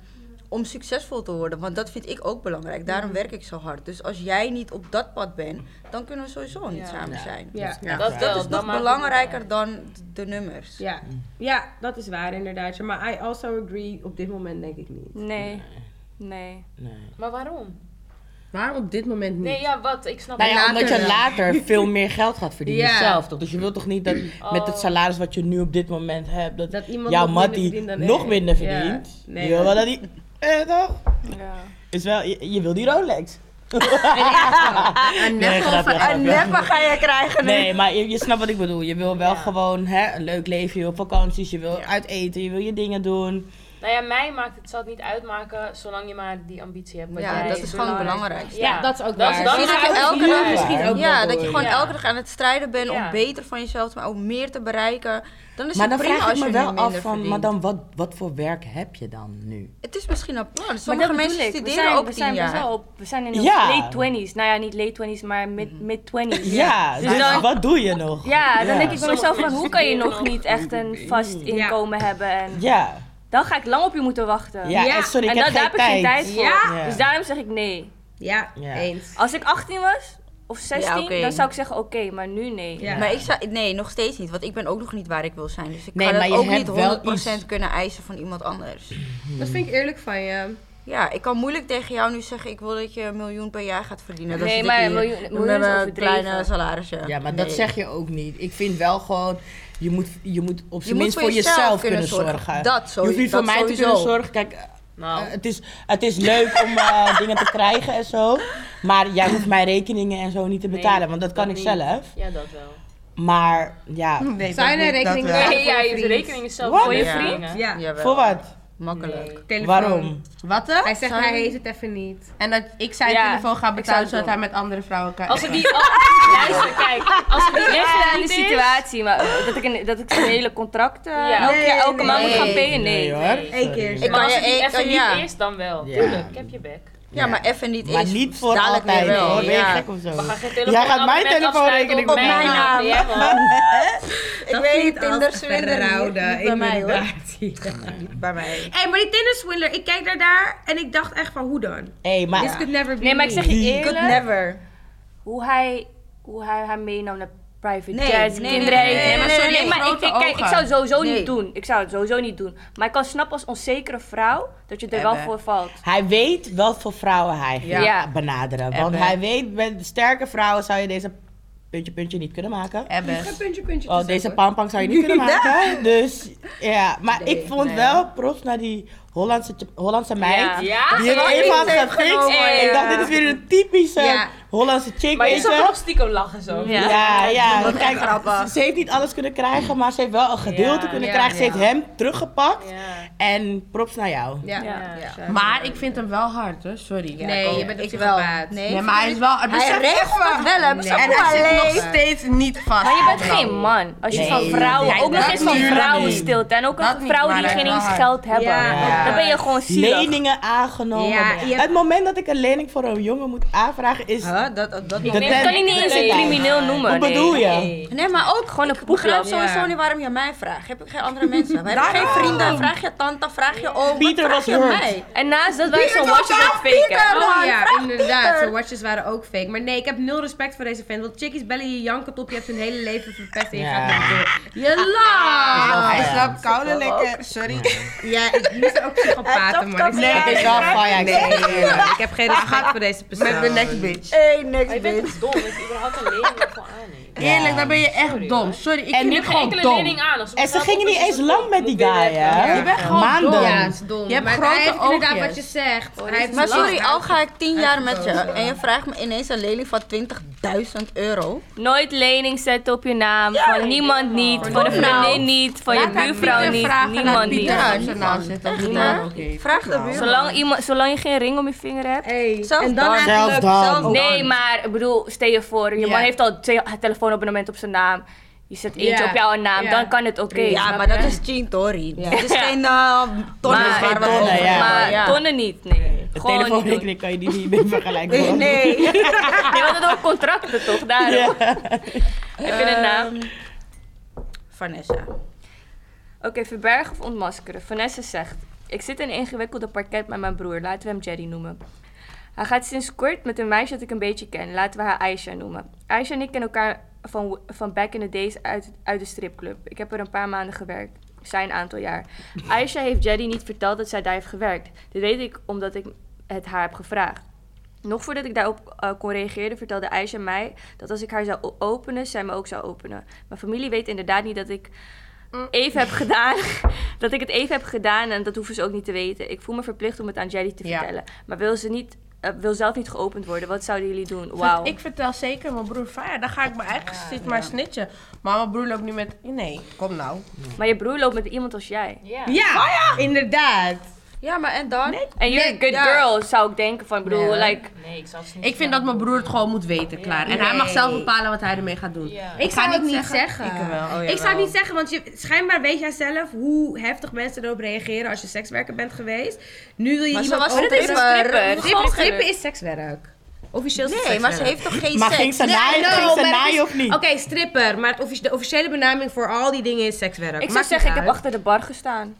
Speaker 4: om succesvol te worden, want dat vind ik ook belangrijk. Daarom
Speaker 1: Mhm.
Speaker 4: werk ik zo hard. Dus als jij niet op dat pad bent, dan kunnen we sowieso niet
Speaker 5: Ja.
Speaker 4: samen zijn.
Speaker 1: Ja.
Speaker 3: Ja.
Speaker 5: Dat, wel,
Speaker 4: Dat is nog
Speaker 5: dat maakt het
Speaker 4: belangrijker dan de nummers.
Speaker 1: Ja. ja, dat is waar inderdaad. Maar I also agree, op dit moment denk ik niet.
Speaker 2: Nee. Nee.
Speaker 5: uit. Maar waarom?
Speaker 10: Waarom op dit moment niet?
Speaker 5: Nee, ja, wat? Ik snap
Speaker 3: Nou ja,
Speaker 5: het.
Speaker 3: omdat je later veel meer geld gaat verdienen
Speaker 1: Ja.
Speaker 3: zelf, toch? Dus je wilt toch niet dat met het salaris wat je nu op dit moment hebt, dat,
Speaker 1: Dat iemand
Speaker 3: jouw
Speaker 1: nog minder
Speaker 3: mattie
Speaker 1: verdient dan
Speaker 3: nog
Speaker 1: ik.
Speaker 3: minder
Speaker 1: Ja.
Speaker 3: verdient.
Speaker 1: Nee,
Speaker 3: je wil wel
Speaker 1: man.
Speaker 3: dat die... Eh, toch?
Speaker 2: Ja.
Speaker 3: Is wel, je, je wil die Rolex.
Speaker 10: Een
Speaker 3: Nee,
Speaker 10: neppe
Speaker 3: grapje,
Speaker 10: of
Speaker 3: grapje.
Speaker 10: een
Speaker 4: ga je krijgen
Speaker 3: Nee, maar je, je snapt wat ik bedoel. Je wil wel gewoon hè, een leuk leven, je wil op vakanties, je wil uit eten, je wil je dingen doen.
Speaker 5: Nou ja, mij maakt het, zal het niet uitmaken zolang je maar die ambitie hebt. wat
Speaker 4: Ja,
Speaker 5: jij-
Speaker 4: dat is gewoon het belangrijkste.
Speaker 5: Ja,
Speaker 1: dat is ook
Speaker 5: dat
Speaker 1: waar.
Speaker 5: is- dat
Speaker 4: Misschien
Speaker 5: is
Speaker 4: dat je nou
Speaker 5: ook
Speaker 4: elke
Speaker 5: waar.
Speaker 4: dag
Speaker 3: misschien ook
Speaker 4: Ja,
Speaker 3: wel
Speaker 4: dat je gewoon
Speaker 5: Ja.
Speaker 4: elke dag aan het strijden bent
Speaker 5: Ja.
Speaker 4: om beter van jezelf te maken, om meer te bereiken. Dan is
Speaker 3: Maar
Speaker 4: het
Speaker 3: dan
Speaker 4: prima
Speaker 3: vraag
Speaker 4: als
Speaker 3: ik
Speaker 4: je
Speaker 3: me
Speaker 4: nu
Speaker 3: wel
Speaker 4: minder
Speaker 3: af van,
Speaker 4: verdient.
Speaker 3: maar dan wat, wat voor werk heb je dan nu?
Speaker 4: Het is misschien een plan.
Speaker 2: Maar
Speaker 4: Sommige
Speaker 2: dat
Speaker 4: mensen
Speaker 2: bedoel ik. We
Speaker 4: studeren
Speaker 2: zijn,
Speaker 4: ook
Speaker 2: we
Speaker 4: tien
Speaker 2: zijn best
Speaker 4: jaar.
Speaker 2: wel op. We zijn in onze
Speaker 3: Ja.
Speaker 2: late twenties. Nou ja, niet late twenties, maar mid, mid twenties.
Speaker 3: Ja, dus
Speaker 2: dan-
Speaker 3: wat doe je nog?
Speaker 2: Ja, dan denk ik bij
Speaker 5: Sommige
Speaker 2: mezelf van
Speaker 5: mensen
Speaker 2: hoe kan je
Speaker 5: studeren
Speaker 2: nog
Speaker 5: nog.
Speaker 2: niet echt een vast inkomen hebben en
Speaker 3: Ja,
Speaker 2: dan ga ik lang op je moeten wachten.
Speaker 3: ja,
Speaker 1: Ja,
Speaker 3: en sorry, ik
Speaker 2: en
Speaker 3: heb
Speaker 2: dat, daar
Speaker 3: geen
Speaker 2: heb ik geen tijd voor.
Speaker 3: Ja.
Speaker 2: Dus daarom zeg ik nee.
Speaker 1: Ja,
Speaker 3: Ja.
Speaker 1: eens.
Speaker 2: Als ik 18 was of 16,
Speaker 4: Ja, oké.
Speaker 2: dan zou ik zeggen oké, maar nu nee.
Speaker 1: Ja.
Speaker 4: Maar ik zou, nee, nog steeds niet. Want ik ben ook nog niet waar ik wil zijn. Dus ik
Speaker 3: Nee,
Speaker 4: kan
Speaker 3: maar
Speaker 4: dat
Speaker 3: je
Speaker 4: ook
Speaker 3: hebt
Speaker 4: niet
Speaker 3: wel
Speaker 4: 100%
Speaker 3: iets.
Speaker 4: kunnen eisen van iemand anders.
Speaker 1: Dat vind ik eerlijk van je.
Speaker 4: Ja, ik kan moeilijk tegen jou nu zeggen, ik wil dat je een miljoen per jaar gaat verdienen. Dat
Speaker 2: Nee,
Speaker 4: zit ik
Speaker 2: maar
Speaker 4: hier
Speaker 2: een miljoen- een
Speaker 4: met
Speaker 2: miljoen is
Speaker 4: een
Speaker 2: overdreven.
Speaker 4: kleine salarisje.
Speaker 3: Ja, maar dat
Speaker 4: Nee.
Speaker 3: zeg je ook niet. Ik vind wel gewoon, je moet, je moet op
Speaker 4: Je
Speaker 3: zijn
Speaker 4: moet
Speaker 3: minst
Speaker 4: voor
Speaker 3: voor
Speaker 4: jezelf
Speaker 3: jezelf,
Speaker 4: kunnen
Speaker 3: kunnen,
Speaker 4: zorgen.
Speaker 3: zorgen.
Speaker 4: Dat zo-
Speaker 3: je hoeft niet
Speaker 4: dat
Speaker 3: voor mij te
Speaker 4: sowieso.
Speaker 3: kunnen zorgen. Kijk, eh, eh, het, is, het is leuk om eh, dingen te krijgen en zo. Maar jij hoeft mijn rekeningen en zo niet te betalen, want dat kan ik
Speaker 5: niet.
Speaker 3: zelf.
Speaker 5: Ja, dat wel.
Speaker 3: Maar ja,
Speaker 1: Zou je een rekening betalen
Speaker 5: Nee, ja,
Speaker 1: voor
Speaker 5: je
Speaker 1: een
Speaker 5: de
Speaker 1: vriend?
Speaker 5: rekening is zelf
Speaker 3: Wat?
Speaker 5: voor je
Speaker 4: Ja.
Speaker 5: vriend. Ja.
Speaker 1: Ja,
Speaker 4: Jawel.
Speaker 3: voor wat?
Speaker 4: Makkelijk.
Speaker 1: telefoon.
Speaker 3: Waarom?
Speaker 10: Wat dan?
Speaker 1: Hij zegt hij heeft het even niet.
Speaker 10: En dat ik zijn
Speaker 2: Ja,
Speaker 10: telefoon ga
Speaker 2: ik zou
Speaker 10: betalen
Speaker 2: het
Speaker 10: zodat
Speaker 2: doen.
Speaker 10: hij met andere vrouwen kan.
Speaker 5: Als het die... Al, luister, kijk. Als het die
Speaker 2: Even aan de
Speaker 5: echt niet is...
Speaker 2: situatie, maar eh, dat ik een, dat ik een hele contract eh,
Speaker 5: Ja.
Speaker 2: elke,
Speaker 1: Nee,
Speaker 2: keer- elke maand moet
Speaker 4: nee.
Speaker 2: gaan payen, nee.
Speaker 3: hoor.
Speaker 1: Eén keer.
Speaker 4: Ik
Speaker 5: Maar
Speaker 4: kan
Speaker 5: als
Speaker 4: je
Speaker 5: het die
Speaker 4: één-
Speaker 5: even
Speaker 4: ja.
Speaker 5: niet is, dan wel.
Speaker 3: Ja.
Speaker 5: Tuurlijk, ik heb je bek.
Speaker 4: Ja, maar even niet
Speaker 3: Maar
Speaker 4: eens.
Speaker 3: niet voor
Speaker 4: dadelijk weer
Speaker 3: altijd
Speaker 4: wel,
Speaker 3: hoor. Ben je
Speaker 4: ja.
Speaker 3: gek of zo?
Speaker 5: We gaan geen
Speaker 3: Jij gaat mijn
Speaker 5: abonnement
Speaker 3: telefoonrekening
Speaker 5: afsluiten op
Speaker 4: betalen.
Speaker 5: mijn naam. Ja, man.
Speaker 4: Ik weet niet, Tinder swindler niet,
Speaker 1: verrouwde,
Speaker 4: niet bij mij hoor.
Speaker 1: inderdaad. Ja.
Speaker 8: Bij mij.
Speaker 1: Hé, maar die Tinder swindler, ik kijk naar daar en ik dacht echt van hoe dan?
Speaker 3: hey, maar...
Speaker 1: This could never be
Speaker 5: Nee, maar ik zeg je
Speaker 3: Die-
Speaker 5: eerlijk.
Speaker 4: Could never.
Speaker 2: Hoe hij, hoe hij haar meenam naar private
Speaker 4: Nee,
Speaker 2: jets,
Speaker 4: nee,
Speaker 2: kinderen
Speaker 4: nee, nee,
Speaker 2: eten.
Speaker 4: nee,
Speaker 2: maar
Speaker 4: nee,
Speaker 2: sorry,
Speaker 4: nee,
Speaker 2: maar ik,
Speaker 10: grote
Speaker 2: ik, kijk, ik zou het sowieso
Speaker 4: Nee.
Speaker 2: niet doen. Ik zou het sowieso niet doen. Maar ik kan snappen als onzekere vrouw dat je er wel
Speaker 10: Ebbe.
Speaker 2: voor valt.
Speaker 3: Hij weet wat voor vrouwen hij gaat
Speaker 2: Ja.
Speaker 3: benaderen. Want
Speaker 10: Ebbe.
Speaker 3: hij weet, met sterke vrouwen zou je deze puntje puntje niet kunnen maken.
Speaker 10: Ebbes.
Speaker 1: puntje, puntje
Speaker 3: Oh, deze pampang zou je niet kunnen maken. Dus ja, maar ik vond
Speaker 10: nee.
Speaker 3: wel props naar die Hollandse, Hollandse meid.
Speaker 2: Ja.
Speaker 5: Ja,
Speaker 3: Die het
Speaker 5: maar-
Speaker 3: helemaal
Speaker 4: heeft
Speaker 3: gefixt.
Speaker 4: genomen,
Speaker 3: Ik dacht, dit is weer een typische
Speaker 1: Ja.
Speaker 3: Hollandse chick,
Speaker 5: Maar je
Speaker 3: weet
Speaker 5: zag er
Speaker 3: je.
Speaker 5: nog stiekem lachen zo.
Speaker 2: Ja.
Speaker 3: Ja, ja.
Speaker 4: vond ik echt
Speaker 3: Kijk,
Speaker 4: grappig.
Speaker 3: ze- ze heeft niet alles kunnen krijgen, maar ze heeft wel een gedeelte
Speaker 5: Ja,
Speaker 3: kunnen
Speaker 1: ja,
Speaker 3: krijgen. Ze
Speaker 1: ja.
Speaker 3: heeft hem teruggepakt.
Speaker 5: Ja.
Speaker 3: En props naar jou.
Speaker 1: Ja.
Speaker 5: Ja.
Speaker 1: ja.
Speaker 10: Maar ik vind hem wel hard, hè? Sorry.
Speaker 1: Nee, je bent op
Speaker 4: Oh, Ik
Speaker 1: zich
Speaker 4: wel.
Speaker 1: gebaat.
Speaker 4: Nee,
Speaker 10: Nee, maar hij is wel.
Speaker 4: Hij
Speaker 10: besef-
Speaker 4: recht wat wel hem.
Speaker 1: Nee.
Speaker 4: Ze
Speaker 10: En
Speaker 4: voelen
Speaker 10: hij zit
Speaker 4: alleen.
Speaker 10: nog steeds niet vast.
Speaker 2: Maar je bent geen man. Als je
Speaker 3: Nee,
Speaker 2: van vrouwen,
Speaker 10: nee,
Speaker 2: ook nog
Speaker 10: dat
Speaker 2: eens van
Speaker 10: niet.
Speaker 2: vrouwen stilt. En ook
Speaker 10: Dat
Speaker 2: een
Speaker 10: niet,
Speaker 2: vrouwen die
Speaker 10: maar
Speaker 2: geen
Speaker 10: dat
Speaker 2: eens
Speaker 10: is wel
Speaker 2: geld hebben.
Speaker 1: Ja.
Speaker 2: Dan ben je gewoon zielig.
Speaker 3: Leningen aangenomen.
Speaker 1: Ja, je hebt-
Speaker 3: Het moment dat ik een lening voor een jongen moet aanvragen is...
Speaker 4: Huh? Dat, dat, dat
Speaker 3: De
Speaker 2: Nee, dat kan ik
Speaker 3: tent-
Speaker 2: niet eens
Speaker 3: de
Speaker 2: een
Speaker 3: tent.
Speaker 2: crimineel noemen.
Speaker 3: Wat
Speaker 2: nee.
Speaker 3: bedoel je?
Speaker 4: Nee, maar ook gewoon
Speaker 2: een
Speaker 4: Ik begrijp
Speaker 2: poeplap.
Speaker 4: sowieso
Speaker 1: Ja.
Speaker 4: niet waarom je mij vraagt. Heb ik geen andere mensen? Heb ik geen vrienden? Vraag je tante, vraag je oom.
Speaker 3: Pieter
Speaker 4: vraag
Speaker 3: was
Speaker 4: je
Speaker 3: hurt.
Speaker 4: mij?
Speaker 2: En naast Dus dat wij
Speaker 4: Pieter
Speaker 2: zo'n
Speaker 4: was
Speaker 2: watje
Speaker 4: wel
Speaker 2: faken.
Speaker 4: Pieter!
Speaker 1: Oh
Speaker 4: man,
Speaker 1: ja,
Speaker 4: vraag
Speaker 1: inderdaad.
Speaker 4: Pieter.
Speaker 1: Zijn watches waren ook fake. Maar nee, ik heb nul respect voor deze fan. Want chickies bellen je janken op. Je hebt hun hele leven verpest en je
Speaker 3: Ja.
Speaker 1: gaat dan door. Je
Speaker 3: Ah,
Speaker 1: lacht!
Speaker 10: Hij slaapt koude lekker. Sorry.
Speaker 1: Ja, ik moest ook
Speaker 4: Eh,
Speaker 1: psychopaten, man. Ik
Speaker 3: Nee,
Speaker 1: zeg
Speaker 3: ik
Speaker 1: het
Speaker 3: dacht van, ja, ik
Speaker 1: Nee, ik heb geen respect voor deze
Speaker 10: Met mijn
Speaker 1: persoon.
Speaker 10: next bitch.
Speaker 4: Hey, niks
Speaker 5: Je
Speaker 4: bitch.
Speaker 5: bent dom, dat je überhaupt een lening ervan aanneemt.
Speaker 10: Eerlijk, dan ben je echt dom. Sorry, ik
Speaker 3: En
Speaker 10: vind
Speaker 3: niet
Speaker 10: het
Speaker 5: Ik
Speaker 10: gewoon
Speaker 5: enkele
Speaker 10: dom.
Speaker 5: lening aan. als we
Speaker 3: En ze
Speaker 5: geld
Speaker 3: gingen
Speaker 5: op
Speaker 3: niet
Speaker 5: is,
Speaker 3: eens
Speaker 5: is het
Speaker 3: lang
Speaker 5: dom.
Speaker 3: met die
Speaker 5: Moet weer
Speaker 3: guy,
Speaker 5: weg,
Speaker 3: hè?
Speaker 5: ja.
Speaker 10: Je bent gewoon
Speaker 3: Maanden.
Speaker 10: dom.
Speaker 1: Ja, het is dom.
Speaker 10: Je hebt
Speaker 1: maar
Speaker 10: grote
Speaker 1: hij heeft inderdaad
Speaker 10: oogjes. Oh,
Speaker 1: wat je zegt. hij heeft
Speaker 4: Maar sorry,
Speaker 1: last.
Speaker 4: al ga ik 10 jaar met je
Speaker 1: uitgekozen.
Speaker 4: en je vraagt me ineens een lening van 20.000 euro.
Speaker 2: Nooit lening zetten op je naam. van niemand niet. Van een
Speaker 4: Doe nou.
Speaker 2: vriendin niet. Van je buurvrouw niet. Niemand niet.
Speaker 10: Pieter uit zijn naam zit.
Speaker 4: Echt, hè?
Speaker 10: Niemand oké.
Speaker 4: Vraag de buurman.
Speaker 2: Zolang, iemand, zolang je geen ring om je vinger hebt.
Speaker 1: Hey,
Speaker 4: Zelfs
Speaker 1: en dan
Speaker 4: dan.
Speaker 1: eigenlijk-
Speaker 3: Zelfs dan.
Speaker 4: zelfs-
Speaker 2: Nee, maar ik bedoel, stel je voor. Je
Speaker 10: Ja.
Speaker 2: man heeft al twee telefoonabonnement op zijn naam. Je zet eentje
Speaker 1: Ja.
Speaker 2: op jouw naam.
Speaker 1: Ja.
Speaker 2: Dan kan het oké.
Speaker 4: Ja,
Speaker 2: snap
Speaker 4: maar
Speaker 2: je?
Speaker 4: dat is Chintori. Het is geen eh, tonnen
Speaker 2: Maar-
Speaker 4: waar we
Speaker 3: Tonnen,
Speaker 4: over
Speaker 3: ja.
Speaker 2: Maar
Speaker 4: ja.
Speaker 2: tonnen niet, nee.
Speaker 3: De
Speaker 2: Gewoon niet doen.
Speaker 3: telefoonrekening kan je die niet meer vergelijken.
Speaker 4: Nee,
Speaker 3: hoor.
Speaker 4: nee.
Speaker 2: Nee, want het ook contracten toch? Daar.
Speaker 3: Ja.
Speaker 2: Heb je een naam?
Speaker 4: Ehm, Vanessa.
Speaker 2: Oké, verbergen of ontmaskeren. Vanessa zegt: Ik zit in een ingewikkelde parket met mijn broer. Laten we hem Jerry noemen. Hij gaat sinds kort met een meisje dat ik een beetje ken. Laten we haar Aisha noemen. Aisha en ik kennen elkaar van, van back in the days uit, uit de stripclub. Ik heb er een paar maanden gewerkt. Zij een aantal jaar. Aisha heeft Jerry niet verteld dat zij daar heeft gewerkt. Dit weet ik omdat ik het haar heb gevraagd. Nog voordat ik daarop eh, kon reageren, vertelde Aisha mij dat als ik haar zou o- openen, zij me ook zou openen. Mijn familie weet inderdaad niet dat ik even heb gedaan. dat ik het even heb gedaan en dat hoeven ze ook niet te weten. Ik voel me verplicht om het aan Jerry te
Speaker 10: Ja.
Speaker 2: vertellen. Maar wil ze niet, eh, wil zelf niet geopend worden. Wat zouden jullie doen? Wauw.
Speaker 10: Wow. Ik vertel zeker mijn broer van ja, dan ga ik mijn eigen zit maar snitchen. Maar mijn broer loopt nu met nee, kom nou.
Speaker 2: Maar je broer loopt met iemand als jij.
Speaker 5: Ja.
Speaker 1: Ja, inderdaad.
Speaker 4: Ja, maar en dan?
Speaker 2: En you're a good
Speaker 4: ja.
Speaker 2: girl, zou ik denken van, ik bedoel,
Speaker 10: Nee.
Speaker 2: like...
Speaker 5: Nee, ik zou het niet
Speaker 10: Ik vind dat mijn broer het gewoon moet weten, klaar. En hij mag zelf bepalen wat hij ermee gaat doen.
Speaker 5: Ja.
Speaker 1: Ik zou het niet zeggen.
Speaker 10: Ik wel.
Speaker 1: ik zou het niet zeggen, want je, schijnbaar weet jij zelf hoe heftig mensen erop reageren als je sekswerker bent geweest. Nu wil je
Speaker 4: Maar ze
Speaker 1: iemand
Speaker 4: was
Speaker 1: openen.
Speaker 4: stripper.
Speaker 1: Strippen-
Speaker 2: Gewoon
Speaker 1: Strippen
Speaker 2: strippen.
Speaker 1: is sekswerk. Officieel is het
Speaker 4: Nee, maar ze
Speaker 1: sekswerk.
Speaker 4: heeft toch geen
Speaker 3: Maar
Speaker 4: seks?
Speaker 3: ging ze
Speaker 1: Nee, I
Speaker 3: naaien,
Speaker 1: know,
Speaker 3: ging ze
Speaker 1: maar het
Speaker 3: naaien
Speaker 1: is-
Speaker 3: of niet?
Speaker 1: Oké, stripper. Maar het offici- de officiële benaming voor al die dingen is sekswerk.
Speaker 2: Ik zou
Speaker 1: Maakt
Speaker 2: zeggen, ik
Speaker 1: niet
Speaker 2: heb
Speaker 1: uit.
Speaker 2: achter de bar gestaan.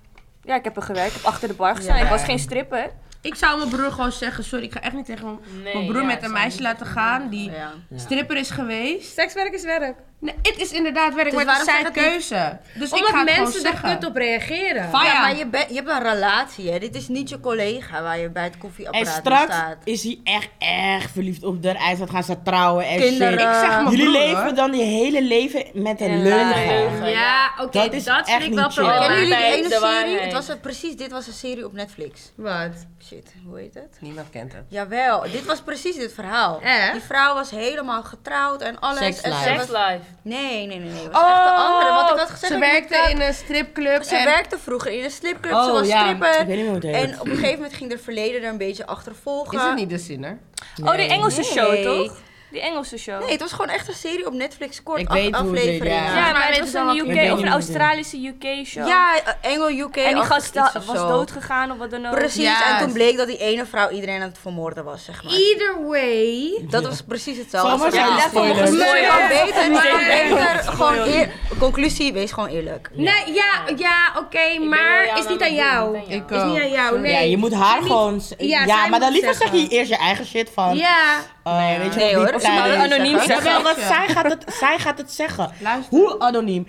Speaker 2: Ja, ik heb er gewerkt, ik heb achter de bar gestaan. Ik was geen stripper.
Speaker 10: Ik zou mijn broer gewoon zeggen, sorry, ik ga echt niet tegen mijn,
Speaker 5: Nee,
Speaker 10: mijn broer
Speaker 5: ja,
Speaker 10: met
Speaker 5: ik
Speaker 10: een
Speaker 5: zou
Speaker 10: meisje
Speaker 5: niet
Speaker 10: laten gaan die
Speaker 4: Ja.
Speaker 10: stripper is geweest.
Speaker 1: Sekswerk is werk.
Speaker 10: Nee, het is inderdaad werk,
Speaker 4: Dus
Speaker 10: maar het is zijn
Speaker 4: waarom zeg het niet?
Speaker 10: keuze. Dus ik ga
Speaker 1: Omdat
Speaker 10: het gewoon
Speaker 1: mensen er
Speaker 10: zeggen.
Speaker 1: kut op reageren.
Speaker 10: Fuck.
Speaker 4: Ja,
Speaker 10: ja.
Speaker 4: maar je, bent- je hebt een relatie, hè? Dit is niet je collega waar je bij het
Speaker 3: En
Speaker 4: koffieapparaat
Speaker 3: straks
Speaker 4: staat.
Speaker 3: is hij echt erg verliefd op haar. Hij wat gaan ze trouwen en
Speaker 4: Kinderen.
Speaker 3: shit.
Speaker 4: Ik zeg
Speaker 10: mijn
Speaker 3: Jullie
Speaker 10: broer,
Speaker 3: leven
Speaker 10: hoor.
Speaker 3: dan je hele leven met een
Speaker 2: een
Speaker 3: leugen.
Speaker 5: leugen.
Speaker 1: Ja, oké,
Speaker 3: Dat
Speaker 1: dat,
Speaker 3: is
Speaker 1: vind
Speaker 3: echt
Speaker 1: ik wel
Speaker 3: niet chill.
Speaker 4: Kennen
Speaker 1: problematisch.
Speaker 4: jullie die
Speaker 5: waarheid,
Speaker 4: ene
Speaker 5: de
Speaker 4: serie?
Speaker 5: waarheid.
Speaker 4: Het was een, precies, dit was een serie op Netflix.
Speaker 1: Wat?
Speaker 4: Shit, hoe heet het?
Speaker 10: Niemand kent het.
Speaker 4: Jawel, dit was precies dit verhaal.
Speaker 1: Echt?
Speaker 4: Die vrouw was helemaal getrouwd en alles.
Speaker 3: Eh? Sekslife. Oh,
Speaker 4: En ze
Speaker 5: Sex
Speaker 4: was-
Speaker 5: life.
Speaker 4: Nee, nee, nee, nee. Het was echt de andere. Want ik had gezegd,
Speaker 10: Ze
Speaker 4: dat ik
Speaker 10: werkte
Speaker 4: betaal-
Speaker 10: in een stripclub
Speaker 4: Ze
Speaker 10: en
Speaker 4: werkte vroeger in een slipclub, ze
Speaker 3: Oh,
Speaker 4: was
Speaker 3: ja. Ik
Speaker 4: stripper.
Speaker 3: weet niet hoe het heet.
Speaker 4: En op een gegeven moment ging er verleden er een beetje achtervolgen.
Speaker 10: is het niet de zinner?
Speaker 2: Oh, die Engelse show,
Speaker 4: Nee.
Speaker 2: toch? Die Engelse show.
Speaker 4: Nee, het was gewoon echt een serie op Netflix, kort
Speaker 3: Ik
Speaker 4: acht
Speaker 3: weet hoe het heet,
Speaker 4: afleveringen.
Speaker 2: ja,
Speaker 3: Ja,
Speaker 2: maar,
Speaker 5: maar
Speaker 2: het
Speaker 5: weten
Speaker 2: was
Speaker 5: ze
Speaker 2: een
Speaker 5: wel-
Speaker 2: UK
Speaker 3: Ik weet
Speaker 2: of
Speaker 3: niet
Speaker 2: een
Speaker 3: hoe het heet.
Speaker 2: Australische UK show.
Speaker 4: Ja, eh, Engel UK.
Speaker 2: En die
Speaker 4: achtig
Speaker 2: gast
Speaker 4: iets
Speaker 2: was
Speaker 4: of zo.
Speaker 2: doodgegaan of wat dan
Speaker 1: Oh,
Speaker 2: ook.
Speaker 4: Precies,
Speaker 1: Ja.
Speaker 4: en toen bleek dat die ene vrouw iedereen aan het vermoorden was, zeg maar.
Speaker 1: Either way.
Speaker 4: Dat was precies hetzelfde.
Speaker 3: Zal maar zijn
Speaker 4: Ja,
Speaker 3: de spoilers.
Speaker 4: volgens mij
Speaker 1: Nee.
Speaker 4: wel beter, maar dan beter gewoon eer- Conclusie, wees gewoon eerlijk.
Speaker 1: Nee, ja, ja oké, maar is niet aan
Speaker 10: Oh,
Speaker 1: jou. Is
Speaker 3: Ik
Speaker 1: niet aan jou, nee.
Speaker 3: Ja, je moet haar
Speaker 1: Zij
Speaker 3: gewoon...
Speaker 1: ja,
Speaker 3: Ja,
Speaker 1: zij
Speaker 3: maar
Speaker 1: moet
Speaker 3: dan liever zeg
Speaker 1: zeggen.
Speaker 3: je eerst je eigen shit van...
Speaker 1: niet- Ja.
Speaker 3: eh, weet je,
Speaker 4: Nee
Speaker 3: wat,
Speaker 4: hoor,
Speaker 3: niet
Speaker 4: of ze
Speaker 3: kleine
Speaker 4: zouden
Speaker 3: is.
Speaker 4: anoniem
Speaker 3: Zeg
Speaker 4: zeggen.
Speaker 3: wel, want zij gaat het, zij gaat het zeggen.
Speaker 10: Luister.
Speaker 3: Hoe anoniem?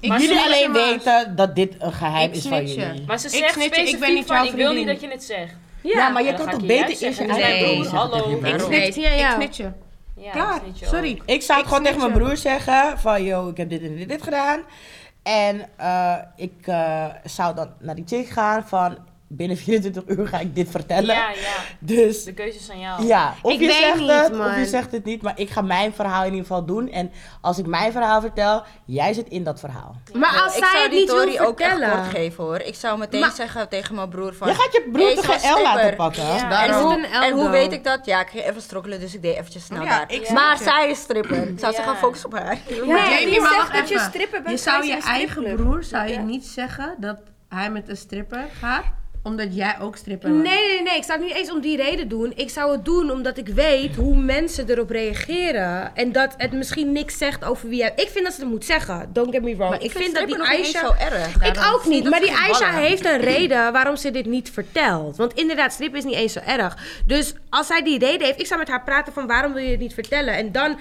Speaker 3: jullie
Speaker 10: snitchen
Speaker 3: alleen
Speaker 10: maar.
Speaker 3: weten dat dit een geheim
Speaker 10: Ik
Speaker 3: is van
Speaker 10: snitch je.
Speaker 3: jullie.
Speaker 5: Maar ze
Speaker 10: Ik
Speaker 5: zegt
Speaker 10: snitch je, ik ben
Speaker 5: specifiek
Speaker 10: niet jouw
Speaker 5: van, ik wil niet
Speaker 10: vriendin.
Speaker 5: dat je het zegt.
Speaker 3: Ja, maar je
Speaker 5: dan
Speaker 3: kan
Speaker 5: ga ik
Speaker 3: toch
Speaker 5: je
Speaker 3: beter
Speaker 5: juist
Speaker 3: eerst je
Speaker 5: zeggen,
Speaker 3: eigen
Speaker 5: nee,
Speaker 3: broer zeggen
Speaker 5: hallo.
Speaker 3: tegen je
Speaker 5: Ik
Speaker 3: broer.
Speaker 1: Nee, het is niet aan
Speaker 10: Ik
Speaker 1: jou.
Speaker 10: snit je.
Speaker 5: Ja,
Speaker 10: Klaar.
Speaker 5: snitch je ook.
Speaker 10: Sorry.
Speaker 3: Ik zou het
Speaker 10: Ik
Speaker 3: gewoon tegen
Speaker 10: snitch
Speaker 3: mijn
Speaker 10: je.
Speaker 3: broer zeggen van, yo, ik heb dit en dit, en dit gedaan. En eh, ik eh, zou dan naar die chick gaan van, binnen 24 uur ga ik dit vertellen.
Speaker 5: Ja, ja.
Speaker 3: Dus
Speaker 5: De keuze is aan jou.
Speaker 3: Ja,
Speaker 1: Oh.
Speaker 3: of
Speaker 1: Ik
Speaker 3: je
Speaker 1: weet
Speaker 3: zegt
Speaker 1: niet,
Speaker 3: het, of
Speaker 1: man.
Speaker 3: je zegt het niet, maar ik ga mijn verhaal in ieder geval doen. En als ik mijn verhaal vertel, jij zit in dat verhaal.
Speaker 1: Maar als
Speaker 4: ik
Speaker 1: zij
Speaker 4: zou
Speaker 1: het
Speaker 4: die
Speaker 1: niet wil
Speaker 4: Tory ook echt kort
Speaker 1: vertellen.
Speaker 4: geven hoor. Ik zou meteen
Speaker 1: Maar-
Speaker 4: zeggen tegen mijn broer van...
Speaker 3: Je gaat je
Speaker 4: "Hey,
Speaker 3: broer
Speaker 4: ze
Speaker 3: toch
Speaker 4: was
Speaker 3: een L laten
Speaker 4: stipper."
Speaker 3: pakken?
Speaker 4: En
Speaker 1: Er
Speaker 4: hoe,
Speaker 1: zit een
Speaker 4: en hoe
Speaker 1: elbow.
Speaker 4: weet ik dat? Ja, ik ging even strokkelen, dus ik deed eventjes snel
Speaker 10: Ja,
Speaker 4: daar.
Speaker 10: ik snap
Speaker 4: Maar
Speaker 10: je.
Speaker 4: zij is stripper. Ik zou ze
Speaker 5: Ja.
Speaker 4: gaan focussen op haar.
Speaker 10: Jamie,
Speaker 2: die
Speaker 10: maar
Speaker 2: zegt
Speaker 10: wacht
Speaker 2: dat je
Speaker 10: even.
Speaker 2: stripper bent,
Speaker 10: Je
Speaker 2: ga
Speaker 10: zou
Speaker 2: je in
Speaker 10: je
Speaker 2: een
Speaker 10: eigen
Speaker 2: stripclub.
Speaker 10: broer zou je
Speaker 2: Ja.
Speaker 10: niet zeggen dat hij met een stripper gaat, omdat jij ook stripper
Speaker 1: Nee,
Speaker 10: bent.
Speaker 1: nee, nee. Ik zou het niet eens om die reden doen. Ik zou het doen omdat ik weet hoe mensen erop reageren. En dat het misschien niks zegt over wie jij... Ik vind dat ze het moet zeggen. Don't get me wrong. Ik, vind, dat die
Speaker 4: stripper nog niet eens
Speaker 1: Aisha...
Speaker 4: zo erg.
Speaker 1: Ik ook niet, maar die Aisha heeft een reden waarom ze dit niet vertelt. Want inderdaad, strip is niet eens zo erg. Dus als zij die reden heeft, ik zou met haar praten van waarom wil je het niet vertellen? En dan...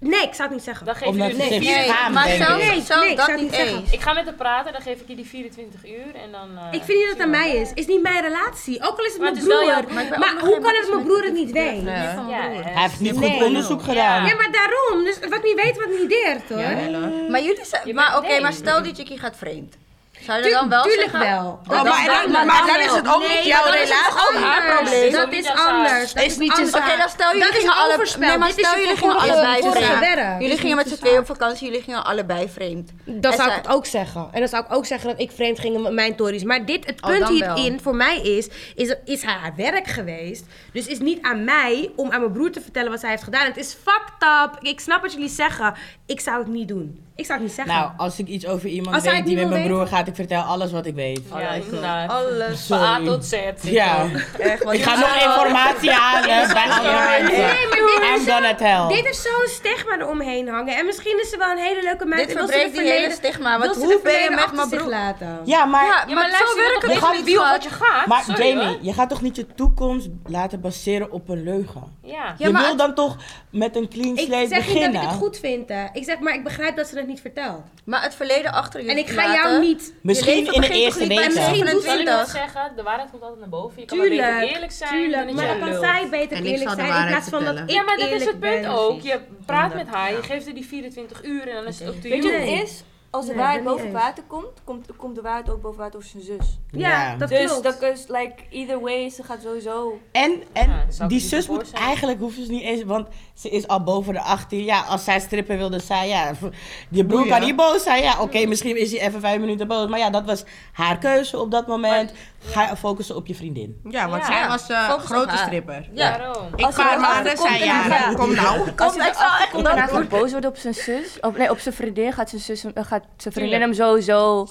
Speaker 1: Nee, ik zou het niet zeggen.
Speaker 5: Dan geef
Speaker 3: Omdat
Speaker 5: je
Speaker 3: ze
Speaker 5: die
Speaker 3: zich
Speaker 5: vier...
Speaker 3: schaamt,
Speaker 4: maar
Speaker 3: denk
Speaker 4: zelfs,
Speaker 3: ik.
Speaker 1: Nee,
Speaker 4: zelfs
Speaker 1: nee, ik
Speaker 4: dat
Speaker 1: zou het
Speaker 4: niet
Speaker 1: niet zeggen.
Speaker 4: eens.
Speaker 5: Ik ga met haar praten, dan geef ik je die 24 uur en dan... eh,
Speaker 1: Ik vind niet dat het aan mij is. Is niet mijn relatie. Ook al is het
Speaker 5: Maar
Speaker 1: mijn
Speaker 5: het is wel
Speaker 1: broer.
Speaker 5: jouw
Speaker 1: Maar, hoe kan het mijn broer het niet weten?
Speaker 10: Ja.
Speaker 5: Ja, ja.
Speaker 3: Hij heeft niet
Speaker 1: Nee.
Speaker 3: goed onderzoek gedaan.
Speaker 1: Ja, maar daarom. Dus wat niet weet, wat niet deert hoor.
Speaker 4: Maar jullie zijn, maar oké,
Speaker 5: nee.
Speaker 4: maar stel die chickie gaat vreemd. Zou je
Speaker 1: Tu-
Speaker 4: dat dan wel
Speaker 1: tuurlijk
Speaker 4: zeggen? Oh,
Speaker 1: wel.
Speaker 4: Dat
Speaker 3: maar
Speaker 4: wel,
Speaker 3: dan- maar dan is het ook
Speaker 4: Nee,
Speaker 3: niet
Speaker 4: dan
Speaker 3: jouw
Speaker 4: is het
Speaker 3: relatie.
Speaker 4: ook haar
Speaker 1: Anders.
Speaker 4: probleem.
Speaker 1: Dat is anders. Dat is
Speaker 3: niet
Speaker 1: anders.
Speaker 4: Oké, dan stel jullie
Speaker 1: Dat is
Speaker 4: gingen alle-
Speaker 1: overspel.
Speaker 4: Nee, maar
Speaker 1: Dit is
Speaker 4: stel jullie gingen
Speaker 1: vervolgens
Speaker 4: allebei
Speaker 1: voor
Speaker 4: vreemd.
Speaker 1: verder.
Speaker 4: Jullie gingen met z'n tweeën op vakantie, jullie gingen allebei vreemd.
Speaker 1: Dan
Speaker 4: En
Speaker 1: zou ik
Speaker 4: zij-
Speaker 1: het ook zeggen. En dan zou ik ook zeggen dat ik vreemd ging met mijn tories. Maar dit, het
Speaker 4: Oh,
Speaker 1: punt
Speaker 4: dan wel.
Speaker 1: hierin voor mij is, is, is hij haar werk geweest. Dus is niet aan mij om aan mijn broer te vertellen wat zij heeft gedaan. Het is fucked up. Ik snap wat jullie zeggen. Ik zou het niet doen. Ik zou het niet zeggen.
Speaker 3: Nou, als ik iets over iemand
Speaker 1: Als hij
Speaker 3: weet
Speaker 1: het
Speaker 3: die
Speaker 1: niet
Speaker 3: met
Speaker 1: wil
Speaker 3: mijn broer gaat, ik vertel alles wat ik weet.
Speaker 5: Ja, inderdaad.
Speaker 4: Alles.
Speaker 5: Van A
Speaker 3: Sorry.
Speaker 5: tot Z.
Speaker 3: Ja,
Speaker 4: Echt, want
Speaker 3: ik ga
Speaker 4: jullie
Speaker 3: nog
Speaker 4: zijn wel-
Speaker 3: informatie halen bij andere
Speaker 1: Nee,
Speaker 3: mensen.
Speaker 1: maar dit is
Speaker 3: I'm gonna tell.
Speaker 1: Dit is zo'n stigma eromheen hangen. En misschien is ze wel een hele leuke meid.
Speaker 4: Dit
Speaker 1: en wil ze
Speaker 4: verbreekt
Speaker 1: de
Speaker 4: die hele
Speaker 1: verleden-
Speaker 4: stigma, want
Speaker 1: wil ze
Speaker 4: hoe
Speaker 1: de
Speaker 4: ben je
Speaker 1: verleden
Speaker 4: met
Speaker 1: achter
Speaker 4: mijn
Speaker 1: zich
Speaker 4: broer?
Speaker 1: laten.
Speaker 3: Ja, maar...
Speaker 4: Ja, maar zo werkt het
Speaker 3: Je
Speaker 4: toch
Speaker 3: gaat
Speaker 4: niet,
Speaker 5: wie of
Speaker 4: schat?
Speaker 5: wat je gaat.
Speaker 3: Maar
Speaker 5: Sorry,
Speaker 3: Jamie,
Speaker 5: hoor.
Speaker 3: je gaat toch niet je toekomst laten baseren op een leugen?
Speaker 5: Ja.
Speaker 4: Ja,
Speaker 3: je
Speaker 4: maar
Speaker 3: wil
Speaker 4: het-
Speaker 3: dan toch met een clean
Speaker 1: Ik
Speaker 3: slate
Speaker 1: zeg
Speaker 3: beginnen?
Speaker 1: niet dat ik het goed vind. Hè. Ik zeg maar, ik begrijp dat ze het niet vertelt.
Speaker 4: Maar het verleden achter jullie
Speaker 1: En ik ga
Speaker 4: laten-
Speaker 1: jou niet...
Speaker 4: Je
Speaker 3: Misschien
Speaker 4: leven
Speaker 3: in de
Speaker 4: begint toch
Speaker 3: eerste
Speaker 4: niet bij
Speaker 3: date.
Speaker 1: misschien
Speaker 4: een
Speaker 1: doet
Speaker 5: Zal ik wat
Speaker 4: 20.
Speaker 5: zeggen? De waarheid komt altijd naar boven. Je kan maar beter
Speaker 1: Tuurlijk,
Speaker 5: eerlijk zijn
Speaker 1: tuurlijk.
Speaker 5: dan
Speaker 1: Maar dan
Speaker 5: dat je
Speaker 1: kan
Speaker 5: lult.
Speaker 1: zij beter
Speaker 10: En ik
Speaker 1: eerlijk
Speaker 10: zal de
Speaker 1: zijn in
Speaker 10: waarheid
Speaker 1: plaats van dat ik
Speaker 10: vertellen.
Speaker 5: Ja, maar dat is het
Speaker 1: eerlijk
Speaker 5: punt
Speaker 1: ben.
Speaker 5: ook. Je praat met haar, je geeft er die 24 uur en dan is het op de
Speaker 2: Weet je wat
Speaker 5: jongen.
Speaker 2: het is? Als de
Speaker 1: Nee,
Speaker 2: waarheid
Speaker 1: ben niet
Speaker 2: boven
Speaker 1: eens.
Speaker 2: water komt, komt, komt de waarheid ook boven water over zijn zus.
Speaker 1: Ja, dat
Speaker 2: Dus
Speaker 1: klopt.
Speaker 2: dat is, like, either way, ze gaat sowieso...
Speaker 3: En, en
Speaker 5: Ja, dat zou
Speaker 3: die
Speaker 5: ik niet
Speaker 3: zus
Speaker 5: voor
Speaker 3: moet
Speaker 5: zijn.
Speaker 3: eigenlijk, hoeft ze niet eens, want ze is al boven de 18. Ja, als zij strippen wilde, zij, ja, v- die broer kan niet boos zijn. Ja, oké, misschien is hij even vijf minuten boos. Maar ja, dat was haar keuze op dat moment. Ga focussen op je vriendin.
Speaker 10: Ja, want
Speaker 5: Ja.
Speaker 10: zij was eh,
Speaker 4: Focus op
Speaker 10: grote
Speaker 4: haar.
Speaker 10: stripper.
Speaker 5: Daarom.
Speaker 10: Ik ga maar
Speaker 2: erachter
Speaker 10: zei
Speaker 2: komt, dan-
Speaker 10: ja,
Speaker 2: ja.
Speaker 10: kom nou.
Speaker 4: Kom, ik zal echt
Speaker 2: Komt daarna wordt boos worden op zijn zus. Of, nee, op zijn vriendin gaat zijn, zus, hem- eh, gaat zijn vriendin hem sowieso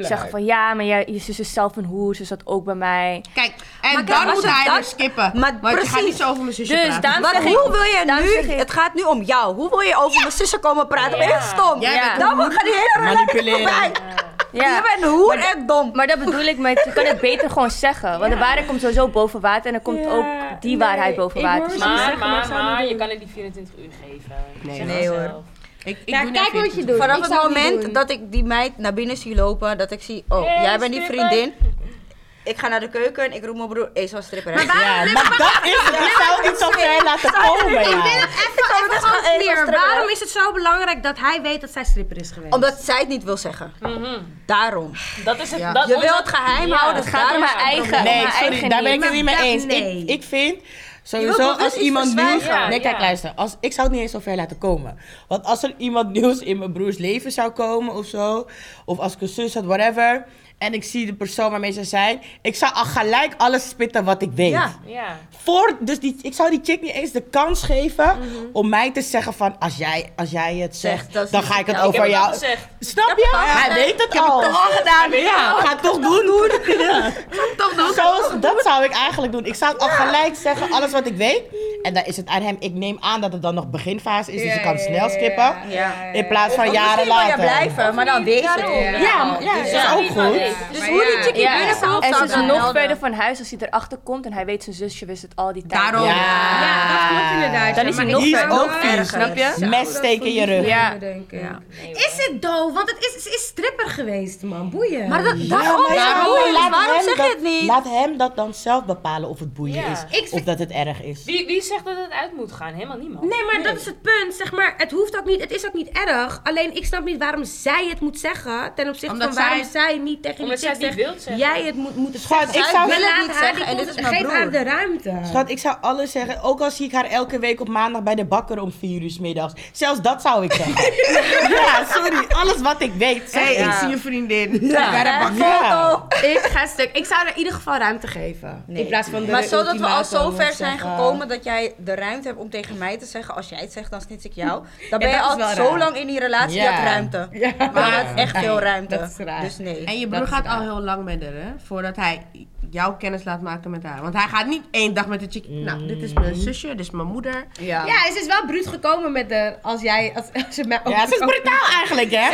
Speaker 2: zeggen van... Ja, maar jij, je zus is zelf een hoer, ze zat ook bij mij.
Speaker 10: Kijk, en
Speaker 4: kijk,
Speaker 10: dan
Speaker 4: als
Speaker 10: moet
Speaker 4: het
Speaker 10: hij
Speaker 4: dat-
Speaker 10: er skippen.
Speaker 4: Maar
Speaker 10: want je gaat
Speaker 4: precies.
Speaker 10: niet zo over mijn zusje
Speaker 2: Dus
Speaker 10: praten.
Speaker 2: daarom
Speaker 4: Want
Speaker 2: zeg ik-
Speaker 4: hoe wil je
Speaker 2: daarom zeg
Speaker 4: nu,
Speaker 2: ik-
Speaker 4: het gaat nu om jou. Hoe wil je over mijn zussen komen praten? Ben je echt stom?
Speaker 10: Jij bent
Speaker 4: Dan gaat die hele relatie
Speaker 3: Manipuleren.
Speaker 4: voorbij.
Speaker 2: Ja.
Speaker 4: Je bent een hoer en dom.
Speaker 2: Maar dat bedoel ik met, je kan het beter gewoon zeggen. Want de waarheid komt sowieso boven water en dan komt ook die waarheid boven water.
Speaker 1: hoor ze
Speaker 2: Maar-
Speaker 5: Maar,
Speaker 1: zeggen, maar
Speaker 5: maar,
Speaker 1: ik zou het
Speaker 5: maar,
Speaker 1: niet
Speaker 5: je kan het die 24 uur geven.
Speaker 10: Nee,
Speaker 5: Zeg
Speaker 4: hoor.
Speaker 5: het
Speaker 4: Nee, hoor.
Speaker 5: zelf.
Speaker 10: Ik, ik
Speaker 1: Ja,
Speaker 10: doe
Speaker 1: kijk
Speaker 10: net
Speaker 1: wat je
Speaker 10: 24.
Speaker 1: doet.
Speaker 4: Vanaf
Speaker 1: Ik
Speaker 4: het
Speaker 1: zou niet doen.
Speaker 4: moment dat ik die meid naar binnen zie lopen, dat ik zie, oh,
Speaker 5: Hey,
Speaker 4: jij bent die
Speaker 5: stripper.
Speaker 4: vriendin. Ik ga naar de keuken en ik roep mijn broer, hey, zo'n stripper. hè?
Speaker 3: Ja, maar dat is het. Ik zou iets op mij laten komen, ja.
Speaker 1: Even, even
Speaker 4: gewoon
Speaker 1: gewoon
Speaker 4: even
Speaker 1: clear.
Speaker 4: strippen.
Speaker 1: Waarom is het zo belangrijk dat hij weet dat zij stripper is geweest?
Speaker 4: Omdat zij het niet wil zeggen. Daarom.
Speaker 5: Dat is het. Dat
Speaker 4: Je wil
Speaker 5: omdat-
Speaker 4: het geheim houden.
Speaker 5: Het gaat om
Speaker 4: Ja,
Speaker 5: haar eigen.
Speaker 4: dat
Speaker 3: Nee,
Speaker 2: Maar
Speaker 3: sorry,
Speaker 2: eigen
Speaker 3: daar ben ik
Speaker 1: niet.
Speaker 3: het niet mee
Speaker 1: Maar dat-
Speaker 3: eens.
Speaker 1: nee.
Speaker 3: Ik, ik vind Sowieso,
Speaker 4: bewust
Speaker 3: als
Speaker 4: iets
Speaker 3: iemand nieuws...
Speaker 4: verzwijgen.
Speaker 5: Ja,
Speaker 3: nee, kijk,
Speaker 5: ja.
Speaker 3: luister. Als, ik zou het niet eens zo ver laten komen. Want als er iemand nieuws in mijn broers leven zou komen of zo... of als ik een zus had, whatever... en ik zie de persoon waarmee ze zijn... ik zou al gelijk alles spitten wat ik weet.
Speaker 4: Ja.
Speaker 5: Ja.
Speaker 3: Voor, dus die, ik zou die chick niet eens de kans geven om mij te zeggen van... als jij, als jij het zegt,
Speaker 4: dat is
Speaker 3: dan
Speaker 4: niet
Speaker 3: ga ik het
Speaker 4: jou. Ik
Speaker 3: over
Speaker 5: heb het
Speaker 3: jou...
Speaker 5: al gezegd.
Speaker 3: Snap je? Hij weet het al. Ik heb het al gedaan. Ja, ga het toch doen. doen. Ja. Toch doen. Zo, dat zou ik eigenlijk doen. Ik zou het al gelijk zeggen, alles wat ik weet. En dan is het aan hem. Ik neem aan dat het dan nog beginfase is, dus ik kan het snel skippen.
Speaker 4: Ja.
Speaker 3: In plaats van
Speaker 4: Of
Speaker 3: jaren
Speaker 4: misschien wil jij
Speaker 3: later.
Speaker 4: blijven, maar dan weet je het.
Speaker 5: daarom.
Speaker 4: niet.
Speaker 3: Ja, maar- ja,
Speaker 4: Dus-
Speaker 3: dat is ook goed.
Speaker 4: Dus hoe die chickie
Speaker 2: Ja.
Speaker 4: binnenkomt,
Speaker 2: En ze
Speaker 4: zou
Speaker 2: is
Speaker 4: dan
Speaker 2: nog
Speaker 4: helder.
Speaker 2: verder van huis als hij erachter komt en hij weet zijn zusje wist het al die tijd.
Speaker 1: Daarom.
Speaker 3: Ja.
Speaker 1: Ja, dat klopt inderdaad.
Speaker 2: Dan
Speaker 1: ja,
Speaker 2: is
Speaker 1: maar
Speaker 2: hij nog
Speaker 1: ik
Speaker 3: Die is
Speaker 1: zou
Speaker 3: ook
Speaker 1: wel-
Speaker 3: vies.
Speaker 2: Snap je?
Speaker 3: Mes steken in je rug.
Speaker 2: Ja.
Speaker 1: Denk ik. Is het doof? Want het is, ze is stripper geweest, man. Boeien.
Speaker 4: Maar dat, daarom is het
Speaker 3: maar
Speaker 4: moeilijk.
Speaker 3: laat
Speaker 4: Waarom
Speaker 3: hem
Speaker 4: zeg
Speaker 3: dat-
Speaker 4: je het niet?
Speaker 3: Laat hem dat dan zelf bepalen of het boeien
Speaker 5: Ja.
Speaker 3: is.
Speaker 1: Ik
Speaker 3: Of dat het erg is.
Speaker 5: Wie, wie zegt dat het uit moet gaan? Helemaal niemand.
Speaker 1: Nee, maar dat is het punt. Zeg maar, het hoeft ook niet. Het is ook niet erg. Alleen ik snap niet waarom zij het moet zeggen. Ten opzichte
Speaker 6: Omdat
Speaker 1: van waarom
Speaker 6: zij-
Speaker 1: zij niet tegen die
Speaker 5: Omdat zij
Speaker 1: chick
Speaker 5: het niet
Speaker 1: zegt.
Speaker 5: wilt zeggen.
Speaker 1: Jij het moet, moet het
Speaker 3: Schat,
Speaker 1: zeggen.
Speaker 3: ik zou-
Speaker 1: Maar
Speaker 4: wil het
Speaker 1: laat
Speaker 4: niet
Speaker 1: haar die
Speaker 4: zeggen en dit
Speaker 1: kans-
Speaker 4: is mijn
Speaker 1: Geef haar
Speaker 4: broer.
Speaker 1: de ruimte.
Speaker 3: Schat, ik zou alles zeggen. Ook al zie ik haar elke week op maandag bij de bakker om 4 uur 's middags. Zelfs dat zou ik zeggen. ja, sorry. Alles wat ik weet. Zeg
Speaker 6: hey,
Speaker 3: ik.
Speaker 6: ik zie je vriendin.
Speaker 3: Ja.
Speaker 4: Foto.
Speaker 1: Ik ga stuk. Ik zou er in ieder geval ruimte geven. In plaats van de
Speaker 4: Maar zodat we al zo
Speaker 3: ultimatum
Speaker 4: ver
Speaker 3: of
Speaker 4: zijn
Speaker 3: zeggen-
Speaker 4: gekomen dat jij de ruimte hebt om tegen mij te zeggen: als jij het zegt, dan snits ik jou. Dan ben
Speaker 1: dat
Speaker 4: je
Speaker 1: is
Speaker 4: al
Speaker 1: wel
Speaker 4: zo
Speaker 1: raar.
Speaker 4: lang in die relatie,
Speaker 3: Ja.
Speaker 4: je hebt ruimte.
Speaker 1: Ja.
Speaker 4: Maar je hebt echt veel ruimte.
Speaker 1: dat is raar.
Speaker 4: Dus nee.
Speaker 6: En je broer gaat al heel lang met haar, hè? Voordat hij jouw kennis laat maken met haar. Want hij gaat niet één dag met de chick. Nou, dit is mijn zusje, dit is mijn moeder.
Speaker 4: Ja.
Speaker 1: Ja, ze is wel bruut gekomen met de. Als jij. Als, als je mij ook-
Speaker 3: Ja, ze is brutaal eigenlijk, hè?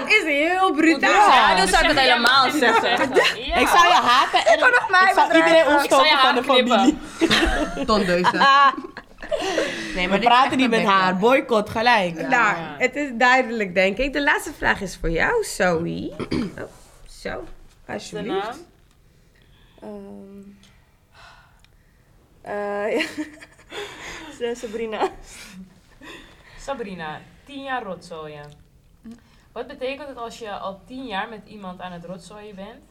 Speaker 1: Dat is heel brutaal.
Speaker 3: Ja.
Speaker 4: dat zou ik het helemaal zeggen.
Speaker 5: Ja.
Speaker 3: Ik zou je haten en
Speaker 4: kan nog mij
Speaker 3: ik zou
Speaker 4: bedreigen.
Speaker 3: iedereen
Speaker 5: Ik zou je
Speaker 3: opstoten van de
Speaker 5: haar knippen.
Speaker 3: familie.
Speaker 6: Tondeuzen. Nee,
Speaker 3: We
Speaker 6: dit is echt
Speaker 3: praten niet
Speaker 6: een
Speaker 3: met
Speaker 6: backlash.
Speaker 3: haar. Boycott gelijk.
Speaker 1: Nou, het is duidelijk, denk ik. De laatste vraag is voor jou, Zoe. Oh, zo,
Speaker 5: De
Speaker 1: alsjeblieft.
Speaker 5: naam?
Speaker 2: Ehm. Eh, ja. Ze- Sabrina.
Speaker 5: Sabrina, 10 jaar rotzooien. Wat betekent het als je al 10 jaar met iemand aan het rotzooien bent?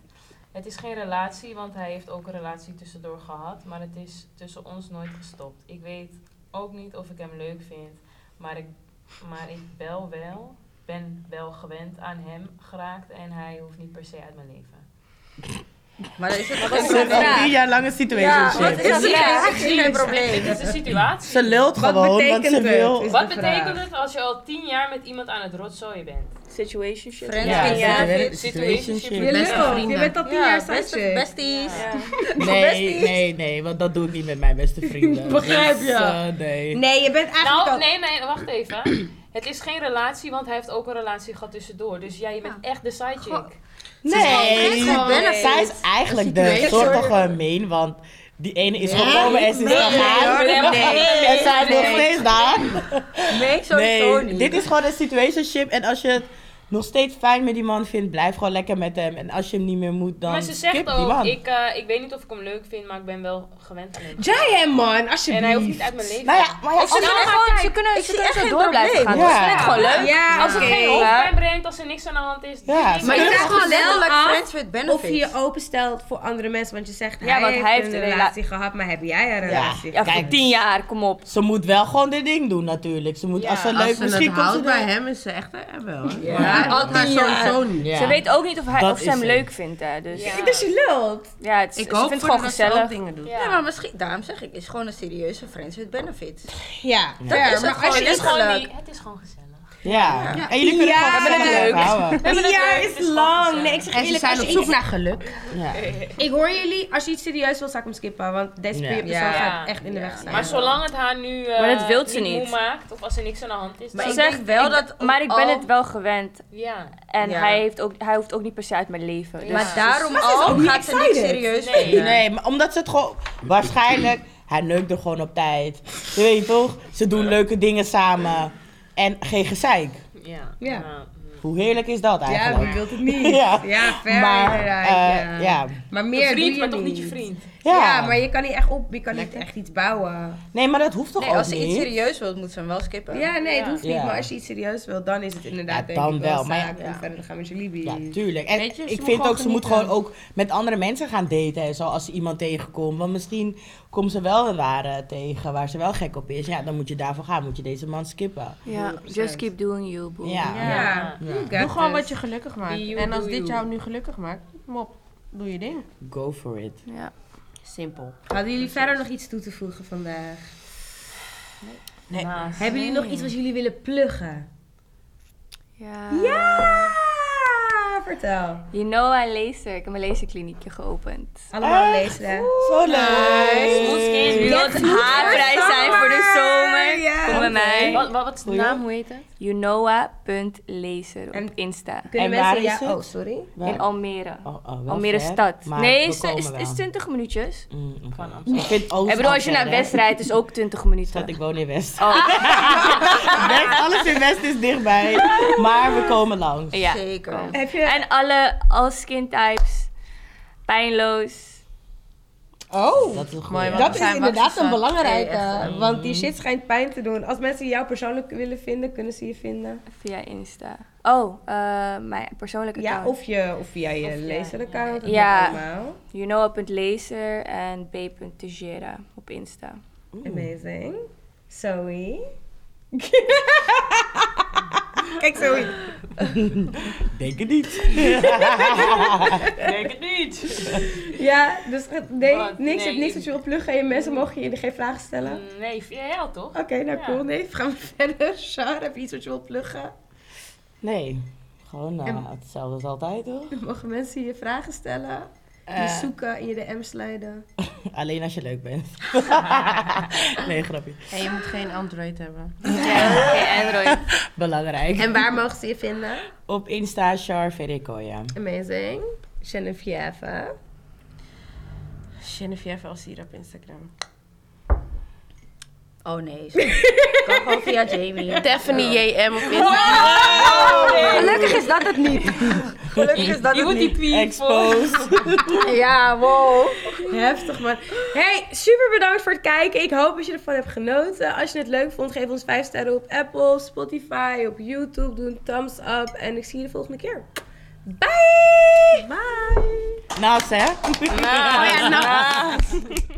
Speaker 5: Het is geen relatie, want hij heeft ook een relatie tussendoor gehad, maar het is tussen ons nooit gestopt. Ik weet ook niet of ik hem leuk vind, maar ik, maar ik bel wel, ben wel gewend aan hem geraakt en hij hoeft niet per se uit mijn leven.
Speaker 4: Maar dat is het
Speaker 5: Wat is
Speaker 3: Een
Speaker 5: het? Ja.
Speaker 3: tien jaar lange
Speaker 4: Ja,
Speaker 3: situationship.
Speaker 4: wat is het?
Speaker 5: Ja,
Speaker 4: Ik zie geen probleem.
Speaker 5: Dit is de situatie.
Speaker 3: Ze lult
Speaker 1: Wat
Speaker 3: gewoon, want
Speaker 1: betekent
Speaker 3: ze
Speaker 1: het?
Speaker 3: wil...
Speaker 1: Is-
Speaker 5: Wat
Speaker 1: de vraag.
Speaker 5: betekent het als je al 10 jaar met iemand aan het rotzooien bent?
Speaker 2: Situationship.
Speaker 4: Friends,
Speaker 5: Ja,
Speaker 4: geen
Speaker 5: ja.
Speaker 4: benefits.
Speaker 1: Je
Speaker 5: Situationship.
Speaker 1: lult.
Speaker 6: Beste vrienden.
Speaker 1: Je bent al tien
Speaker 4: Ja,
Speaker 1: jaar
Speaker 4: best-
Speaker 1: sausje.
Speaker 4: besties.
Speaker 3: Nee, nee, nee, want dat doe ik niet met mijn beste vrienden. Begrijp je? nee.
Speaker 1: Nee, je bent eigenlijk
Speaker 5: Nou,
Speaker 1: al...
Speaker 5: nee, nee, wacht even. Het is geen relatie, want hij heeft ook een relatie gehad tussendoor. Dus jij je bent echt de side chick.
Speaker 3: Nee, zij is eigenlijk de zorgige meen, want die ene is gekomen en ze is gegaan.
Speaker 5: nee, nee, nee,
Speaker 3: en zij is nog
Speaker 5: nee.
Speaker 3: steeds daar.
Speaker 4: Nee, sowieso
Speaker 3: Nee,
Speaker 4: niet.
Speaker 3: dit is gewoon een situationship en als je het nog steeds fijn met die man vindt, blijf gewoon lekker met hem. En als je hem niet meer moet, dan
Speaker 5: maar ze zegt
Speaker 3: skip die
Speaker 5: ook,
Speaker 3: man.
Speaker 5: ik, eh, ik weet niet of ik hem leuk vind, maar ik ben wel gewend aan hem.
Speaker 1: Jij hem, man,
Speaker 5: En hij hoeft
Speaker 1: alsjeblieft.
Speaker 5: niet uit mijn leven.
Speaker 3: Nou ja, maar ja, als-
Speaker 2: Ze, kunnen gewoon, ze kunnen, ze kunnen zo door blijven gaan.
Speaker 3: Ja.
Speaker 2: Dat vind ik gewoon leuk.
Speaker 1: Ja,
Speaker 5: als het
Speaker 1: oké.
Speaker 5: geen hoofdpijn brengt, als er niks aan de hand is. Oh,
Speaker 3: Ja,
Speaker 5: niks
Speaker 3: maar
Speaker 5: aan
Speaker 1: je
Speaker 5: de hand
Speaker 1: vraagt gewoon letterlijk
Speaker 4: letterlijk
Speaker 1: af
Speaker 4: friends with
Speaker 1: Of je je
Speaker 4: benefits.
Speaker 1: openstelt voor andere mensen, want je zegt
Speaker 2: Ja,
Speaker 1: hij,
Speaker 2: want hij
Speaker 1: heeft
Speaker 2: heeft
Speaker 1: een
Speaker 2: een rela-
Speaker 1: relatie gehad, maar heb jij een relatie?
Speaker 2: Ja,
Speaker 3: Kijk.
Speaker 2: voor tien jaar, kom op.
Speaker 3: ze moet wel gewoon dit ding doen natuurlijk. Ze moet, als ze leuk,
Speaker 6: Als ze
Speaker 3: misschien
Speaker 6: het
Speaker 3: komt ze
Speaker 6: houdt bij
Speaker 3: bij
Speaker 6: hem, is ze echt een wel. hè?
Speaker 3: Ja.
Speaker 6: Maar-
Speaker 4: Al
Speaker 6: Maar
Speaker 4: tien jaar.
Speaker 6: sowieso niet.
Speaker 3: Ja.
Speaker 2: Ze weet ook niet of, hij,
Speaker 3: Dat
Speaker 2: of
Speaker 3: is
Speaker 2: ze hem
Speaker 3: het.
Speaker 2: leuk vindt. Hè. Dus ja,
Speaker 5: Ja.
Speaker 1: Dus je lult.
Speaker 2: ja het,
Speaker 6: Ik
Speaker 2: ze
Speaker 6: hoop
Speaker 2: vindt het
Speaker 6: voor
Speaker 2: gewoon
Speaker 6: dat ze ook
Speaker 2: gezellig.
Speaker 6: dingen doet.
Speaker 5: Ja.
Speaker 4: Ja, maar misschien, daarom zeg ik, is gewoon een serieuze friends with benefits.
Speaker 1: Ja.
Speaker 4: Dat is het gewoon.
Speaker 5: Het is, dus gewoon
Speaker 4: letterlijk.
Speaker 5: niet, het is gewoon gezellig.
Speaker 3: Ja. En jullie kunnen
Speaker 1: Ja,
Speaker 3: gewoon
Speaker 1: we hebben
Speaker 3: gezellig
Speaker 1: het leuk.
Speaker 3: houden.
Speaker 5: hebben
Speaker 1: Een
Speaker 5: het
Speaker 1: jaar
Speaker 5: leuk,
Speaker 1: is
Speaker 5: het is
Speaker 1: lang.
Speaker 5: grappig,
Speaker 1: Nee,
Speaker 5: ja.
Speaker 1: ik zeg
Speaker 6: En ze
Speaker 1: eerlijk, als
Speaker 6: zijn
Speaker 1: je
Speaker 6: op
Speaker 1: iets
Speaker 6: zoek naar geluk.
Speaker 3: Ja.
Speaker 1: Ik hoor jullie, als je iets serieus wil, zou ik hem skippen. Want deze
Speaker 3: Ja.
Speaker 1: persoon
Speaker 4: Ja.
Speaker 1: gaat echt in de weg staan.
Speaker 5: Maar zolang het haar nu eh,
Speaker 2: Maar dat wil ze
Speaker 5: moe
Speaker 2: niet.
Speaker 5: maakt, of als er niks aan de hand is,
Speaker 4: Maar
Speaker 5: dan
Speaker 4: ik denk wel dat
Speaker 2: Maar ik ben
Speaker 4: al-
Speaker 2: het wel gewend.
Speaker 5: ja.
Speaker 2: En
Speaker 4: Ja.
Speaker 2: hij, heeft ook, hij hoeft ook niet per se uit mijn leven. Dus
Speaker 4: Maar daarom
Speaker 1: ze is ook
Speaker 4: al
Speaker 1: niet
Speaker 4: gaat ze niet
Speaker 1: excited.
Speaker 4: serieus
Speaker 5: Nee.
Speaker 4: vinden.
Speaker 3: Nee, maar omdat ze het gewoon... Waarschijnlijk, hij neukt er gewoon op tijd. Je weet toch? Ze doen leuke dingen samen. En geen gezeik.
Speaker 5: Ja.
Speaker 1: Ja.
Speaker 5: Nou,
Speaker 3: Hoe heerlijk is dat
Speaker 1: Ja, wie
Speaker 3: eigenlijk?
Speaker 1: wilt het niet? Ja, fair
Speaker 3: maar,
Speaker 1: inderdaad.
Speaker 3: eh,
Speaker 1: ja.
Speaker 3: ja.
Speaker 1: Maar Maar meer
Speaker 5: Een
Speaker 1: doe
Speaker 5: vriend,
Speaker 1: je
Speaker 5: maar toch niet je
Speaker 1: niet.
Speaker 5: vriend.
Speaker 1: Ja. maar je kan niet echt op, je kan niet echt iets bouwen.
Speaker 3: Nee, maar dat hoeft toch
Speaker 4: Nee,
Speaker 3: ook
Speaker 4: als ze
Speaker 3: niet?
Speaker 4: iets serieus wilt, moet ze hem wel skippen.
Speaker 1: Ja, nee, het hoeft niet.
Speaker 3: Ja.
Speaker 1: Maar als je iets serieus wil, dan is het inderdaad
Speaker 3: Ja,
Speaker 1: denk
Speaker 3: dan
Speaker 1: ik
Speaker 3: wel, maar ja,
Speaker 1: zaak om
Speaker 3: ja.
Speaker 1: verder te gaan met je libies.
Speaker 3: Ja, tuurlijk. En
Speaker 10: Weet je, ze
Speaker 3: ik
Speaker 10: moet
Speaker 3: vind
Speaker 10: gewoon
Speaker 3: ook, ze moet
Speaker 10: genieten.
Speaker 3: gewoon ook met andere mensen gaan daten en zo, als ze iemand tegenkomt. Want misschien komt ze wel een ware tegen waar ze wel gek op is. Ja, dan moet je daarvoor gaan, moet je deze man skippen.
Speaker 2: Ja, just keep doing you, boo.
Speaker 3: Ja.
Speaker 1: Ja.
Speaker 10: Ja.
Speaker 1: you got
Speaker 10: Doe gewoon
Speaker 1: this.
Speaker 10: wat je gelukkig maakt.
Speaker 5: you,
Speaker 10: en als
Speaker 5: do
Speaker 10: dit
Speaker 5: you.
Speaker 10: jou nu gelukkig maakt, mop, doe je ding.
Speaker 3: Go for it.
Speaker 2: Ja.
Speaker 10: Simpel.
Speaker 1: Hadden jullie verder nog iets toe te voegen vandaag?
Speaker 5: Naast.
Speaker 1: Hebben jullie nog iets wat jullie willen pluggen?
Speaker 2: Ja.
Speaker 1: Ja! Vertel.
Speaker 2: You know I laser. Ik heb mijn laserkliniekje geopend.
Speaker 4: Ah.
Speaker 1: Allemaal lezen.
Speaker 3: Zo leuk.
Speaker 2: Wilt haarvrij zijn voor de zomer? Kom bij mij.
Speaker 5: Wat, wat, wat is de naam? Hoe heet het?
Speaker 2: Younoa.laser op
Speaker 1: En-
Speaker 2: Insta.
Speaker 1: Kunnen
Speaker 3: En waar
Speaker 1: mensen
Speaker 3: is
Speaker 1: ja,
Speaker 3: het?
Speaker 1: Oh, sorry.
Speaker 2: In Almere.
Speaker 3: Oh, oh, wel
Speaker 2: Almere
Speaker 3: ver,
Speaker 2: stad.
Speaker 3: maar
Speaker 2: nee,
Speaker 3: we
Speaker 2: is,
Speaker 3: komen
Speaker 2: is,
Speaker 3: wel.
Speaker 2: is 20 minuutjes.
Speaker 3: Mm, oké. Ik vind Oost
Speaker 2: Ik bedoel, als je
Speaker 3: ook
Speaker 2: naar
Speaker 3: ver,
Speaker 2: West
Speaker 3: hè?
Speaker 2: rijdt, is ook 20
Speaker 3: Stad,
Speaker 2: minuten.
Speaker 3: ik woon in West.
Speaker 2: Oh,
Speaker 3: West. Alles in West is dichtbij. Maar we komen langs.
Speaker 2: ja.
Speaker 4: Zeker.
Speaker 1: Heb je...
Speaker 2: En alle, alle skin types. Pijnloos.
Speaker 1: oh!
Speaker 3: Dat is een
Speaker 4: Mooi,
Speaker 3: goeie.
Speaker 4: want
Speaker 1: Dat
Speaker 4: we
Speaker 1: is
Speaker 4: zijn
Speaker 1: inderdaad
Speaker 4: wakker
Speaker 1: een
Speaker 4: van
Speaker 1: belangrijke,
Speaker 4: twee, echt, hè.
Speaker 1: Eh, want die
Speaker 10: Mhm.
Speaker 1: shit schijnt pijn te doen. Als mensen jou persoonlijk willen vinden, kunnen ze je vinden.
Speaker 2: Via Insta. Oh, eh, mijn persoonlijke
Speaker 1: Ja,
Speaker 2: account.
Speaker 1: of, je, of via je leeseraccount. dat
Speaker 2: Ja.
Speaker 1: mag allemaal.
Speaker 2: Younoa.laser en b.tejera op Insta.
Speaker 1: Amazing. Zoe. Kijk Zoe.
Speaker 3: Denk het niet.
Speaker 5: Denk het niet.
Speaker 1: Ja, dus ge- nee, niks,
Speaker 5: Wat? Nee,
Speaker 1: je hebt niks
Speaker 5: ik-
Speaker 1: wat je wil pluggen. Je mensen mogen je geen vragen stellen.
Speaker 5: Nee, VL toch?
Speaker 1: Oké, nou
Speaker 5: Ja.
Speaker 1: cool. Nee, gaan we verder. Char, heb je iets wat je wil pluggen?
Speaker 3: Nee, gewoon eh, hetzelfde als altijd hoor.
Speaker 1: Mogen mensen je vragen stellen? Die zoeken in je DM sliden.
Speaker 3: Alleen als je leuk bent. nee, grapje.
Speaker 10: En je moet geen Android hebben.
Speaker 2: Oké, Android.
Speaker 3: Belangrijk.
Speaker 1: En waar mogen ze je vinden?
Speaker 3: Op Insta, Char Verikoya.
Speaker 1: Amazing. Genevieve.
Speaker 10: Genevieve als hier op Instagram.
Speaker 4: Oh nee. kan gewoon via Jamie.
Speaker 10: Stephanie JM op Instagram.
Speaker 2: Gelukkig is dat het niet.
Speaker 4: Gelukkig is dat
Speaker 5: Je
Speaker 4: het
Speaker 5: moet die
Speaker 4: niet.
Speaker 5: pie
Speaker 3: Exposed.
Speaker 4: Ja, wow.
Speaker 1: Heftig, man. Hey, super bedankt voor het kijken. Ik hoop dat je ervan hebt genoten. Als je het leuk vond, geef ons 5 sterren op Apple, Spotify, op YouTube. Doe een thumbs up. En ik zie je de volgende keer. Bye! Bye!
Speaker 3: Naast hè?
Speaker 1: Oh ja, nou.